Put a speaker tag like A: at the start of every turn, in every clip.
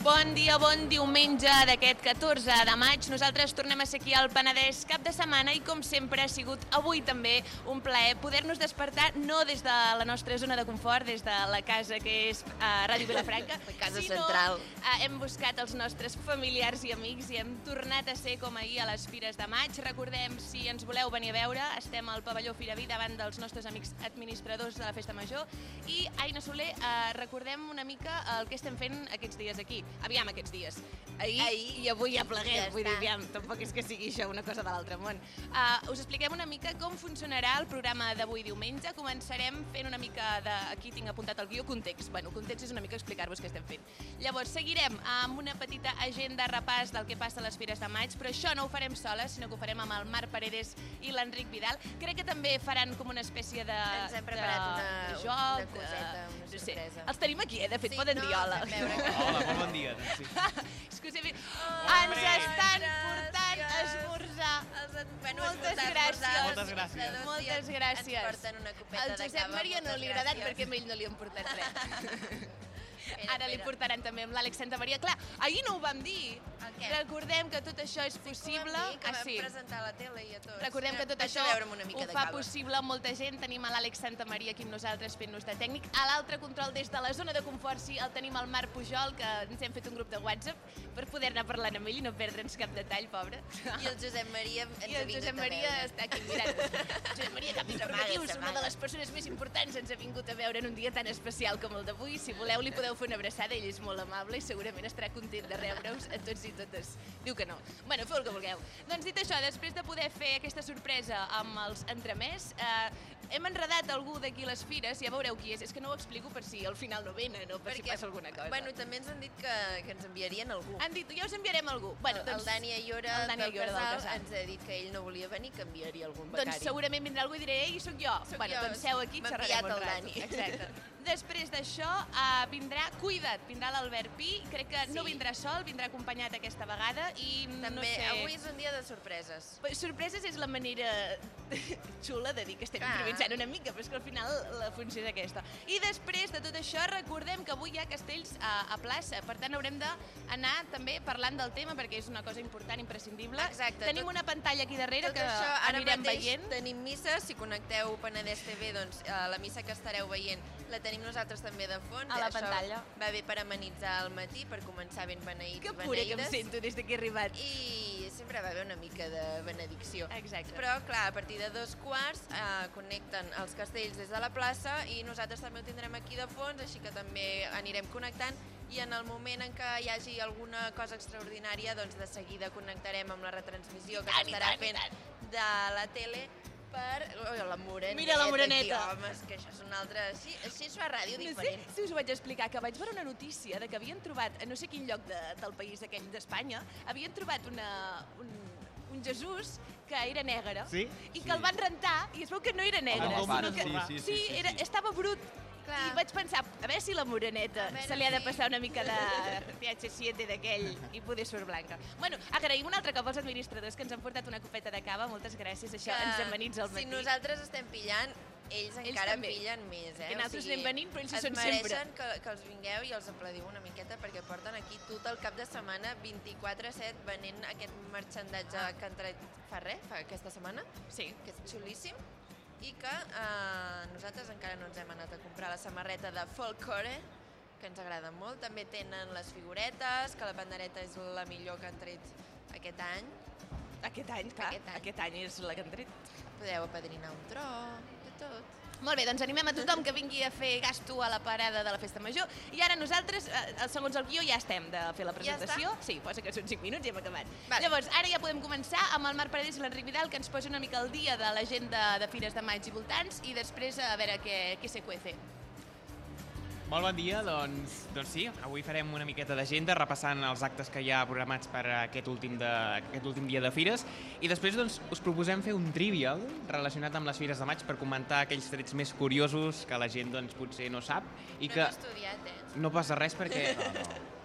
A: Bon dia, bon diumenge d'aquest 14 de maig. Nosaltres tornem a ser aquí al Penedès cap de setmana i, com sempre, ha sigut avui també un plaer poder-nos despertar no des de la nostra zona de confort, des de la casa que és uh, Ràdio Vilafranca,
B: La casa central.
A: Uh, hem buscat els nostres familiars i amics i hem tornat a ser com ahir a les Fires de Maig. Recordem, si ens voleu venir a veure, estem al pavelló Firaví davant dels nostres amics administradors de la Festa Major i Aina Soler, eh, recordem una mica el que estem fent aquests dies aquí. Aviam, aquests dies. Ahir,
B: Ahir.
A: i avui ja pleguem.
B: Ja
A: vull dir,
B: està.
A: aviam, tampoc és que sigui això una cosa de l'altre món. Uh, us expliquem una mica com funcionarà el programa d'avui diumenge. Començarem fent una mica de... Aquí tinc apuntat el guió, context. Bueno, context és una mica explicar-vos què estem fent. Llavors, seguirem amb una petita agenda repàs del que passa a les Fires de Maig, però això no ho farem soles, sinó que ho farem amb el Marc Paredes i l'Enric Vidal. Crec que també faran com una espècie de...
B: Ens hem preparat
A: de,
B: una-
A: de
B: una
A: joc,
B: coseta,
A: de-
B: una
A: no sé.
B: sorpresa.
A: Els tenim aquí, eh? De fet,
B: Sí,
A: poden
B: no,
A: dir hola.
B: els vam veure.
C: Hola, molt bon dia. doncs Sí.
A: Excusami.
C: Hombre.
A: Ens estan portant a
B: Gràcies.
A: esmorzar.
B: Els et- bueno,
A: Moltes
B: esmorzar,
A: gràcies.
B: esmorzar,
C: Moltes gràcies.
B: de dos
A: Moltes
B: dies
A: gràcies.
B: Ens porten una copeta
A: Al
B: de
A: Josep
B: cava,
A: Maria no
B: moltes
A: li ha agradat
B: gràcies.
A: perquè a ell no li han portat res.
B: Espera,
A: Ara li
B: espera.
A: portaran també amb l'Àlex Santa Maria. Clar, ahir no ho vam dir.
B: El què?
A: Recordem que tot això és
B: Ho
A: possible.
B: vam dir, que
A: Ah,
B: vam
A: sí.
B: presentar a la tele i a tots.
A: Recordem que tot
B: Vaig
A: això
B: a beure'm una mica
A: ho
B: de
A: fa
B: cava.
A: possible molta gent. Tenim a l'Àlex Santa Maria aquí amb nosaltres fent-nos de tècnic. A l'altre control des de la zona de confort sí el tenim al Marc Pujol, que ens hem fet un grup de WhatsApp per poder anar parlant amb ell i no perdre'ns cap detall, pobre.
B: I el Josep Maria ens
A: I
B: ha
A: el
B: vingut
A: Josep
B: a
A: Maria
B: veure.
A: està aquí mirant. Josep Maria Cap Informatius,
B: S'amaga,
A: una de
B: s'amaga.
A: les persones més importants, ens ha vingut a veure en un dia tan especial com el d'avui. Si voleu, li podeu fer una abraçada, ell és molt amable i segurament estarà content de rebre-us a tots i totes. Diu que no. Bueno, feu el que vulgueu. Doncs dit això, després de poder fer aquesta sorpresa amb els entremés, eh, hem enredat algú d'aquí a les fires, ja veureu qui és. És que no ho explico per si al final no venen o per si passa alguna cosa.
B: Bueno, també ens han dit que, que ens enviarien algú.
A: han dit, ja us enviarem algú. Bueno,
B: el, el Dani Ayora,
A: doncs, el Dani
B: del,
A: Ayora del
B: casal,
A: Casal.
B: ens ha dit que ell no volia venir, que enviaria algun becari.
A: Doncs segurament vindrà algú i diré, ei, sóc jo.
B: Sóc
A: bueno,
B: jo,
A: doncs seu aquí i
B: m'ha
A: xerrarem un
B: enviat el
A: rato.
B: Dani.
A: Exacte. Després d'això eh, vindrà, cuida't, vindrà l'Albert Pi. Crec que no
B: Sí.
A: vindrà sol, vindrà acompanyat aquesta vegada i mm,
B: També,
A: no sé...
B: avui és un dia de sorpreses.
A: Bé, Sorpreses és la manera xula de dir que estem
B: Clar.
A: improvisant una mica, però és que al final la funció és aquesta. I després de tot això, recordem que avui hi ha castells a, a plaça, per tant haurem d'anar també parlant del tema perquè és una cosa important, imprescindible.
B: Exacte,
A: Tenim
B: tot-
A: una pantalla aquí darrere
B: Tot
A: que
B: això, ara
A: anirem
B: mateix
A: veient.
B: tenim missa, si connecteu Penedès TV, doncs eh, la missa que estareu veient la tenim nosaltres també de fons.
A: A la
B: Això
A: pantalla.
B: va bé per amenitzar el matí, per començar ben beneïts
A: Que
B: i
A: pura que em
B: beneïdes.
A: sento des de que he arribat.
B: I sempre va haver una mica de benedicció.
A: Exacte.
B: Però, clar, a partir de dos quarts eh, connecten els castells des de la plaça i nosaltres també ho tindrem aquí de fons, així que també anirem connectant i en el moment en què hi hagi alguna cosa extraordinària, doncs de seguida connectarem amb la retransmissió que
A: tant, i
B: s'estarà
A: tant, i
B: fent de la tele per... Ui, la moreneta.
A: Mira la moreneta.
B: Aquí, home, és que això és una altra... Així, així es fa ràdio
A: No sé
B: diferent.
A: si us ho vaig explicar, que vaig veure una notícia de que havien trobat, a no sé quin lloc de, del país aquell d'Espanya, havien trobat una, un, un Jesús que era negre
C: Sí?
A: i que
C: Sí.
A: el van rentar i es veu que no era negre,
C: com
A: sinó
C: un
A: que
C: esborrar. Sí, sí, sí, sí,
A: era,
C: sí.
A: estava brut.
B: Clar.
A: I vaig pensar, a veure si la moreneta
B: A veure,
A: se li ha de
B: sí.
A: passar una mica de TH7 d'aquell i poder surt blanca. Bueno, agraïm un altre cop als administradors que ens han portat una copeta de cava, moltes gràcies, això
B: que
A: ens amenitza el matí.
B: Si nosaltres estem pillant, ells, encara
A: també.
B: pillen més, eh?
A: Que nosaltres anem venint, però ells hi
B: es
A: són sempre.
B: mereixen que, que els vingueu i els aplaudiu una miqueta perquè porten aquí tot el cap de setmana 24-7 venent aquest marxandatge que han tret fa res, fa aquesta setmana,
A: Ah. Sí.
B: que és xulíssim i que eh, nosaltres encara no ens hem anat a comprar la samarreta de Folkcore, que ens agrada molt. També tenen les figuretes, que la pandereta és la millor que han tret aquest any.
A: Aquest any, clar,
B: Aquest any.
A: aquest any és la que han tret.
B: Podeu apadrinar un tro, de tot.
A: Molt bé, doncs animem a tothom que vingui a fer gasto a la parada de la Festa Major. I ara nosaltres, eh, segons el guió, ja estem de fer la presentació. Ja sí, posa que són 5 minuts i hem acabat.
B: Vale.
A: Llavors, ara ja podem començar amb el Marc Paredes i l'Enric Vidal, que ens posa una mica el dia de l'agenda de Fires de Maig i voltants, i després a veure què, què se cuece.
C: Molt bon dia, doncs, doncs sí, avui farem una miqueta d'agenda repassant els actes que hi ha programats per aquest últim, de, aquest últim dia de fires i després doncs, us proposem fer un trivial relacionat amb les fires de maig per comentar aquells trets més curiosos que la gent doncs, potser no sap i
B: No
C: que
B: hem estudiat, eh?
C: no passa res perquè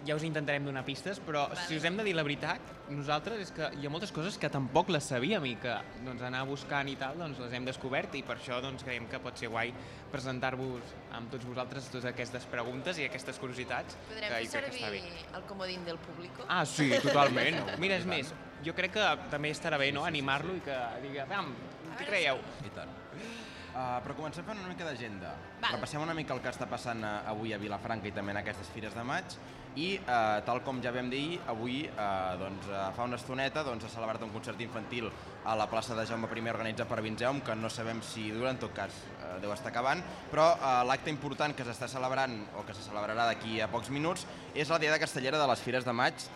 C: ja us intentarem donar pistes, però
A: Vale.
C: si us hem de dir la veritat, nosaltres és que hi ha moltes coses que tampoc les sabíem i que doncs, anar buscant i tal doncs, les hem descobert i per això doncs, creiem que pot ser guai presentar-vos amb tots vosaltres totes aquestes preguntes i aquestes curiositats
D: Podrem fer
C: que jo crec que està
D: servir
C: bé.
D: el comodín del públic?
C: Ah, sí, totalment. Mira, és més, jo crec que també estarà bé no? animar-lo i que digui, pam, què creieu?
E: I tant. Uh, però comencem fent una mica d'agenda.
A: Val.
E: Repassem una mica el que està passant eh, avui a Vilafranca i també en aquestes fires de maig. I, eh, tal com ja vam dir, ahir, avui, eh, doncs, eh, fa una estoneta, doncs, s'ha celebrat un concert infantil a la plaça de Jaume I organitzat per Vinzeum, que no sabem si dura, en tot cas, eh, deu estar acabant, però eh, l'acte important que s'està celebrant, o que se celebrarà d'aquí a pocs minuts, és la Diada Castellera de les Fires de Maig,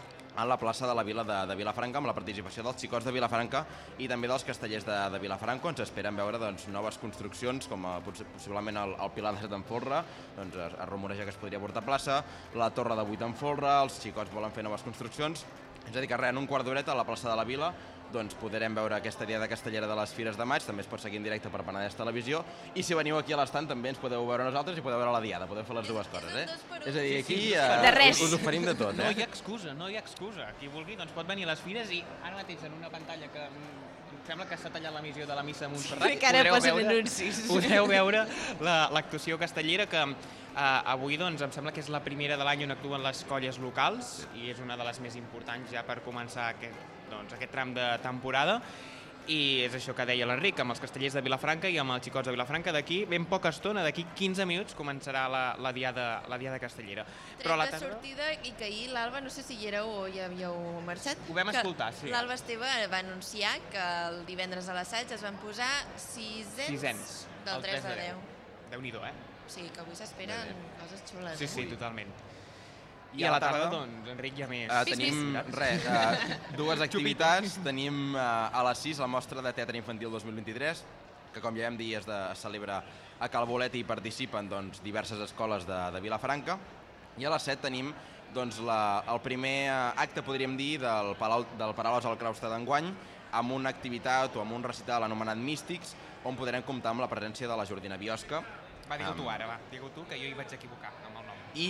E: a la plaça de la Vila de, de Vilafranca amb la participació dels xicots de Vilafranca i també dels castellers de, de Vilafranca on s'esperen veure doncs, noves construccions com a, potser, possiblement el, el Pilar de Forra doncs, es, es rumoreja que es podria portar a plaça la Torre de Vuit en Forra, els xicots volen fer noves construccions és a dir que res, en un quart d'horeta a la plaça de la Vila doncs podrem veure aquesta Diada Castellera de les Fires de Maig, també es pot seguir en directe per Penedès Televisió, i si veniu aquí a l'estant també ens podeu veure nosaltres i podeu veure la Diada, podeu fer les dues coses, eh?
D: dos per un.
E: És a dir,
C: Sí,
E: aquí
C: sí,
E: eh,
A: De res.
E: us, us oferim de tot, eh?
C: No hi ha excusa, no hi ha excusa. Qui vulgui doncs pot venir a les fires i ara mateix en una pantalla que mm, em sembla que s'ha tallat la missió de la missa a Montserrat.
A: Sí, que ara
C: podreu
A: posen
C: veure-
A: anuncis.
C: Podeu veure la- l'actuació castellera que eh, avui doncs, em sembla que és la primera de l'any on actuen les colles locals i és una de les més importants ja per començar aquest, doncs, aquest tram de temporada. I és això que deia l'Enric, amb els castellers de Vilafranca i amb els xicots de Vilafranca. D'aquí ben poca estona, d'aquí 15 minuts, començarà la, la, diada, la diada castellera.
D: Tret de sortida i que ahir l'Alba, no sé si hi éreu o ja havíeu marxat.
C: Ho vam
D: que
C: escoltar, sí.
D: L'Alba Esteve va anunciar que el divendres a l'assaig es van posar sisens,
C: sisens.
D: del 3 de 10.
C: Déu-n'hi-do, eh?
D: O sigui que avui s'esperen coses xules.
C: Sí,
D: eh?
C: sí, totalment.
E: I a la tarda,
C: doncs, Enric ja més.
E: Uh,
A: Pis,
E: tenim
C: pis.
E: res, uh, dues activitats. tenim uh, a les 6 la mostra de teatre infantil 2023, que com ja vam dir es, de, es celebra a Calbolet i hi participen doncs, diverses escoles de, de Vilafranca. I a les 7 tenim doncs, la, el primer eh, acte, podríem dir, del, Palau, del Paraules al Claustre d'enguany, amb una activitat o amb un recital anomenat Místics, on podrem comptar amb la presència de la Jordina Biosca,
C: va, digue-ho
E: um,
C: tu ara, va. Digue-ho tu, que jo hi vaig equivocar amb el nom.
E: i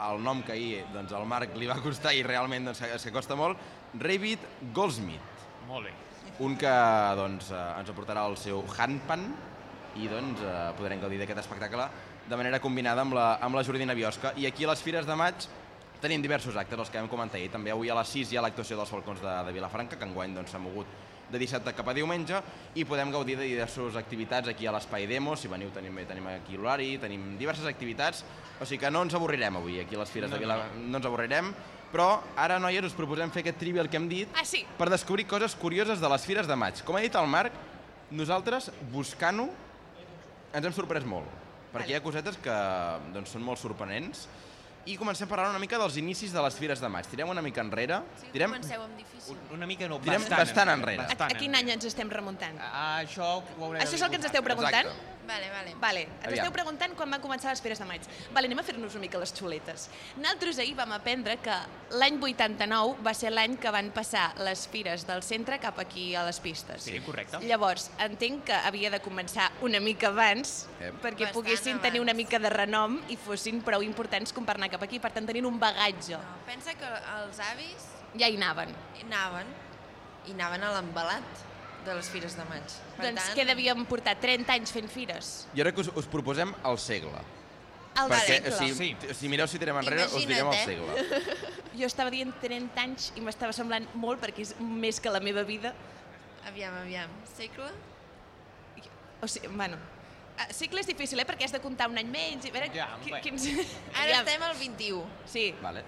E: el nom que ahir doncs, el Marc li va costar i realment doncs, se- se costa molt, Rabbit Goldsmith,
C: Molt bé.
E: un que doncs, eh, ens aportarà el seu handpan i doncs, eh, podrem gaudir d'aquest espectacle de manera combinada amb la, amb la Jordina Biosca. I aquí a les Fires de Maig tenim diversos actes, els que vam comentar ahir. També avui a les 6 hi ha l'actuació dels Falcons de, de Vilafranca, que enguany doncs, s'ha mogut de dissabte cap a diumenge i podem gaudir de diverses activitats aquí a l'Espai Demo, si veniu tenim, tenim aquí l'horari, tenim diverses activitats, o sigui que no ens avorrirem avui aquí a les Fires
C: No,
E: de
C: no,
E: Vila, no ens avorrirem, però ara, noies, us proposem fer aquest trivial que hem dit,
A: Ah, sí.
E: per descobrir coses curioses de les fires de maig. Com ha dit el Marc, nosaltres, buscant-ho, ens hem sorprès molt, perquè hi ha cosetes que doncs, són molt sorprenents. I comencem parlant una mica dels inicis de les fires de maig. Tirem una mica enrere,
D: Sí,
E: tirem,
D: comenceu amb difícil.
C: Una mica no,
E: Tirem bastant bastant enrere. enrere.
A: A, a quin any ens estem remuntant?
C: Ah, eh? això ho haureu
A: Això és el que ens esteu preguntant?
E: Exacte.
D: Vale, vale.
A: Vale, ens
E: Aviam.
A: esteu preguntant quan van començar les Fires de Maig. Vale, anem a fer-nos una mica les xuletes. Nosaltres ahir vam aprendre que l'any 89 va ser l'any que van passar les fires del centre cap aquí a les pistes.
C: Sí, correcte.
A: Llavors, entenc que havia de començar una mica abans
E: Eh.
A: perquè
D: Bastant
A: poguessin tenir una
D: abans.
A: mica de renom i fossin prou importants com per anar cap aquí, per tant tenint un bagatge.
D: No, pensa que els avis
A: Ja hi anaven.
D: hi anaven, i anaven a l'embalat de les fires de maig. Per
A: doncs
D: tant,
A: què devíem portar? 30 anys fent fires.
E: Jo crec que us, us proposem el segle.
A: El
E: perquè,
A: segle.
E: O sigui,
C: Sí.
E: t- si mireu si tirem enrere, us
D: Imagina't,
E: direm el
D: eh?
E: segle.
A: Jo estava dient 30 anys i m'estava semblant molt perquè és més que la meva vida.
D: Aviam, aviam. Segle?
A: O sigui, bueno, ah, cicle és difícil, eh? Perquè has de comptar un any menys. I a veure,
C: Ja,
A: qui-
C: bé.
A: quins...
D: Ara
A: Aviam.
D: estem al 21.
A: Sí,
E: Vale.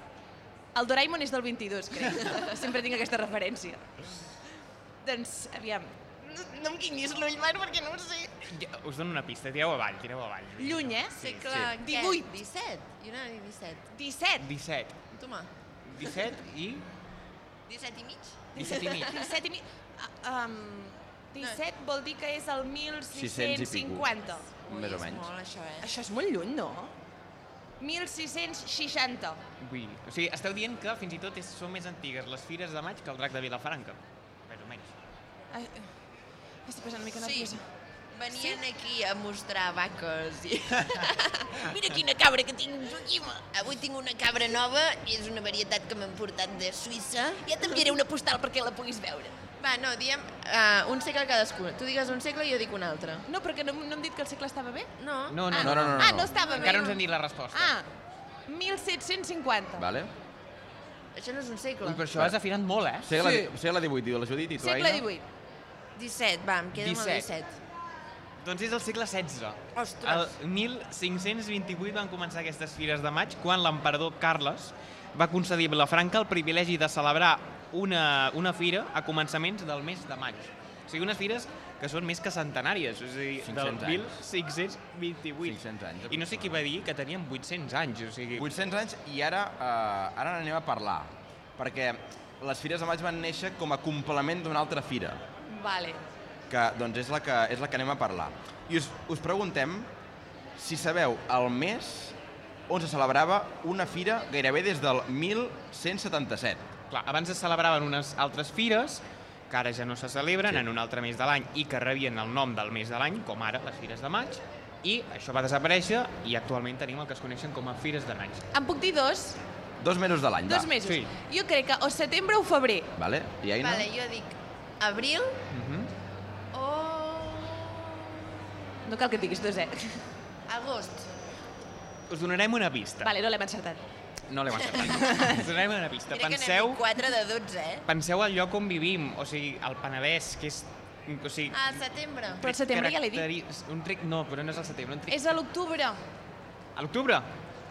A: el Doraemon és del 22, crec. Sempre tinc aquesta referència. doncs, aviam, no, no em guinyis l'ull, Mar, perquè no ho sé.
C: Ja, us dono una pista, tireu avall, tireu avall.
A: Lluny, eh?
D: Sí,
C: sí.
D: clar, sí.
A: 18.
D: 17. Jo anava a dir 17.
A: 17.
C: 17.
D: Toma,
C: 17 i...
D: 17 i mig?
C: 17 i mig.
A: 17 i mi... ah, Um, 17 vol dir que és el 1650.
E: 650. Més o
D: és
E: menys.
D: molt, això, eh?
A: Això és molt lluny, no? 1660.
C: Ui. O sigui, esteu dient que fins i tot és, són més antigues les fires de maig que el drac de Vilafranca. Més o menys.
A: Ai, eh, estic passant una mica
D: Sí.
A: nerviosa.
D: Venien aquí a mostrar vaques. I...
A: Mira quina cabra que tinc, Joaquima!
D: Avui tinc una cabra nova, és una varietat que m'han portat de Suïssa.
A: Ja t'enviaré una postal perquè la puguis veure.
D: Va, no, diem uh, un segle cadascú. Tu digues un segle i jo dic un altre.
A: No, però que no, no hem dit que el segle estava bé?
D: No?
C: No, no,
A: ah,
C: no, no,
E: no, no.
A: Ah, no estava bé.
C: Encara no ens han dit la resposta.
A: Ah, 1750.
E: Vale?
D: Això no és un segle.
C: Ui, per això has afinat molt, eh?
E: Segle, sí. segle XVIII, diu la Judit, i tu,
A: Segle
E: Aina?
A: XVIII.
D: 17, va, em quedo
C: 17.
D: amb el 17.
C: Doncs és el segle XVI. El
D: Ostres.
C: 1528 van començar aquestes fires de maig quan l'emperador Carles va concedir a Vilafranca el privilegi de celebrar una, una fira a començaments del mes de maig. O sigui, unes fires que són més que centenàries, és a dir,
E: 500 anys.
C: del 1528.
E: 500 anys.
C: I no sé qui va dir que tenien 800 anys, o sigui...
E: 800 anys i ara, eh, ara n'anem a parlar, perquè les fires de maig van néixer com a complement d'una altra fira,
A: Vale.
E: que doncs, és, la que, és la que anem a parlar. I us, us preguntem si sabeu el mes on se celebrava una fira gairebé des del 1177.
C: Clar, abans es celebraven unes altres fires, que ara ja no se celebren,
E: Sí.
C: sí. en un altre mes de l'any, i que rebien el nom del mes de l'any, com ara les fires de maig, i això va desaparèixer i actualment tenim el que es coneixen com a fires de maig.
A: Em puc dir dos?
E: Dos mesos de l'any,
A: Dos
E: va.
A: mesos.
C: sí.
A: Jo crec que o setembre o febrer.
E: Vale? I Aina?
D: Vale, jo dic abril
C: Uh -huh.
D: o
A: No cal que et diguis dos, eh?
D: agost.
C: Us donarem una pista.
A: Vale, no l'hem encertat.
C: No l'hem encertat. Us donarem una pista.
D: Mira
C: Penseu,
D: que n'hem dit 4 de 12, eh?
C: penseu al lloc on vivim, o sigui, al Penedès, que és... O sigui,
D: Al setembre.
A: Ah, Però al setembre ja l'he dit.
C: caracteri- Un tric... No, però no és al setembre. Un tric...
A: És a l'octubre.
C: A l'octubre?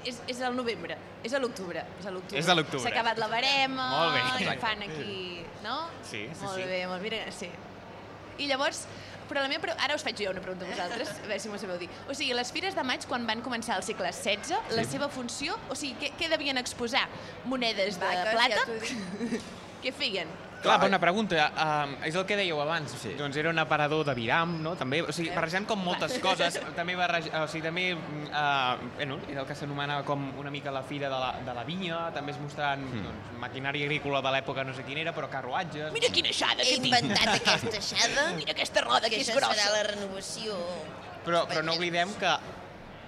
A: És, és al novembre. És a l'octubre. És a l'octubre.
C: És a l'octubre.
A: S'ha acabat la barema.
C: Molt bé.
A: I fan aquí... No?
C: Sí, sí,
A: molt
C: sí.
A: bé, molt bé. Mira, sí. I llavors, però la meva pre... ara us faig jo una pregunta a vosaltres, a veure si m'ho sabeu dir. O sigui, les fires de maig, quan van començar al segle XVI, la seva funció, o sigui, què, què devien exposar? Monedes de
D: Vaques, ja
A: plata?
D: t'ho dic.
A: Què feien?
C: Clar, bona pregunta. Uh, és el que dèieu abans.
E: eh? Sí.
C: Sí. Doncs era un aparador de viram, no? També, o sigui, barrejant com moltes coses. També barrej... o sigui, també, uh, bueno, era el que s'anomenava com una mica la fira de la, de la vinya, també es mostraven
E: Hmm.
C: doncs, maquinària agrícola de l'època no sé quina era, però carruatges...
A: Mira quina aixada
D: He
A: que tinc!
D: inventat aquesta aixada,
A: Mira aquesta roda
D: que
A: que és
D: això
A: grossa!
D: serà la renovació.
C: Però, però no oblidem que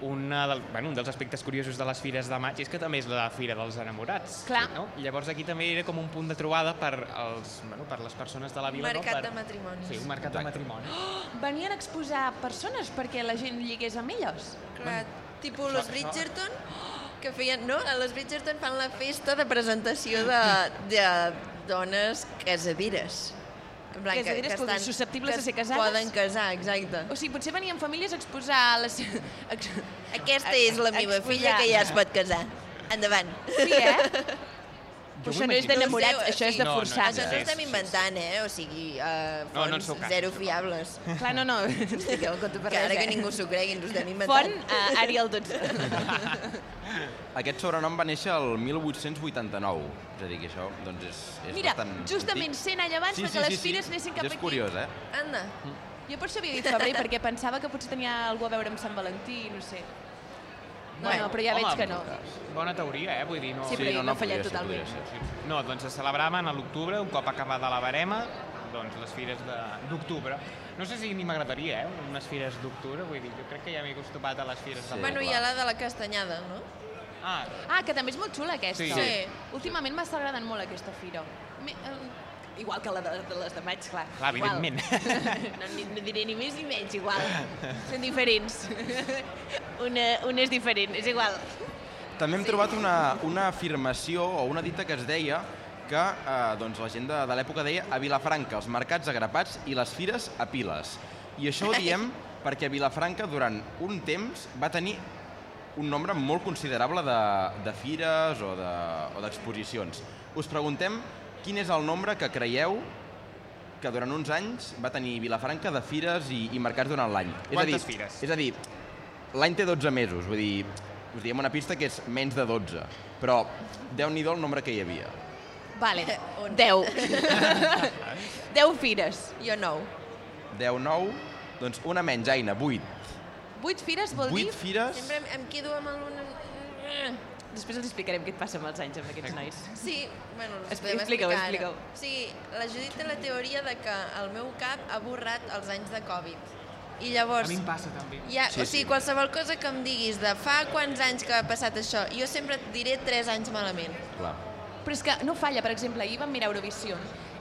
C: una del, bueno, un dels aspectes curiosos de les fires de maig és que també és la fira dels enamorats.
A: Clar.
C: No? Llavors aquí també era com un punt de trobada per, els, bueno, per les persones de la vila.
D: Mercat
C: no? per,
D: de matrimonis.
C: Sí, un mercat
E: Exacte.
C: de matrimonis.
A: Venien a exposar persones perquè la gent lligués amb elles.
D: Clar, tipus los
C: això-
D: Bridgerton, que feien, no? A los Bridgerton fan la festa de presentació de, de dones casadires. En plan,
A: Casadires, vol dir susceptibles
D: que
A: de ser
D: es
A: casades?
D: Poden casar, exacte.
A: O sigui, potser venien famílies a exposar les... ex-
D: Aquesta
A: a-
D: és la
A: a-
D: meva
A: exposar.
D: filla que ja es pot casar. Endavant.
A: Sí, eh?
C: Jo m'ho
A: Però això no és
C: imagino.
A: d'enamorats,
D: No ho sé,
A: això és de
C: No, no,
A: forçats.
D: Això
C: Sí,
D: no
C: sí,
D: estem
C: sí, sí.
D: inventant, eh? O sigui, uh,
C: No, no
D: fonts
C: ens feu cas.
D: zero fiables.
A: Clar, no, no, no estigueu en compte per
D: Que ara
A: res,
D: que
A: eh?
D: ningú s'ho cregui, ens ho estem
A: Font,
D: inventant.
A: uh, Ariel 12.
E: Aquest sobrenom va néixer el 1889, és a dir, que això doncs és, és
A: Mira,
E: bastant...
A: justament 100 anys abans de que les fires anessin cap
E: és
A: aquí.
E: És curiós, eh?
D: Anda.
A: Jo per això havia dit febrer, perquè pensava que potser tenia algú a veure amb Sant Valentí, no sé. No,
D: Bueno,
A: no, però ja
C: home,
A: veig que no.
C: Bona teoria, eh? Vull dir, no...
A: Sí, però jo m'he fallat
E: podria ser,
A: totalment.
E: podria ser.
C: No, doncs es celebraven a l'octubre, un cop acabada la barema, doncs les fires de- d'octubre. No sé si ni m'agradaria, eh, unes fires d'octubre, vull dir, jo crec que ja m'he acostumat a les fires
E: Sí.
C: de...
D: Bueno, i
E: clar.
D: a la de la castanyada, no?
C: Ah,
A: Ah, que també és molt xula aquesta.
C: Sí.
D: Sí.
A: Últimament m'està agradant molt aquesta fira. Me, eh, igual que la de, de les de maig, clar.
C: Clar,
A: Igual.
C: evidentment.
A: No, ni, no diré ni més ni menys, igual. Són diferents. Una, una és diferent, és igual.
E: També hem trobat una, una afirmació o una dita que es deia que eh, doncs la gent de, de l'època deia a Vilafranca els mercats agrapats i les fires a piles. I això ho diem perquè Vilafranca durant un temps va tenir un nombre molt considerable de, de fires o de- o d'exposicions. De, Us preguntem quin és el nombre que creieu que durant uns anys va tenir Vilafranca de fires i, i mercats durant l'any. És a dir-
C: Quantes fires?
E: És a dir, l'any té 12 mesos, vull dir, us diem una pista que és menys de 12, però déu-n'hi-do el nombre que hi havia.
A: Vale,
D: On?
A: 10. 10 fires.
D: Jo nou.
E: 10, 9, doncs una menys, Aina, 8.
A: 8 fires vol
E: 8
A: dir...
E: fires?
D: Sempre em, em quedo amb el...
A: Després els explicarem què et passa amb els anys, amb aquests nois.
D: Sí, bueno, us
A: Expli-
D: podem
A: explica-ho,
D: explicar.
A: explica-ho.
D: ara. Sí, la Judit té la teoria de que el meu cap ha borrat els anys de Covid. I
C: A
D: llavors...
C: mi em passa també.
D: Hi ha,
E: Sí,
D: sí, o sigui,
E: sí.
D: qualsevol cosa que em diguis de fa quants anys que ha passat això, jo sempre et diré 3 anys malament.
E: Clar.
A: Però és que no falla, per exemple, ahir vam mirar Eurovisió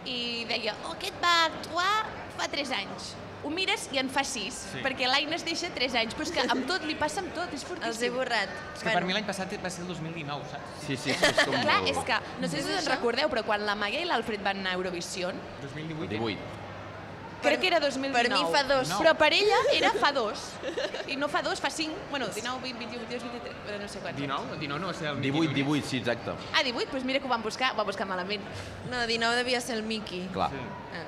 A: i deia, oh, aquest va actuar fa 3 anys. Ho mires i en fa 6,
C: Sí.
A: perquè l'Aina es deixa 3 anys, però és que amb tot, li passa amb tot, és fortíssim.
D: Els he borrat.
C: És que per mi l'any passat va ser el 2019, saps?
E: Sí, sí, sí, és com...
A: Clar,
E: el-
A: és que, no sé si us en recordeu, però quan la Maia i l'Alfred van anar a Eurovisió,
C: 2018.
E: el 18.
A: crec que era 2019.
D: Per mi fa dos.
C: No.
A: Però per ella era fa dos. I no fa dos, fa cinc. Bueno, 19, 20, 21, 22, 23, eh, no sé quants.
C: 19? 19 no va ser el
E: 18, 18, sí, exacte.
A: Ah, 18? Doncs mira que ho van buscar, ho va buscar malament.
D: No, 19 devia ser el Mickey.
E: Clar.
C: Sí.
D: Ah,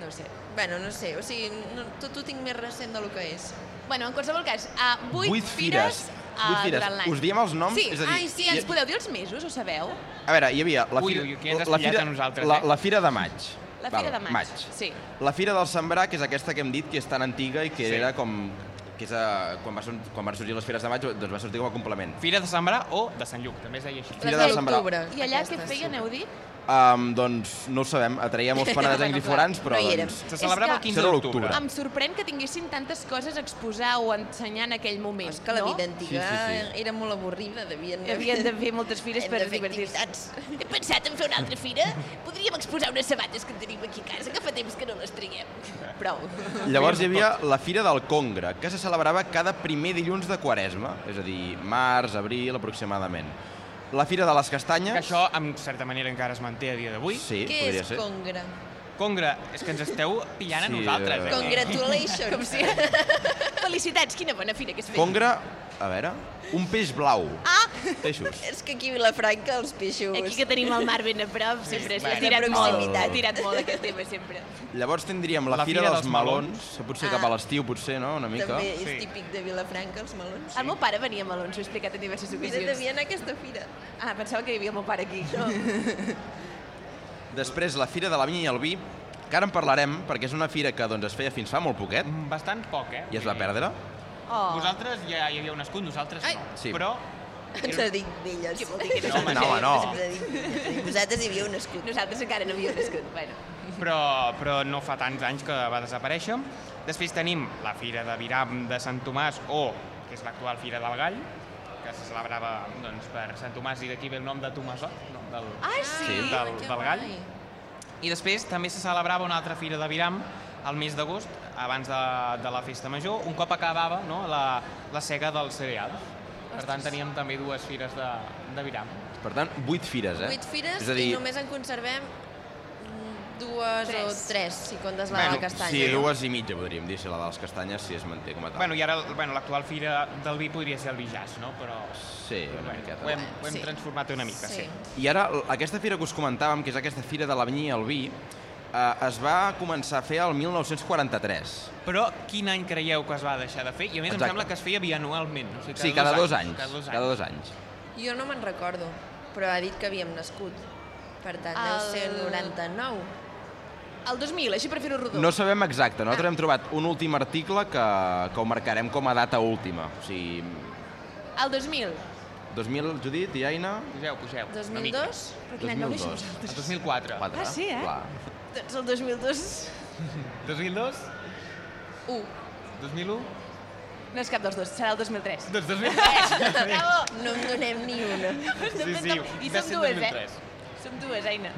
D: no ho sé. Bueno, no sé, o sigui, no, tot ho tinc més recent del que és.
A: Bueno, en qualsevol cas, a 8,
E: Vuit
A: fires,
E: fires.
A: ah,
E: Vuit fires.
A: durant l'any.
E: Us diem els noms?
A: Sí,
E: És a dir,
A: ai, sí,
E: hi ha-
A: ens podeu dir els mesos, ho sabeu?
E: A veure, hi havia la
C: Ui,
E: fira,
C: ui, que ens has
E: la,
C: pillat
E: fira,
C: a nosaltres,
E: la,
C: eh?
E: la fira de maig.
A: La Fira de Maig, sí.
E: La fira del Sembrar, que és aquesta que hem dit que és tan antiga i que
C: Sí.
E: era com que és, eh, quan, va, sur- quan van sorgir les fires de maig doncs va sortir com a complement.
C: Fira de Sant Bra o de Sant Lluc, també es deia així.
E: Fira
D: Les
E: del
D: de
E: Sembrar.
D: l'octubre,
A: I allà què
D: aquestes.
A: feien, heu dit?
E: Um, doncs no ho sabem, atraia molts penedesencs i
D: Bueno, clar,
E: forans, però
D: no hi érem.
E: doncs,
C: Se celebrava el
A: que-
C: 15
E: Serà
C: d'octubre.
E: l'octubre.
A: Em sorprèn que tinguessin tantes coses a exposar o a ensenyar en aquell moment,
D: És que la
A: no?
D: vida antiga
E: Sí, sí, sí.
D: era molt avorrida, devien...
A: Havien de fer moltes fires
D: Hem
A: per
D: de fer
A: divertir-se. He pensat en fer una altra fira. Podríem exposar unes sabates que tenim aquí a casa, que fa temps que no les traiem. Prou.
E: Llavors hi havia la Fira del Congre, que se celebrava cada primer dilluns de Quaresma, és a dir, març, abril, aproximadament. La Fira de les Castanyes...
C: Que això, en certa manera, encara es manté a dia d'avui.
E: Sí,
D: Què
E: podria
D: és
E: ser.
D: Congre?
C: Congre, és que ens esteu pillant a
E: Sí,
C: nosaltres.
E: eh.
C: Eh?
D: Congratulations. Com si...
A: Felicitats, quina bona fira que has fet.
E: Congre, a veure, un peix blau. Ah! Peixos.
D: és que aquí a Vilafranca els peixos...
A: Aquí que tenim el mar ben a prop, sempre s'ha
C: bueno,
A: tirat
D: però
A: molt,
D: proximitat.
A: ha tirat molt aquest tema, sempre.
E: Llavors tindríem la, la Fira, dels, Melons, que potser
D: Ah.
E: cap a l'estiu, potser, no?, una mica.
D: També és
C: Sí.
D: típic de Vilafranca, els melons.
A: El meu pare venia a melons, ho he explicat en diverses
D: Potser
A: ocasions.
D: devia anar a aquesta fira.
A: Ah, pensava que hi havia el meu pare aquí.
E: Després la Fira de la Vinya i el Vi, que ara en parlarem, perquè és una fira que doncs, es feia fins fa molt poquet
C: Mm, Bastant poc, eh?
E: i es va perdre.
A: Oh,
C: Vosaltres ja hi havia nascut, nosaltres
D: Ai.
C: no.
E: Sí.
C: Però...
D: Ens ha dit d'elles.
A: Què vol dir que
C: No, home,
E: No, home, no.
D: Ens ha dit d'elles. Vosaltres hi havíeu nascut.
A: nosaltres encara no havíem nascut. Bueno,
C: però, però no fa tants anys que va desaparèixer. Després tenim la Fira de Viram de Sant Tomàs o, que és l'actual Fira del Gall, que se celebrava doncs, per Sant Tomàs i d'aquí ve el nom de Tomasot, nom del,
A: ah, sí?
E: Sí.
C: del,
D: que
C: del Gall.
D: guai.
C: I després també se celebrava una altra Fira de Viram al mes d'agost, abans de, de la festa major, un cop acabava no, la, la sega dels cereals. Per tant, teníem també dues fires de, de Viram.
E: Per tant, vuit fires, eh?
D: Vuit fires
E: és a dir,
D: i només en conservem mm, dues
A: Tres.
D: o tres, si comptes la de la castanya.
E: Sí,
D: no?
E: dues i mitja, podríem dir, si la de les castanyes, si es manté com a tal.
C: Bueno, i ara bueno, l'actual Fira del Vi podria ser el Vijàs, no? Però
E: sí, una
C: bueno,
E: miqueta.
C: ho hem, ho hem
D: Sí.
C: transformat una mica, sí.
E: I ara, l- aquesta fira que us comentàvem, que és aquesta fira de la vinya i el vi, eh, es va començar a fer el 1943.
C: Però quin any creieu que es va deixar de fer? I a més
E: Exacte.
C: em sembla que es feia bianualment. O sigui,
E: sí, cada dos anys.
C: Cada dos anys.
E: Cada dos anys.
D: Jo no me'n recordo, però ha dit que havíem nascut. Per tant, deu ser el
A: El-
D: 99.
A: El 2000, així per fer-ho rodó.
E: No sabem exacte, nosaltres hem trobat un últim article que, que ho marcarem com a data última. O sigui,
A: El 2000.
E: 2000, Judit i Aina...
C: Pugeu, pugeu. una mica.
D: 2002?
A: Però quin any vau néixer
E: 2002.
A: vosaltres?
C: El 2004.
E: Quatre,
A: Ah, sí, eh?
E: Clar.
A: Doncs el 2002
C: 2002?
D: 1.
C: 2001?
A: no és cap dels dos, serà el 2003.
C: Doncs 2003!
A: Bravo!
D: No en donem ni una.
C: sí, sí,
A: I
C: va
A: som
C: ser el
A: dues, eh?
C: 2003.
A: Som dues, Aina.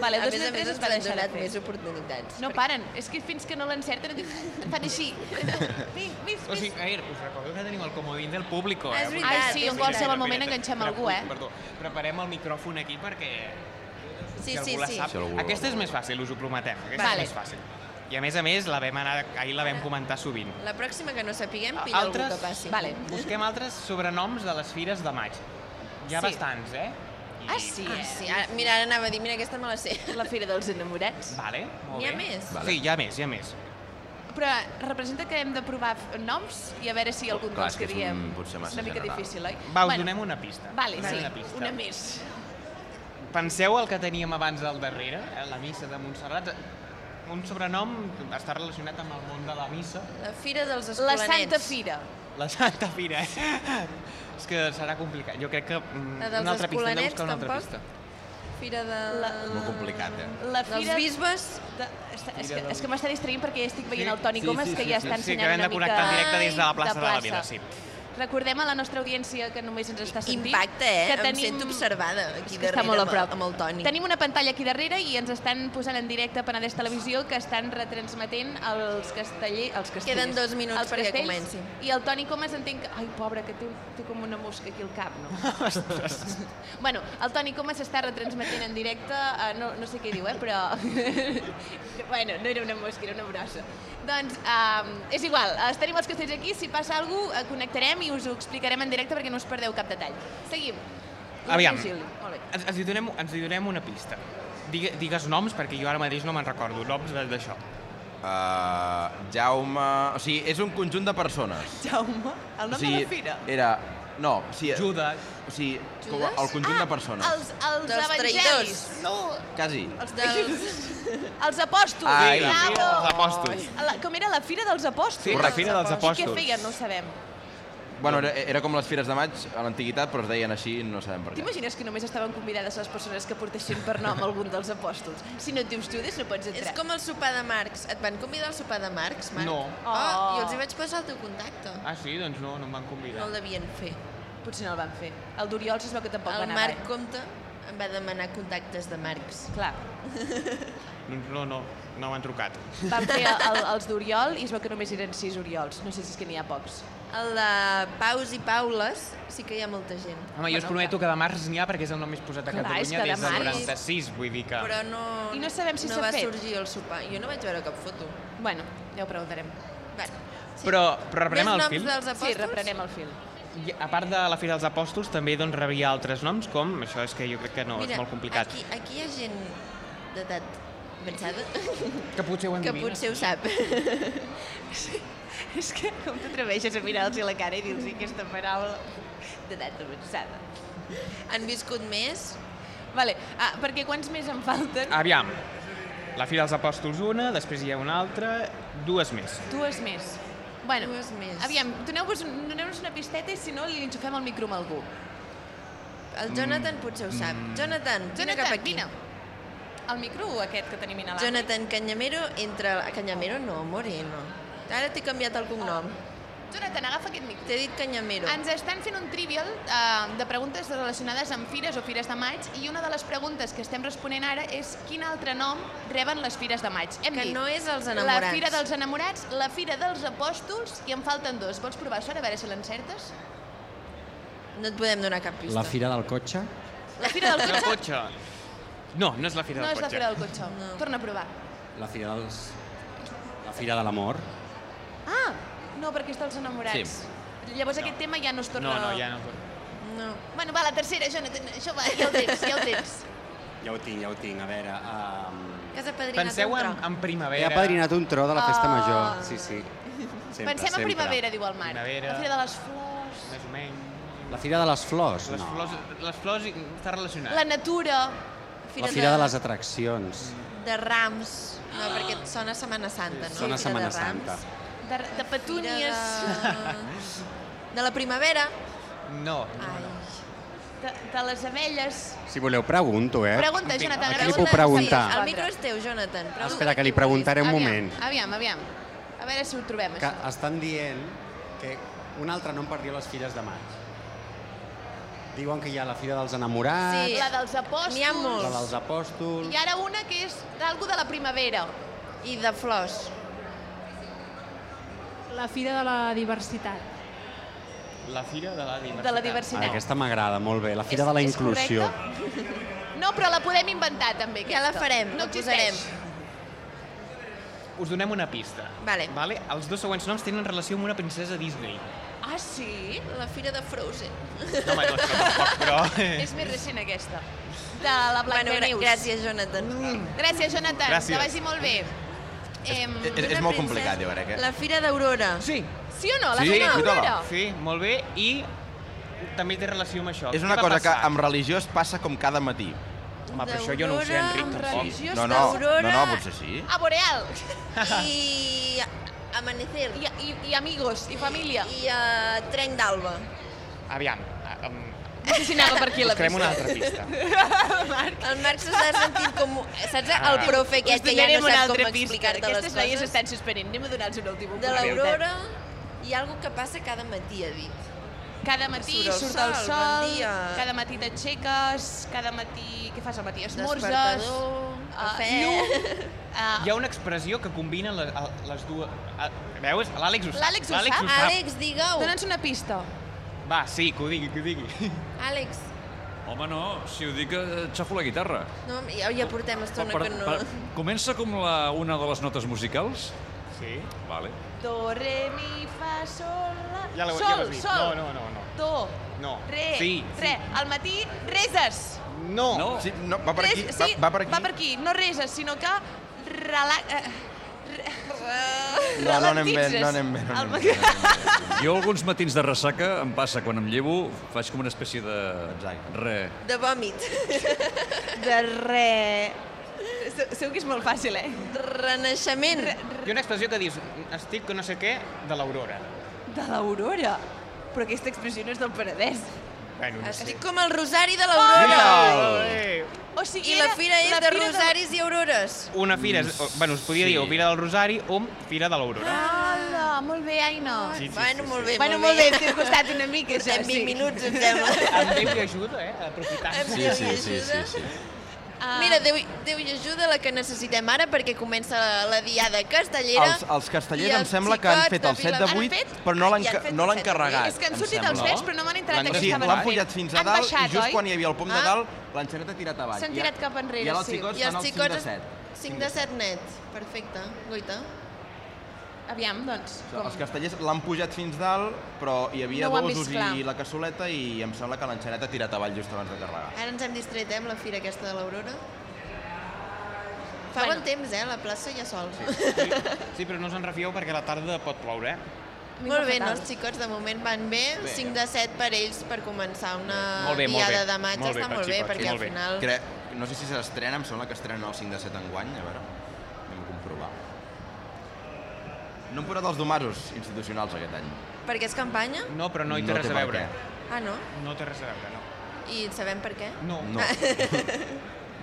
A: Vale,
D: A
A: el
D: més a més, ens
A: 2003 es va
D: han
A: deixar de
D: donat
A: fer.
D: més oportunitats.
A: No paren, és que fins que no l'encerten et fan així. Vinc, vinc,
C: O sigui,
A: vinc.
C: a veure, us recordeu que teniu el comodín del públic, eh?
D: Ah, és
C: Vull dir,
D: veritat, Ai, sí,
C: és
D: en
A: qualsevol
C: veritat,
A: moment
C: espera,
A: enganxem
C: espera,
A: algú, eh?
C: Perdó, preparem el micròfon aquí perquè
D: Sí,
C: si
D: sí,
C: algú la
D: sí.
C: sap.
E: Si algú la
C: Aquesta és més fàcil, us ho prometem. Aquesta
A: Vale.
C: és més fàcil. I a més a més, la vam anar, ahir la vam comentar sovint.
D: La pròxima que no sapiguem,
C: A-
D: pilla algú
C: altres?
D: que passi.
A: Vale.
C: Busquem altres sobrenoms de les fires de maig. Hi ha
A: Sí.
C: bastants, eh? I-
A: Ah, sí,
D: Ah,
A: eh?
D: sí. Ara, mira, ara anava a dir, mira, aquesta me la sé.
A: La Fira dels Enamorats.
C: Vale, molt
D: N'hi ha
C: bé.
D: més?
E: Vale.
C: Sí, hi ha més, hi ha més.
A: Però representa que hem de provar f- noms i a veure si algun
E: Clar,
A: dels
E: és
A: que
E: que és un-
A: diem
E: potser
A: és
E: massa
A: una mica
E: general.
A: difícil, oi?
C: Va, us donem una pista.
A: Vale,
C: Donem
A: sí,
C: una pista.
A: una més.
C: Penseu el que teníem abans al darrere, eh, la missa de Montserrat. Un sobrenom està relacionat amb el món de la missa.
D: La Fira dels
A: La
D: Escolanets.
A: Santa Fira.
C: La Santa Fira, eh? És que serà complicat. Jo crec que mm,
D: La dels
C: una altra pista, hem de
D: escolanets,
C: buscar una altra
D: tampoc?
C: pista.
B: fira de... La...
E: Molt complicat, eh?
A: La
B: Dels
A: fira...
B: bisbes?
A: De... està- És que,
C: Fira del-
A: és que m'està distraint perquè estic veient
C: Sí,
A: el Toni
E: sí,
A: Comas
E: sí,
A: que
E: sí,
A: ja
E: sí.
A: està
C: Sí,
A: ensenyant
C: que hem de
A: una mica...
C: connectar en directe des de la plaça de la
A: plaça.
C: Vila, sí.
A: Recordem a la nostra audiència que només ens està sentint...
B: Impacte, eh?
A: Que
B: Em sento observada aquí
A: És que
B: darrere
A: està molt a
B: amb,
A: prop.
B: el- amb el Toni.
A: Tenim una pantalla aquí darrere i ens estan posant en directe a Penedès Televisió que estan retransmetent els castellers... Els castellers
B: Queden dos minuts
A: els
B: perquè
A: castells,
B: comenci.
A: I el Toni Comas entenc que... Ai, pobre, que té, té com una mosca aquí al cap, no? bueno, el Toni Comas està retransmetent en directe, eh, no, no sé què diu, eh, però... bueno, no era una mosca, era una brossa. Doncs um, és igual, eh, tenim els castells aquí, si passa alguna cosa connectarem i us ho explicarem en directe perquè no us perdeu cap detall. Seguim.
C: Aviam.
A: Lucili, Molt bé.
C: Ens, ens, hi donem, ens hi donem una pista. Digue, digues noms, perquè jo ara mateix no me'n recordo, noms de- d'això.
E: Uh, Jaume... O sigui, és un conjunt de persones.
A: Jaume, el nom
E: o sigui,
A: de la fira.
E: Era... No, o sigui,
C: Judes.
E: o sigui com
B: Judes?
E: el conjunt de persones.
A: Ah, Els, els
B: Dels
A: evangelis.
B: traïdors.
A: No,
E: Quasi.
A: els,
B: Dels...
A: els apòstols.
E: Ai,
C: la
E: Bravo!
C: fira dels apòstols.
A: La, com era la fira dels apòstols?
C: Sí, la fira dels
A: Què
C: apòstols.
A: feien? No ho sabem.
E: Bueno, era, era com les fires de maig a l'antiguitat, però es deien així, no sabem per què.
A: T'imagines que només estaven convidades les persones que portessin per nom algun dels apòstols? Si no et dius Judas, no pots
B: És
A: entrar.
B: com el sopar de Marx. Et van convidar al sopar de Marx, Marc?
C: No.
B: Oh,
A: Oh.
B: jo els hi vaig passar el teu contacte.
C: Ah, sí? Doncs no, no em van
B: No
C: convidar.
B: el devien fer.
A: Potser no el van fer. El d'Oriol es veu que tampoc va
B: El
A: anar
B: Marc
A: gaire.
B: Comte em va demanar contactes de Marx.
A: Clar,
C: Doncs no, no, no m'han trucat.
A: van fer el, els d'Oriol i es veu que només eren sis Oriols. No sé si és que n'hi ha pocs.
B: El de Paus i Paules sí que hi ha molta gent.
C: Home, jo us prometo que de març n'hi ha perquè és el nom més posat a
A: Clar, és
C: Catalunya
A: que de
C: des del
A: març.
C: 96, vull dir que...
B: Però no,
A: I no sabem si
B: no
A: s'ha
B: va
A: fet.
B: sorgir el sopar. Jo no vaig veure cap foto.
A: Bueno, ja ho preguntarem.
B: Bueno,
C: Però, però reprenem
B: Més
C: el
B: noms
C: film.
B: dels apòstols?
A: Sí, reprenem el fil.
C: I a part de la Fira dels Apòstols, també doncs, rebia altres noms, com... Això és que jo crec que no,
B: Mira,
C: és molt complicat.
B: Aquí, aquí hi ha gent d'edat avançada
C: Que potser ho
B: que potser ho sap.
A: És que com t'atreveixes a mirar-los a la cara i dir-los aquesta paraula d'edat avançada.
B: Han viscut més.
A: Vale, ah, perquè quants més en falten? Ah.
C: Aviam, la Fira dels Apòstols una, després hi ha una altra, dues més.
A: Dues més. Bueno,
B: Dues més.
A: aviam, doneu-vos doneu una pisteta i si no li enxufem el micro amb algú.
B: El Jonathan potser ho sap.
C: Mm.
B: Jonathan, vine cap aquí.
A: vine. El micro aquest que tenim inhalat.
B: Jonathan Canyamero entre... Canyamero no, Moreno. Ara t'he canviat el cognom.
A: Jonathan, agafa aquest micro.
B: T'he dit Canyamero.
A: Ens estan fent un trivial eh, de preguntes relacionades amb fires o fires de maig i una de les preguntes que estem responent ara és quin altre nom reben les fires de maig. Hem
B: Que
A: dit
B: no és els
A: La
B: enamorats.
A: Fira dels Enamorats, la Fira dels Apòstols i en falten dos. Vols provar sort a veure si l'encertes?
B: No et podem donar cap pista.
F: La fira del cotxe?
A: La Fira del
C: El
A: Cotxe?
C: cotxe. No, no és la Fira
A: No
C: del
A: és la
C: Cotxe.
A: Fira del Cotxe.
B: No.
A: Torna a provar.
F: La fira dels... La fira de l'amor?
A: Ah, no, perquè és dels Enamorats.
E: Sí.
A: Llavors aquest tema ja no es torna...
C: No, no, ja no.
B: No.
A: Bueno, va, la tercera, Jonathan, això va, ja el tens, ja el tens.
F: Ja ho tinc, ja ho tinc. A veure... Um...
B: Que has apadrinat
C: Penseu
B: un
C: en,
B: tronc.
C: en
F: He
C: primavera.
F: apadrinat un tro de la festa
A: Ah.
F: major. Sí, sí. Sempre,
A: Pensem
F: sempre.
A: en primavera, diu el Marc.
C: Primavera.
A: La Fira de les Flors,
C: Més o menys.
F: La fira de les flors?
C: Les,
F: no.
C: flors, les flors i- està relacionat.
A: la natura...
F: La fira de les atraccions.
B: De Rams. No, perquè et sona Setmana Santa, no?
F: Sona
B: Fira
F: Setmana
B: de Rams.
F: Santa.
A: De, de
B: Fira
A: petúnies...
B: de... de la primavera.
C: No.
B: Ai.
A: De, de les abelles...
F: Si voleu, pregunto, eh?
A: Pregunta,
C: Vinga,
A: Jonathan.
F: aquí li
A: pregunta-
F: puc preguntar.
A: Sí,
B: El micro és teu, Jonathan. Pregunta
F: Espera, que li
B: qui
F: preguntaré un
A: aviam,
F: moment.
A: Aviam, aviam. A veure si ho trobem,
F: Que
A: això.
F: estan dient que un altre nom per dir les filles de maig. Diuen que hi ha la fira dels enamorats,
B: Sí.
A: La dels apòstols.
B: N'hi ha molts.
F: la dels apòstols...
A: I ara una que és d'algú de la primavera.
B: vulguis. I de flors.
G: La Fira de la Diversitat.
C: La Fira de la Diversitat.
A: De la
F: Ara,
A: diversitat.
F: aquesta m'agrada molt bé, la fira
A: És-
F: de la
A: és
F: inclusió.
A: correcte? No, però la podem inventar, també,
B: Ja
A: aquesta.
B: la farem,
A: no
B: la
A: existeix.
B: posarem.
C: Us donem una pista.
B: Vale.
C: vale. Els dos següents noms tenen relació amb una princesa Disney.
A: Ah, sí?
B: La fira de Frozen.
C: No, home, no, això tampoc, però...
A: És més recent, aquesta. De la
B: Bueno,
A: Blanca
B: gra-
A: Neus. Mm.
B: gràcies, Jonathan.
A: Gràcies, Jonathan.
C: Gràcies.
A: Que vagi molt bé. Em,
E: És, és,
B: Una
E: és molt
B: princesa-
E: complicat, jo crec, eh?
B: La fira d'Aurora.
C: Sí,
A: sí o no? La
E: Sí,
A: Blanca
E: escolta-la.
A: Aurora?
C: sí, molt bé, i també té relació amb això.
E: És
C: Què
E: una
C: va
E: cosa que
C: passar?
E: amb religió es passa com cada matí.
C: Home, però això jo no ho sé,
B: D'Aurora,
C: Enric,
B: amb
C: tampoc.
B: religió. Just
E: no, no,
B: d'Aurora.
E: no, no, potser sí.
A: A Boreal.
B: I Amanecer.
A: I, i, i amigos, i família.
B: I a Trenc d'Alba.
C: Aviam, a- amb...
A: No sé si anava per aquí la
C: Buscarem una
A: pista.
C: altra pista.
B: El Marc s'està sentint com... Saps el
C: Ah.
B: profe
A: Us
B: aquest que ja
A: donarem
B: no
A: una
B: sap
A: altra
B: com
A: pista.
B: explicar-te les
A: Aquestes noies
B: coses?
A: estan suspenent. Anem a donar-los un últim
B: De
A: oportunitat.
B: l'Aurora hi ha alguna que passa cada matí, ha dit.
A: Cada matí
B: Surt el
A: surt el
B: sol,
A: sol,
B: bon dia.
A: cada matí t'aixeques, cada matí... Què fas al matí? Esmorzes,
B: Despertador,
A: eh,
B: cafè...
A: llum...
C: Hi
A: Uh,
C: ha una expressió que combina les, les dues... ah, Veus? L'Àlex ho sap.
A: L'Àlex ho sap.
B: Àlex, digue-ho.
A: Dóna'ns una pista.
C: Va, sí, que ho digui, que ho digui.
B: Àlex,
H: Home, no, si ho dic, eh, xafo la guitarra.
B: no, ja, ja portem estona que no...
H: comença com la, una de les notes musicals?
C: Sí?
H: Vale.
A: Do, re, mi, fa, sol, la...
C: Ja l'ho- ja
A: sol,
C: ho has dit.
A: sol.
C: No, no, no, no.
A: Do,
C: No.
A: re,
C: Sí,
A: re. Al matí, reses.
C: No.
H: No.
E: Sí, no, va per aquí,
A: Res,
E: va,
A: sí,
E: va per aquí.
A: Va per aquí, no reses, sinó que rela... eh, re-
E: No, no anem bé,
A: ralentitzes.
E: no anem bé. No
A: El-
E: anem bé.
H: Jo alguns matins de ressaca em passa, quan em llevo, faig com una espècie de...
E: Exacte.
H: Re.
B: De vòmit.
A: De re... Se- Segur que és molt fàcil, eh?
B: Renaixement.
C: Hi ha una expressió que dius, estic que no sé què, de l'Aurora.
A: De l'Aurora. Però aquesta expressió no és del Penedès.
C: Bueno,
A: Ah,
C: no sé.
B: Estic com el rosari de l'Aurora.
C: Eh,
A: O sigui,
B: I la
A: era
B: fira és
A: la
B: de
A: fira
B: rosaris i aurores.
C: Una fira,
E: Mm.
C: és- o, bueno, es podia
H: Sí.
C: dir o Fira del Rosari o Fira de l'Aurora.
A: Hola, molt bé, Aina.
C: Sí, sí,
B: bueno,
C: sí,
B: molt bé,
A: bueno, molt bé, t'he costat una mica, això,
B: Portem 20
A: sí.
B: minuts, em sembla.
C: Amb Déu hi ajuda, eh, a aprofitar-se.
E: Sí, sí, sí, sí, sí.
A: Ah,
B: Mira, Déu, hi- Déu hi ajuda la que necessitem ara perquè comença la diada castellera.
E: Els, els
B: i
E: castellers em
B: els
E: sembla que han
B: xicots
E: fet
B: de
E: el 7 de
B: Vilamarina-
E: 8,
A: Han
E: però no
B: Ah,
E: l'han
B: ja han
E: ca-
B: fet
E: no
B: el
E: l'han
B: set de vuit.
E: carregat.
A: és que han
E: em
A: sortit
E: sembla.
A: els fets, però no m'han entrat
E: L'han-
A: a què
E: Sí,
A: estaven
E: l'han
A: fent.
E: pujat fins a
A: Han
E: dalt
A: baixat,
E: i just
A: oi?
E: quan hi havia el pom de
B: Ah.
E: dalt l'han xerrat a tirat avall.
A: S'han
E: I ara-
A: tirat cap enrere,
E: I ara els
A: sí.
E: xicots
B: I
E: fan
B: els
E: el 5 de
B: xicots...
E: 7.
B: 5 de 7 net. Perfecte. Guaita.
A: Aviam, doncs, com?
E: Els castellers l'han pujat fins dalt, però hi havia
A: No ho han
E: dosos
A: vist clar.
E: i la cassoleta i em sembla que l'han xerrat a tirat avall just abans de carregar.
B: Ara ens hem distret, eh, amb la fira aquesta de l'Aurora. Fa
A: Bueno.
B: bon temps, eh? La plaça ja sol.
C: Sí, però no us en refieu perquè a la tarda pot ploure, eh?
A: A mi em
B: Molt
A: va
B: bé, no?
A: fatal.
B: Els xicots de moment van bé.
E: Bé.
B: 5 de 7 per ells per començar una
C: Molt bé, molt
B: diada
C: bé.
B: de maig.
C: Molt bé
B: Està
C: pels
B: molt bé,
C: xicots,
B: perquè al
C: molt bé.
B: final...
E: Crec, no sé si s'estrena, em sembla que estrena el 5 de 7 enguany, a veure, anem a comprovar. No han posat els domasos institucionals aquest any.
B: Perquè és campanya?
C: No, però no hi té res
E: té
C: a
E: per
C: veure.
E: què.
B: Ah, no?
C: No té res a veure, no.
B: I sabem per què? Ah.
C: No,
E: No.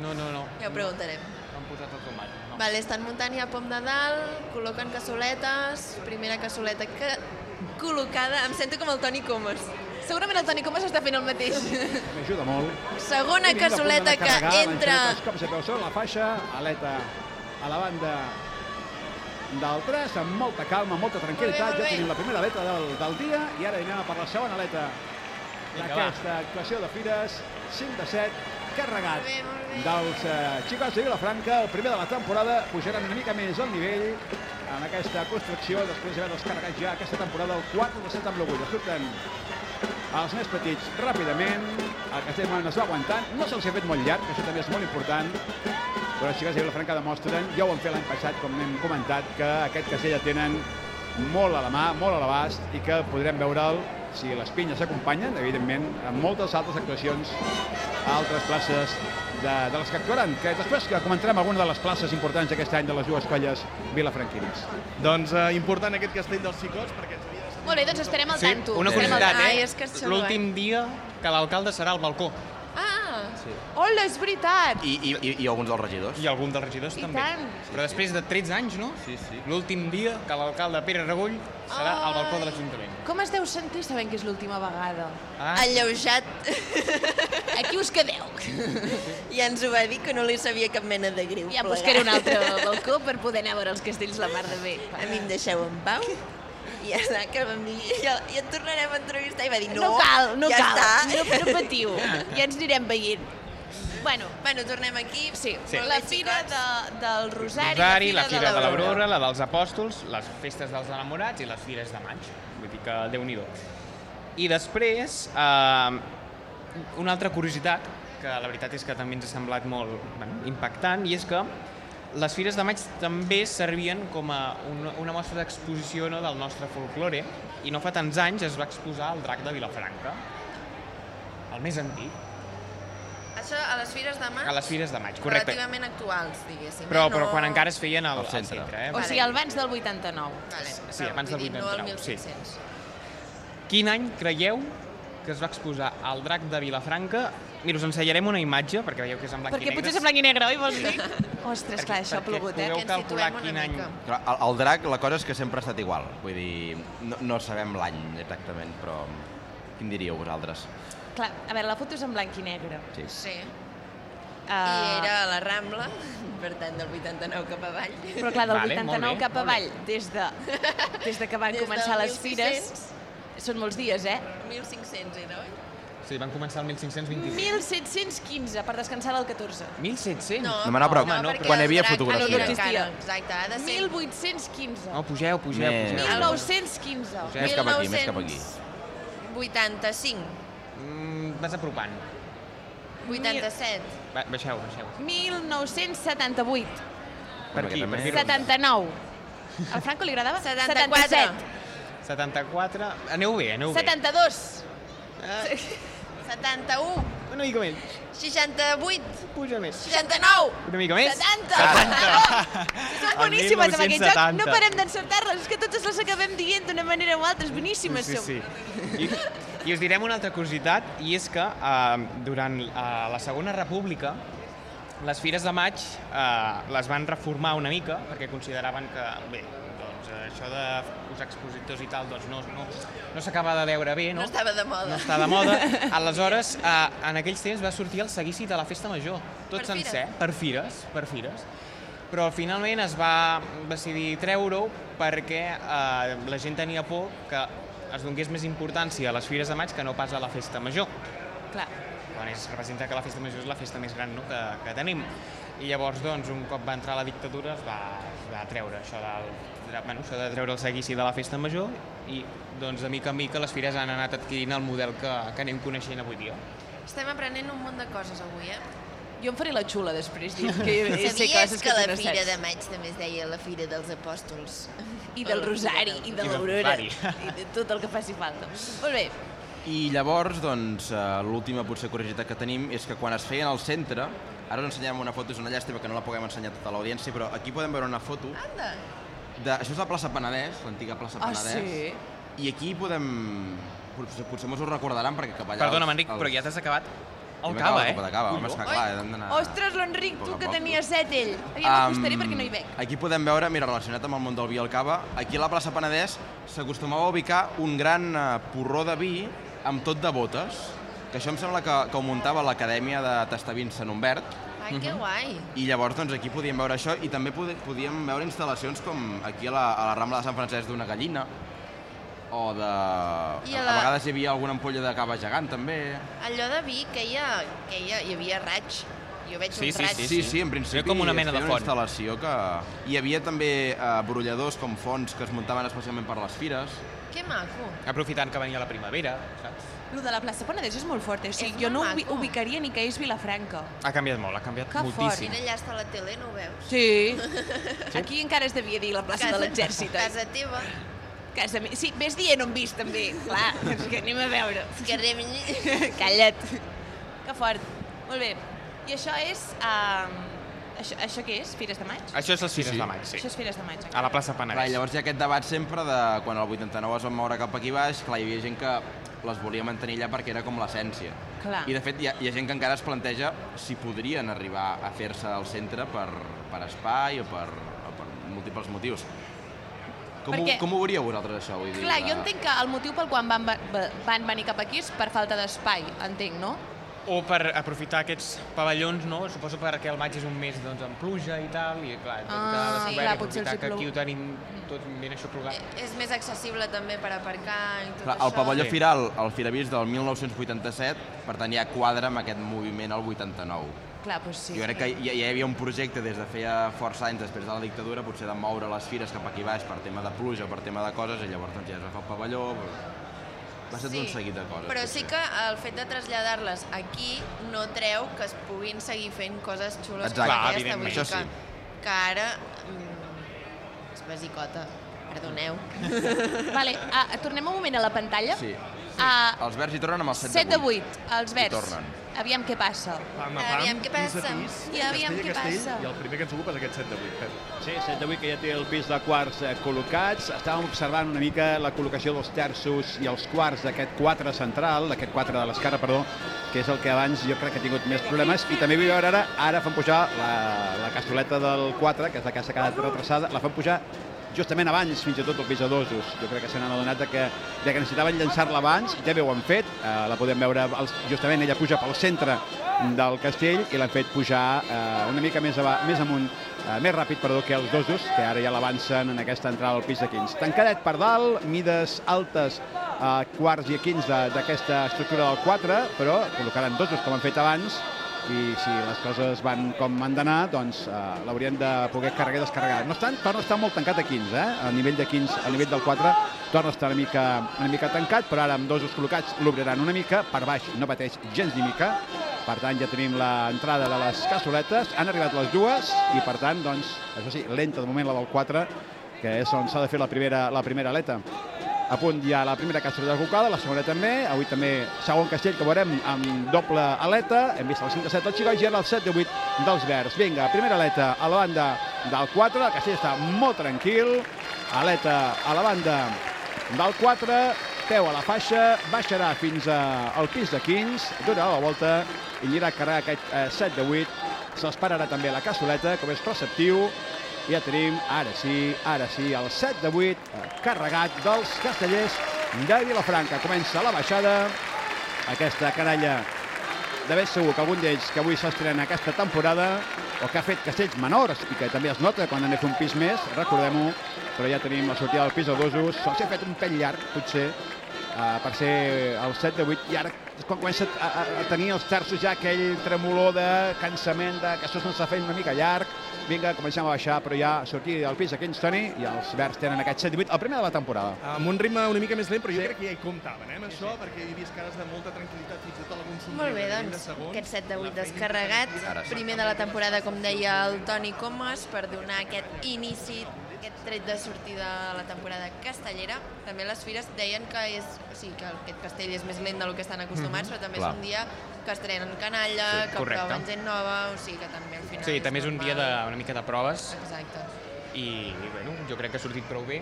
C: no, no. no.
B: Ja ho preguntarem.
C: Han posat el tomat. No.
B: Vale, estan muntant ja pom de dalt, col·loquen cassoletes, primera cassoleta que col·locada, em sento com el Toni Comas.
A: Segurament el Toni Comas està fent el mateix.
I: M'ajuda molt.
B: Segona
I: Vinc de
B: cassoleta
I: punt de
B: que
I: carregar,
B: entra
I: l'enxaneta Els cops de peu sobre la faixa, aleta a la banda del 3, amb molta calma, amb molta tranquil·litat.
B: Molt bé, molt
I: Ja
B: bé.
I: tenim la primera aleta del, del dia i ara anem a per la segona aleta
C: Vinga,
I: d'aquesta actuació de Fires, 5 de 7, carregat
B: Molt bé, molt bé.
I: dels eh, xicots de Vilafranca, el primer de la temporada, pujaran una mica més al nivell en aquesta construcció, després d'haver descarregat ja aquesta temporada el 4 de 7 amb l'orgull. Els Surten els més petits ràpidament, el castell Manon es va aguantant, no se'ls ha fet molt llarg, que això també és molt important, però els xiquets de Vilafranca demostren, ja ho han fet l'any passat, com hem comentat, que aquest castell ja tenen molt a la mà, molt a l'abast, i que podrem veure'l, si les pinyes s'acompanyen, evidentment, amb moltes altres actuacions a altres places de, de les que actuaran, que després que comentarem alguna de les places importants d'aquest any de les dues colles vilafranquines.
J: Doncs eh, important aquest castell dels Cicots, perquè ens havia deixat...
A: Molt bé, doncs estarem al
C: Sí,
A: tanto.
C: una
A: Estarem al
C: curiositat,
B: Ai,
C: eh?
B: és que és xulo,
C: L'últim dia que l'alcalde serà al balcó.
B: Ah,
A: Hola, és veritat!
E: I, i, i, i alguns dels regidors.
C: I algun dels regidors
A: I
C: també.
A: tant.
C: Però després de 13 anys, no?
E: Sí, sí.
C: L'últim dia que l'alcalde Pere Regull serà al balcó de l'Ajuntament.
A: Com es deu sentir sabent que és l'última vegada?
C: Ah,
B: alleujat.
A: Aquí us quedeu.
B: I ens ho va dir que no li sabia cap mena de greu.
A: Ja
B: plegar.
A: buscaré un altre balcó per poder anar a veure els castells la mar de bé.
B: A mi em deixeu en pau. I ja està, que vam dir, ja, ja et tornarem a entrevistar. I va dir, no,
A: no cal, no
B: ja
A: cal.
B: Està.
A: No, no patiu, ja ens anirem veient. Bueno,
B: Bueno, tornem aquí.
A: sí,
C: Sí.
A: la fira de, del Rosari,
C: Rosari, la
A: de
C: Fira de
A: l'Aurora.
C: l'Aurora, la dels Apòstols, les festes dels enamorats i les fires de maig. Vull dir que déu nhi I després, eh, una altra curiositat, que la veritat és que també ens ha semblat molt bueno, impactant, i és que les fires de maig també servien com a una, una mostra d'exposició no, del nostre folklore, i no fa tants anys es va exposar el drac de Vilafranca, el més antic,
B: Això a les fires de maig?
C: a les fires de maig, correcte.
B: Relativament actuals, diguéssim.
C: Però,
B: eh?
C: però
B: No-
C: quan encara es feien al,
E: Al
C: al
E: centre.
C: centre. eh?
A: O sigui, abans del 89.
B: Vale,
C: Sí,
B: però
C: abans del
B: vull dir,
C: 89,
B: No al
C: sí.
B: 1500.
C: Quin any creieu que es va exposar al drac de Vilafranca. Mira, us ensenyarem una imatge, perquè veieu que és en blanc i
A: Perquè
C: negre.
A: potser és en blanc i negre, oi, vols dir? Ostres, clar, això ha
C: perquè
A: plogut, eh?
C: pugueu
A: Que ens
C: calcular
A: situem una
C: quin any.
A: mica.
E: Clar, el, el drac, la cosa és que sempre ha estat igual. Vull dir, no, no sabem l'any exactament, però quin diríeu vosaltres?
A: Clar, a veure, la foto és en blanc i negre.
E: Sí.
D: Sí. I
A: Ah,
D: era a la Rambla, per tant, del 89 cap avall.
A: Però clar, del
C: Vale, molt
A: 89
C: bé,
A: cap
C: molt bé.
A: avall, des de, des de que van
D: Des del
A: començar les fires,
D: 1600.
A: són molts dies, eh?
D: 1.500 era, oi?
C: Sí, van començar el 1525.
A: 1715, per descansar del 14.
C: 1700?
E: No me n'apreu.
C: Home, no,
D: perquè
E: quan hi
D: el
E: havia
D: drac
E: fotografia.
D: encara,
A: Ah, no, no existia.
D: Exacte, ha de ser...
A: 1815.
C: No, pugeu, pugeu,
E: Més.
C: pugeu.
A: 1915.
E: Més cap aquí, més cap aquí.
D: 85,
C: Mm, vas apropant.
D: 87,
C: Va, baixeu, baixeu.
A: 1978.
C: Per aquí,
E: Una
C: per
E: miqueta més.
C: aquí.
A: 79. Al Franco li agradava?
D: 74.
C: 74. Aneu bé, aneu
A: 72.
C: bé.
D: 71,
C: Eh, una mica més.
D: 68,
C: Puja més.
D: 69,
C: Una mica més.
D: 70.
A: Són
C: El
A: boníssimes amb aquest joc,
C: 1970.
A: no parem d'encertar-les, és que totes les acabem dient d'una manera o altra, és boníssimes
C: sí,
A: som.
C: sí. I, I us direm una altra curiositat, i és que eh, durant eh, la Segona República les fires de maig eh, les van reformar una mica perquè consideraven que, bé, doncs, eh, això de us expositors i tal doncs no, no, no s'acaba de veure bé, no?
D: No estava de moda.
C: No està de moda. Aleshores, eh, en aquells temps va sortir el seguici de la Festa Major, tot
D: Per fires.
C: sencer, per fires, per fires. Però finalment es va decidir treure-ho perquè eh, la gent tenia por que es donés més importància a les fires de maig que no pas a la Festa Major
A: Clar.
C: quan es representa que la festa major és la festa més gran no, que, que tenim. I llavors, doncs, un cop va entrar la dictadura, es va, es va treure això del, de, bueno, això de treure el seguici de la festa major i, doncs, de mica en mica les fires han anat adquirint el model que, que anem coneixent avui dia.
D: Estem aprenent un munt de coses avui, eh?
A: Jo em faré la xula després, dic que sé
D: Sabies
A: coses
D: que
A: tu
D: la
A: no
D: Fira
A: saps.
D: de Maig també es deia la Fira dels Apòstols?
A: I del Rosari, i de
C: del
A: l'Aurora,
C: Rosari.
A: i de tot el que faci falta. Molt bé,
E: I llavors, doncs, eh, l'última potser curiositat que tenim és que quan es feien al centre, ara us ensenyem una foto, és una llàstima que no la puguem ensenyar a tota l'audiència, però aquí podem veure una foto
D: Anda!
E: de... Això és la plaça Penedès, l'antiga plaça
A: Ah,
E: Penedès.
A: sí?
E: I aquí podem... Potser, potser mos ho recordaran perquè cap allà...
C: Perdona'm,
E: els-
C: Enric,
E: els-
C: però ja t'has acabat
E: Ja
C: el
E: m'he
C: cava,
E: acabat
C: eh?
E: el copa de cava, home,
C: Collons.
E: esclar, clar, hem d'anar...
C: Ah,
A: Ostres, l'Enric,
E: Poc
A: tu
E: a
A: que
E: poc.
A: tenia set, ell. Aviam, um... acostaré perquè no hi veig.
E: Am, Aquí podem veure, mira, relacionat amb el món del vi al cava, aquí a la plaça Penedès s'acostumava a ubicar un gran eh, porró de vi amb tot de botes, que això em sembla que, que ho muntava l'Acadèmia de Tastavins Sant Humbert,
D: Ai, que guai!
E: i llavors doncs, aquí podíem veure això i també pode- podíem veure instal·lacions com aquí a la, a la Rambla de Sant Francesc d'una gallina, o de...
D: I
E: a,
D: a
E: a
D: la-
E: vegades hi havia alguna ampolla de cava gegant, també.
D: Allò de vi, que hi, ha, que hi, ha, hi havia raig. Jo veig
C: Sí,
D: un
C: sí,
D: raig.
E: Sí, sí, sí, en principi
C: Era com una
E: es
C: mena de
E: feia
C: font.
E: Una instal·lació que... Hi havia també eh, brolladors com fonts que es muntaven especialment per les fires.
D: Que maco.
C: Aprofitant que venia la primavera, saps?
A: Lo de la plaça Penedès és molt fort, eh? O sigui,
D: És
A: jo no
D: molt
A: ubi-
D: maco.
A: ubicaria ni que és Vilafranca.
C: Ha canviat molt, ha canviat
A: Que
C: moltíssim.
D: Mira, allà està la tele, no ho veus?
A: Sí. Aquí encara es devia dir la plaça de l'exèrcit. oi?
D: Casa teva,
A: Casa... me- Sí, vés dient on vist, també. Clar, és que anem a veure.
D: carrer Minyí.
A: Calla't. Que fort. Molt bé. I això és... Um, això, això què és? Fires de maig?
C: Això és les fires
E: sí.
C: de maig, sí.
A: Això és Fires de maig.
C: A la plaça Penedès.
E: Clar, i llavors hi ha aquest debat sempre de quan el 89 es van moure cap aquí baix, clar, hi havia gent que les volia mantenir allà perquè era com l'essència.
A: Clar.
E: I de fet hi ha, hi ha gent que encara es planteja si podrien arribar a fer-se al centre per, per espai o per, o per múltiples motius. Com, ho,
A: Perquè-
E: com ho veuríeu vosaltres això? Vull dir, eh,
A: Clar, jo
E: de-
A: entenc que el motiu pel quan van, va- van venir cap aquí és per falta d'espai, entenc, no?
C: O per aprofitar aquests pavellons, no? Suposo perquè el maig és un mes doncs, amb pluja i tal, i clar, tot
A: Ah,
C: que ha
A: sí,
C: descobert
A: clar,
C: i
A: potser els
C: aprofitar
A: hi
C: que
A: plou.
C: aquí ho tenim tot ben aixoplugat.
D: És més accessible també per aparcar i tot
E: Clar,
D: això.
E: el pavelló
C: Sí.
E: Firal, el Firavís del 1987, per tant ja quadra amb aquest moviment al 89.
A: Clar, doncs sí.
E: Jo crec que ja, ja hi havia un projecte des de feia força anys després de la dictadura, potser de moure les fires cap aquí baix per tema de pluja o per tema de coses, i llavors doncs, ja es va fer el pavelló... Va ser tot un seguit de coses.
D: Però
E: potser.
D: sí que el fet de traslladar-les aquí no treu que es puguin seguir fent coses xules
E: Exacte.
D: com
E: Clar,
D: aquesta.
C: evidentment.
D: vull dir
E: Això sí.
D: que, que ara mm, és basicota. Perdoneu.
A: Vale, ah, tornem un moment a la pantalla.
E: Sí.
A: Ah,
E: Els verds hi tornen amb el 7,
A: 7 de
E: de 8.
A: 8, els verds.
E: tornen.
A: Aviam què passa.
J: Pam, a pam,
D: Aviam què
J: pis a
D: passa.
J: pis,
A: I aviam
J: castell a
A: què
J: castell,
A: passa.
J: I el primer que ens ocupa és aquest 7 de 8, Pep.
I: Sí, 7 de 8 que ja té el pis de quarts eh, col·locats. Estàvem observant una mica la col·locació dels terços i els quarts d'aquest 4 central, d'aquest 4 de l'esquerra, perdó, que és el que abans jo crec que ha tingut més problemes. I també vull veure ara, ara fan pujar la, la castoleta del 4, que és la que s'ha quedat retrasada, la fan pujar justament abans, fins i tot, el pis de dosos. Jo crec que se n'han adonat de que, de que necessitaven llançar-la abans, ja bé ho han fet, eh, la podem veure, als, justament ella puja pel centre del castell i l'han fet pujar eh, una mica més, ava, més amunt, eh, més ràpid, perdó, que els dosos, que ara ja l'avancen en aquesta entrada al pis de 15. Tancadet per dalt, mides altes a quarts i a 15 d'aquesta estructura del 4, però col·locaran dosos com han fet abans, i si les coses van com han d'anar, doncs eh, l'haurien de poder carregar i descarregar. No estan, torna a estar molt tancat a 15, eh? A nivell de 15, a nivell del 4, torna a estar una mica, una mica tancat, però ara amb dosos col·locats l'obriran una mica, per baix no pateix gens ni mica, per tant ja tenim l'entrada de les cassoletes, han arribat les dues i per tant, doncs, això sí, lenta de moment la del 4, que és on s'ha de fer la primera, la primera aleta. A punt ja la primera cassoleta col·locada, la segona també, avui també segon castell que veurem amb doble aleta, hem vist el 5 de 7 del Xiroi i ara el 7 de 8 dels Verds. Vinga, primera aleta a la banda del 4, el castell està molt tranquil, aleta a la banda del 4, peu a la faixa, baixarà fins a- al pis de 15, donarà la volta i anirà a carregar aquest eh, 7 de 8, se'ls pararà també la cassoleta, com és preceptiu, i ja tenim, ara sí, ara sí, el 7 de 8, eh, carregat dels castellers de Vilafranca. Comença la baixada, aquesta canalla de ben segur que algun d'ells que avui s'estrena aquesta temporada o que ha fet castells menors i que també es nota quan han de fer un pis més, recordem-ho, però ja tenim la sortida del pis a dosos, sols ha fet un pèl llarg, potser, eh, per ser el 7 de 8 i ara és quan comença a, a, a tenir els terços ja aquell tremolor de cansament de que això s'està fent una mica llarg vinga, comencem a baixar, però ja sortir del pis aquells, Toni, i els verds tenen aquest 7-8 el primer de la temporada.
J: Amb un ritme una mica més lent, però jo
I: Sí.
J: crec que ja hi comptaven, eh, amb això, perquè hi he vist cares de molta tranquil·litat, fins i tot algun somriure.
D: Molt bé,
J: de vint
D: doncs,
J: segons.
D: aquest 7 de 8
J: La feina
D: descarregat,
E: Ara sí.
D: primer de la temporada, com deia el Toni Comas, per donar aquest inici, aquest tret de sortida a la temporada castellera. També les fires deien que és, o sigui, que aquest castell és més lent del que estan acostumats, però també
E: Clar.
D: és un dia que estrenen canalla,
C: Sí,
D: que
C: correcte.
D: proven gent nova, o sigui que també al final...
C: Sí, també és un dia de,
D: normal.
C: una mica de proves
D: Exacte.
C: i, i bueno, jo crec que ha sortit prou bé.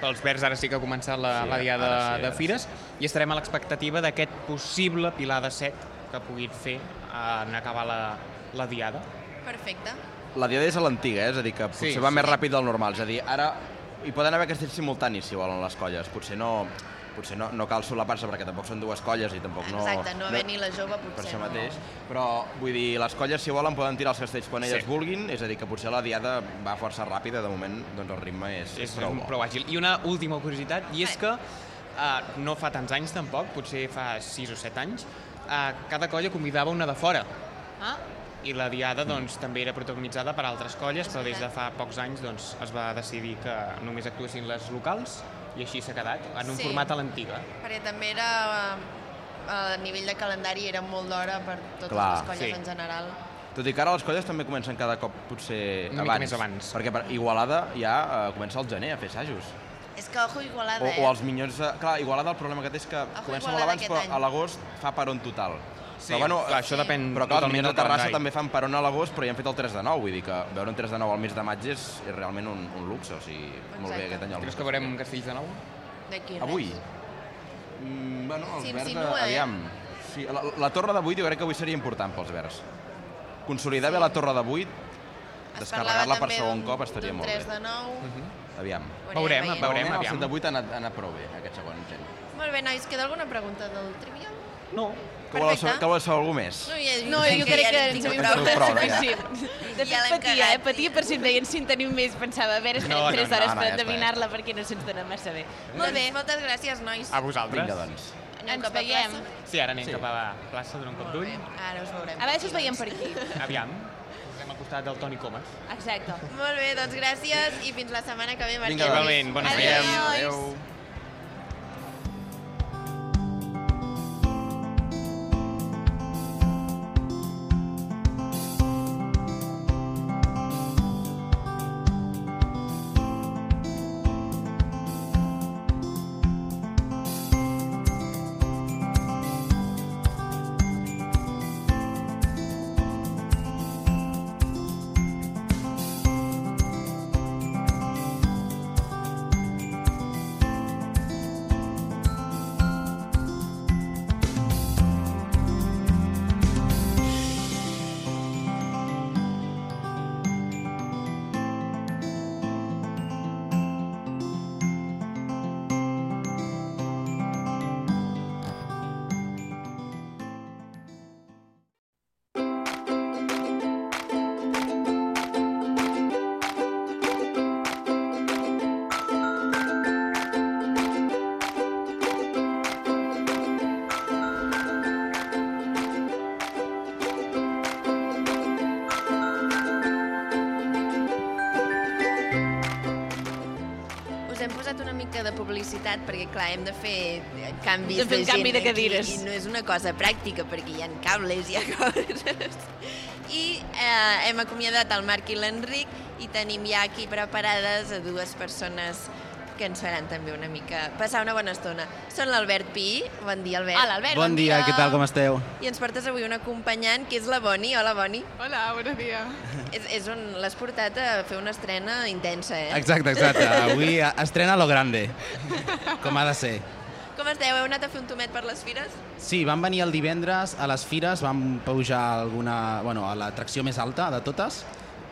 C: Pels verds ara sí que ha començat la,
E: Sí,
C: la diada
E: ara sí,
C: de,
E: ara
C: de fires i estarem a l'expectativa d'aquest possible pilar de set que pugui fer en acabar la, la diada.
D: Perfecte.
E: La diada és a l'antiga, eh? és a dir, que potser
C: Sí,
E: va
C: sí.
E: més ràpid del normal. És a dir, ara hi poden haver castells simultanis, si volen, les colles. Potser no, potser no, no cal solapar-se, perquè tampoc són dues colles i tampoc no...
D: Exacte, no haver ni la jove, potser.
E: Oh, per això
D: no.
E: mateix, però vull dir, les colles si volen poden tirar els castells quan elles
C: Sí.
E: vulguin, és a dir, que potser la diada va força ràpida, de moment doncs el ritme és,
C: és,
E: prou
C: és
E: bo.
C: prou àgil. I una última curiositat, i és que uh, no fa tants anys tampoc, potser fa 6 o 7 anys, uh, cada colla convidava una de fora.
A: Ah,
C: I la diada doncs, també era protagonitzada per altres colles, però des de fa pocs anys doncs, es va decidir que només actuessin les locals i així s'ha quedat, en un
D: Sí.
C: format a l'antiga.
D: Perquè també era eh, a nivell de calendari era molt d'hora per totes
E: Clar.
D: les colles
C: Sí.
D: en general.
E: Tot i que ara les colles també comencen cada cop potser
C: Una mica
E: abans.
C: més abans.
E: Perquè per Igualada ja eh, comença el gener a fer assajos.
D: És que ojo Igualada,
E: O,
D: eh?
E: o els minyons... De... Clar, Igualada el problema que té és que comença molt
D: Igualada
E: abans,
D: aquest
E: però
D: any.
E: a l'agost fa peron total.
C: Sí, però, bueno, clar,
D: sí.
C: això
E: Però
C: depèn
E: clar, els
C: totalment
E: minyons
C: del
E: de Terrassa
C: calendari.
E: també fan peron a l'agost, però ja han fet el 3 de 9, vull dir que veure un 3 de 9 al mes de maig és, és realment un, un luxe, o sigui, molt
D: Exacte.
E: bé aquest any. el
C: Creus
E: Lucas
C: que veurem
E: Piqué.
C: un castell de nou?
D: D'aquí res.
E: Avui? Mm, bueno, els
D: Sí,
E: verds,
D: insinua, eh?
E: aviam. Sí, la, la torre de 8 jo crec que avui seria important pels verds. Consolidar bé la torre de 8,
D: Es parlava
E: descarregar-la per
D: també
E: segon
D: d'un-
E: cop estaria
D: d'un
E: molt
D: 3
E: bé. Mhm.
D: de 9.
E: Aviam.
C: Veurem,
D: veient.
C: veurem.
E: Realment,
C: aviam.
E: El 7 de 8 ha anat, ha anat prou bé, aquest segon gent.
D: Molt bé, nois, queda alguna pregunta del trivial?
C: No.
E: Que voleu
D: Perfecte.
E: saber, que voleu saber algú més?
D: No, ja,
A: no, jo crec que ens
E: tinc
A: hem
E: prou.
A: preguntat
E: Prou, ja.
A: suficient. De
D: Ja
A: fet,
D: l'hem
A: patia,
D: cagat,
A: eh? Patia per si em deien si en teniu més. Pensava, a veure, estarem
C: No, no,
A: 3
E: no,
A: hores
E: no,
A: per
E: ja està, ja
A: endevinar-la perquè no se'ns dona massa bé. Doncs
D: Molt bé, moltes gràcies, nois.
C: A vosaltres?
E: Vinga, doncs.
D: Aneu
A: Ens
D: cap a
A: veiem.
D: plaça.
C: Sí, ara anem cap a la plaça, donar un cop
D: Molt
C: d'ull.
D: bé, ara us veurem.
A: A veure si us veiem per aquí.
C: Aviam, posem al costat del Toni Comas.
A: Exacte.
D: Molt bé, doncs gràcies i fins la setmana que ve, Martí.
E: Vinga, doncs.
C: Igualment, bones
A: Adéu.
C: dies.
E: Adéu.
B: ens hem posat una mica de publicitat perquè, clar, hem de fer eh, canvis
A: Hem de fer
B: de,
A: Doncs un canvi
B: gent
A: de cadires.
B: Aquí, I no és una cosa pràctica perquè hi ha cables, hi ha coses. I eh, hem acomiadat el Marc i l'Enric i tenim ja aquí preparades a dues persones que ens faran també una mica passar una bona estona. Són l'Albert Pi. Bon dia, Albert.
A: Hola, Albert,
K: Bon dia, què tal, com esteu?
B: I ens portes avui una acompanyant, que és la Boni. Hola, Boni.
L: Hola, bon dia.
B: És, és on l'has portat a fer una estrena intensa, eh?
K: Exacte, exacte. Avui eh, estrena Lo Grande, com ha de ser.
B: Com esteu? Heu anat a fer un tomet per les fires?
K: Sí, van venir el divendres a les fires, van pujar alguna, bueno, a l'atracció més alta de totes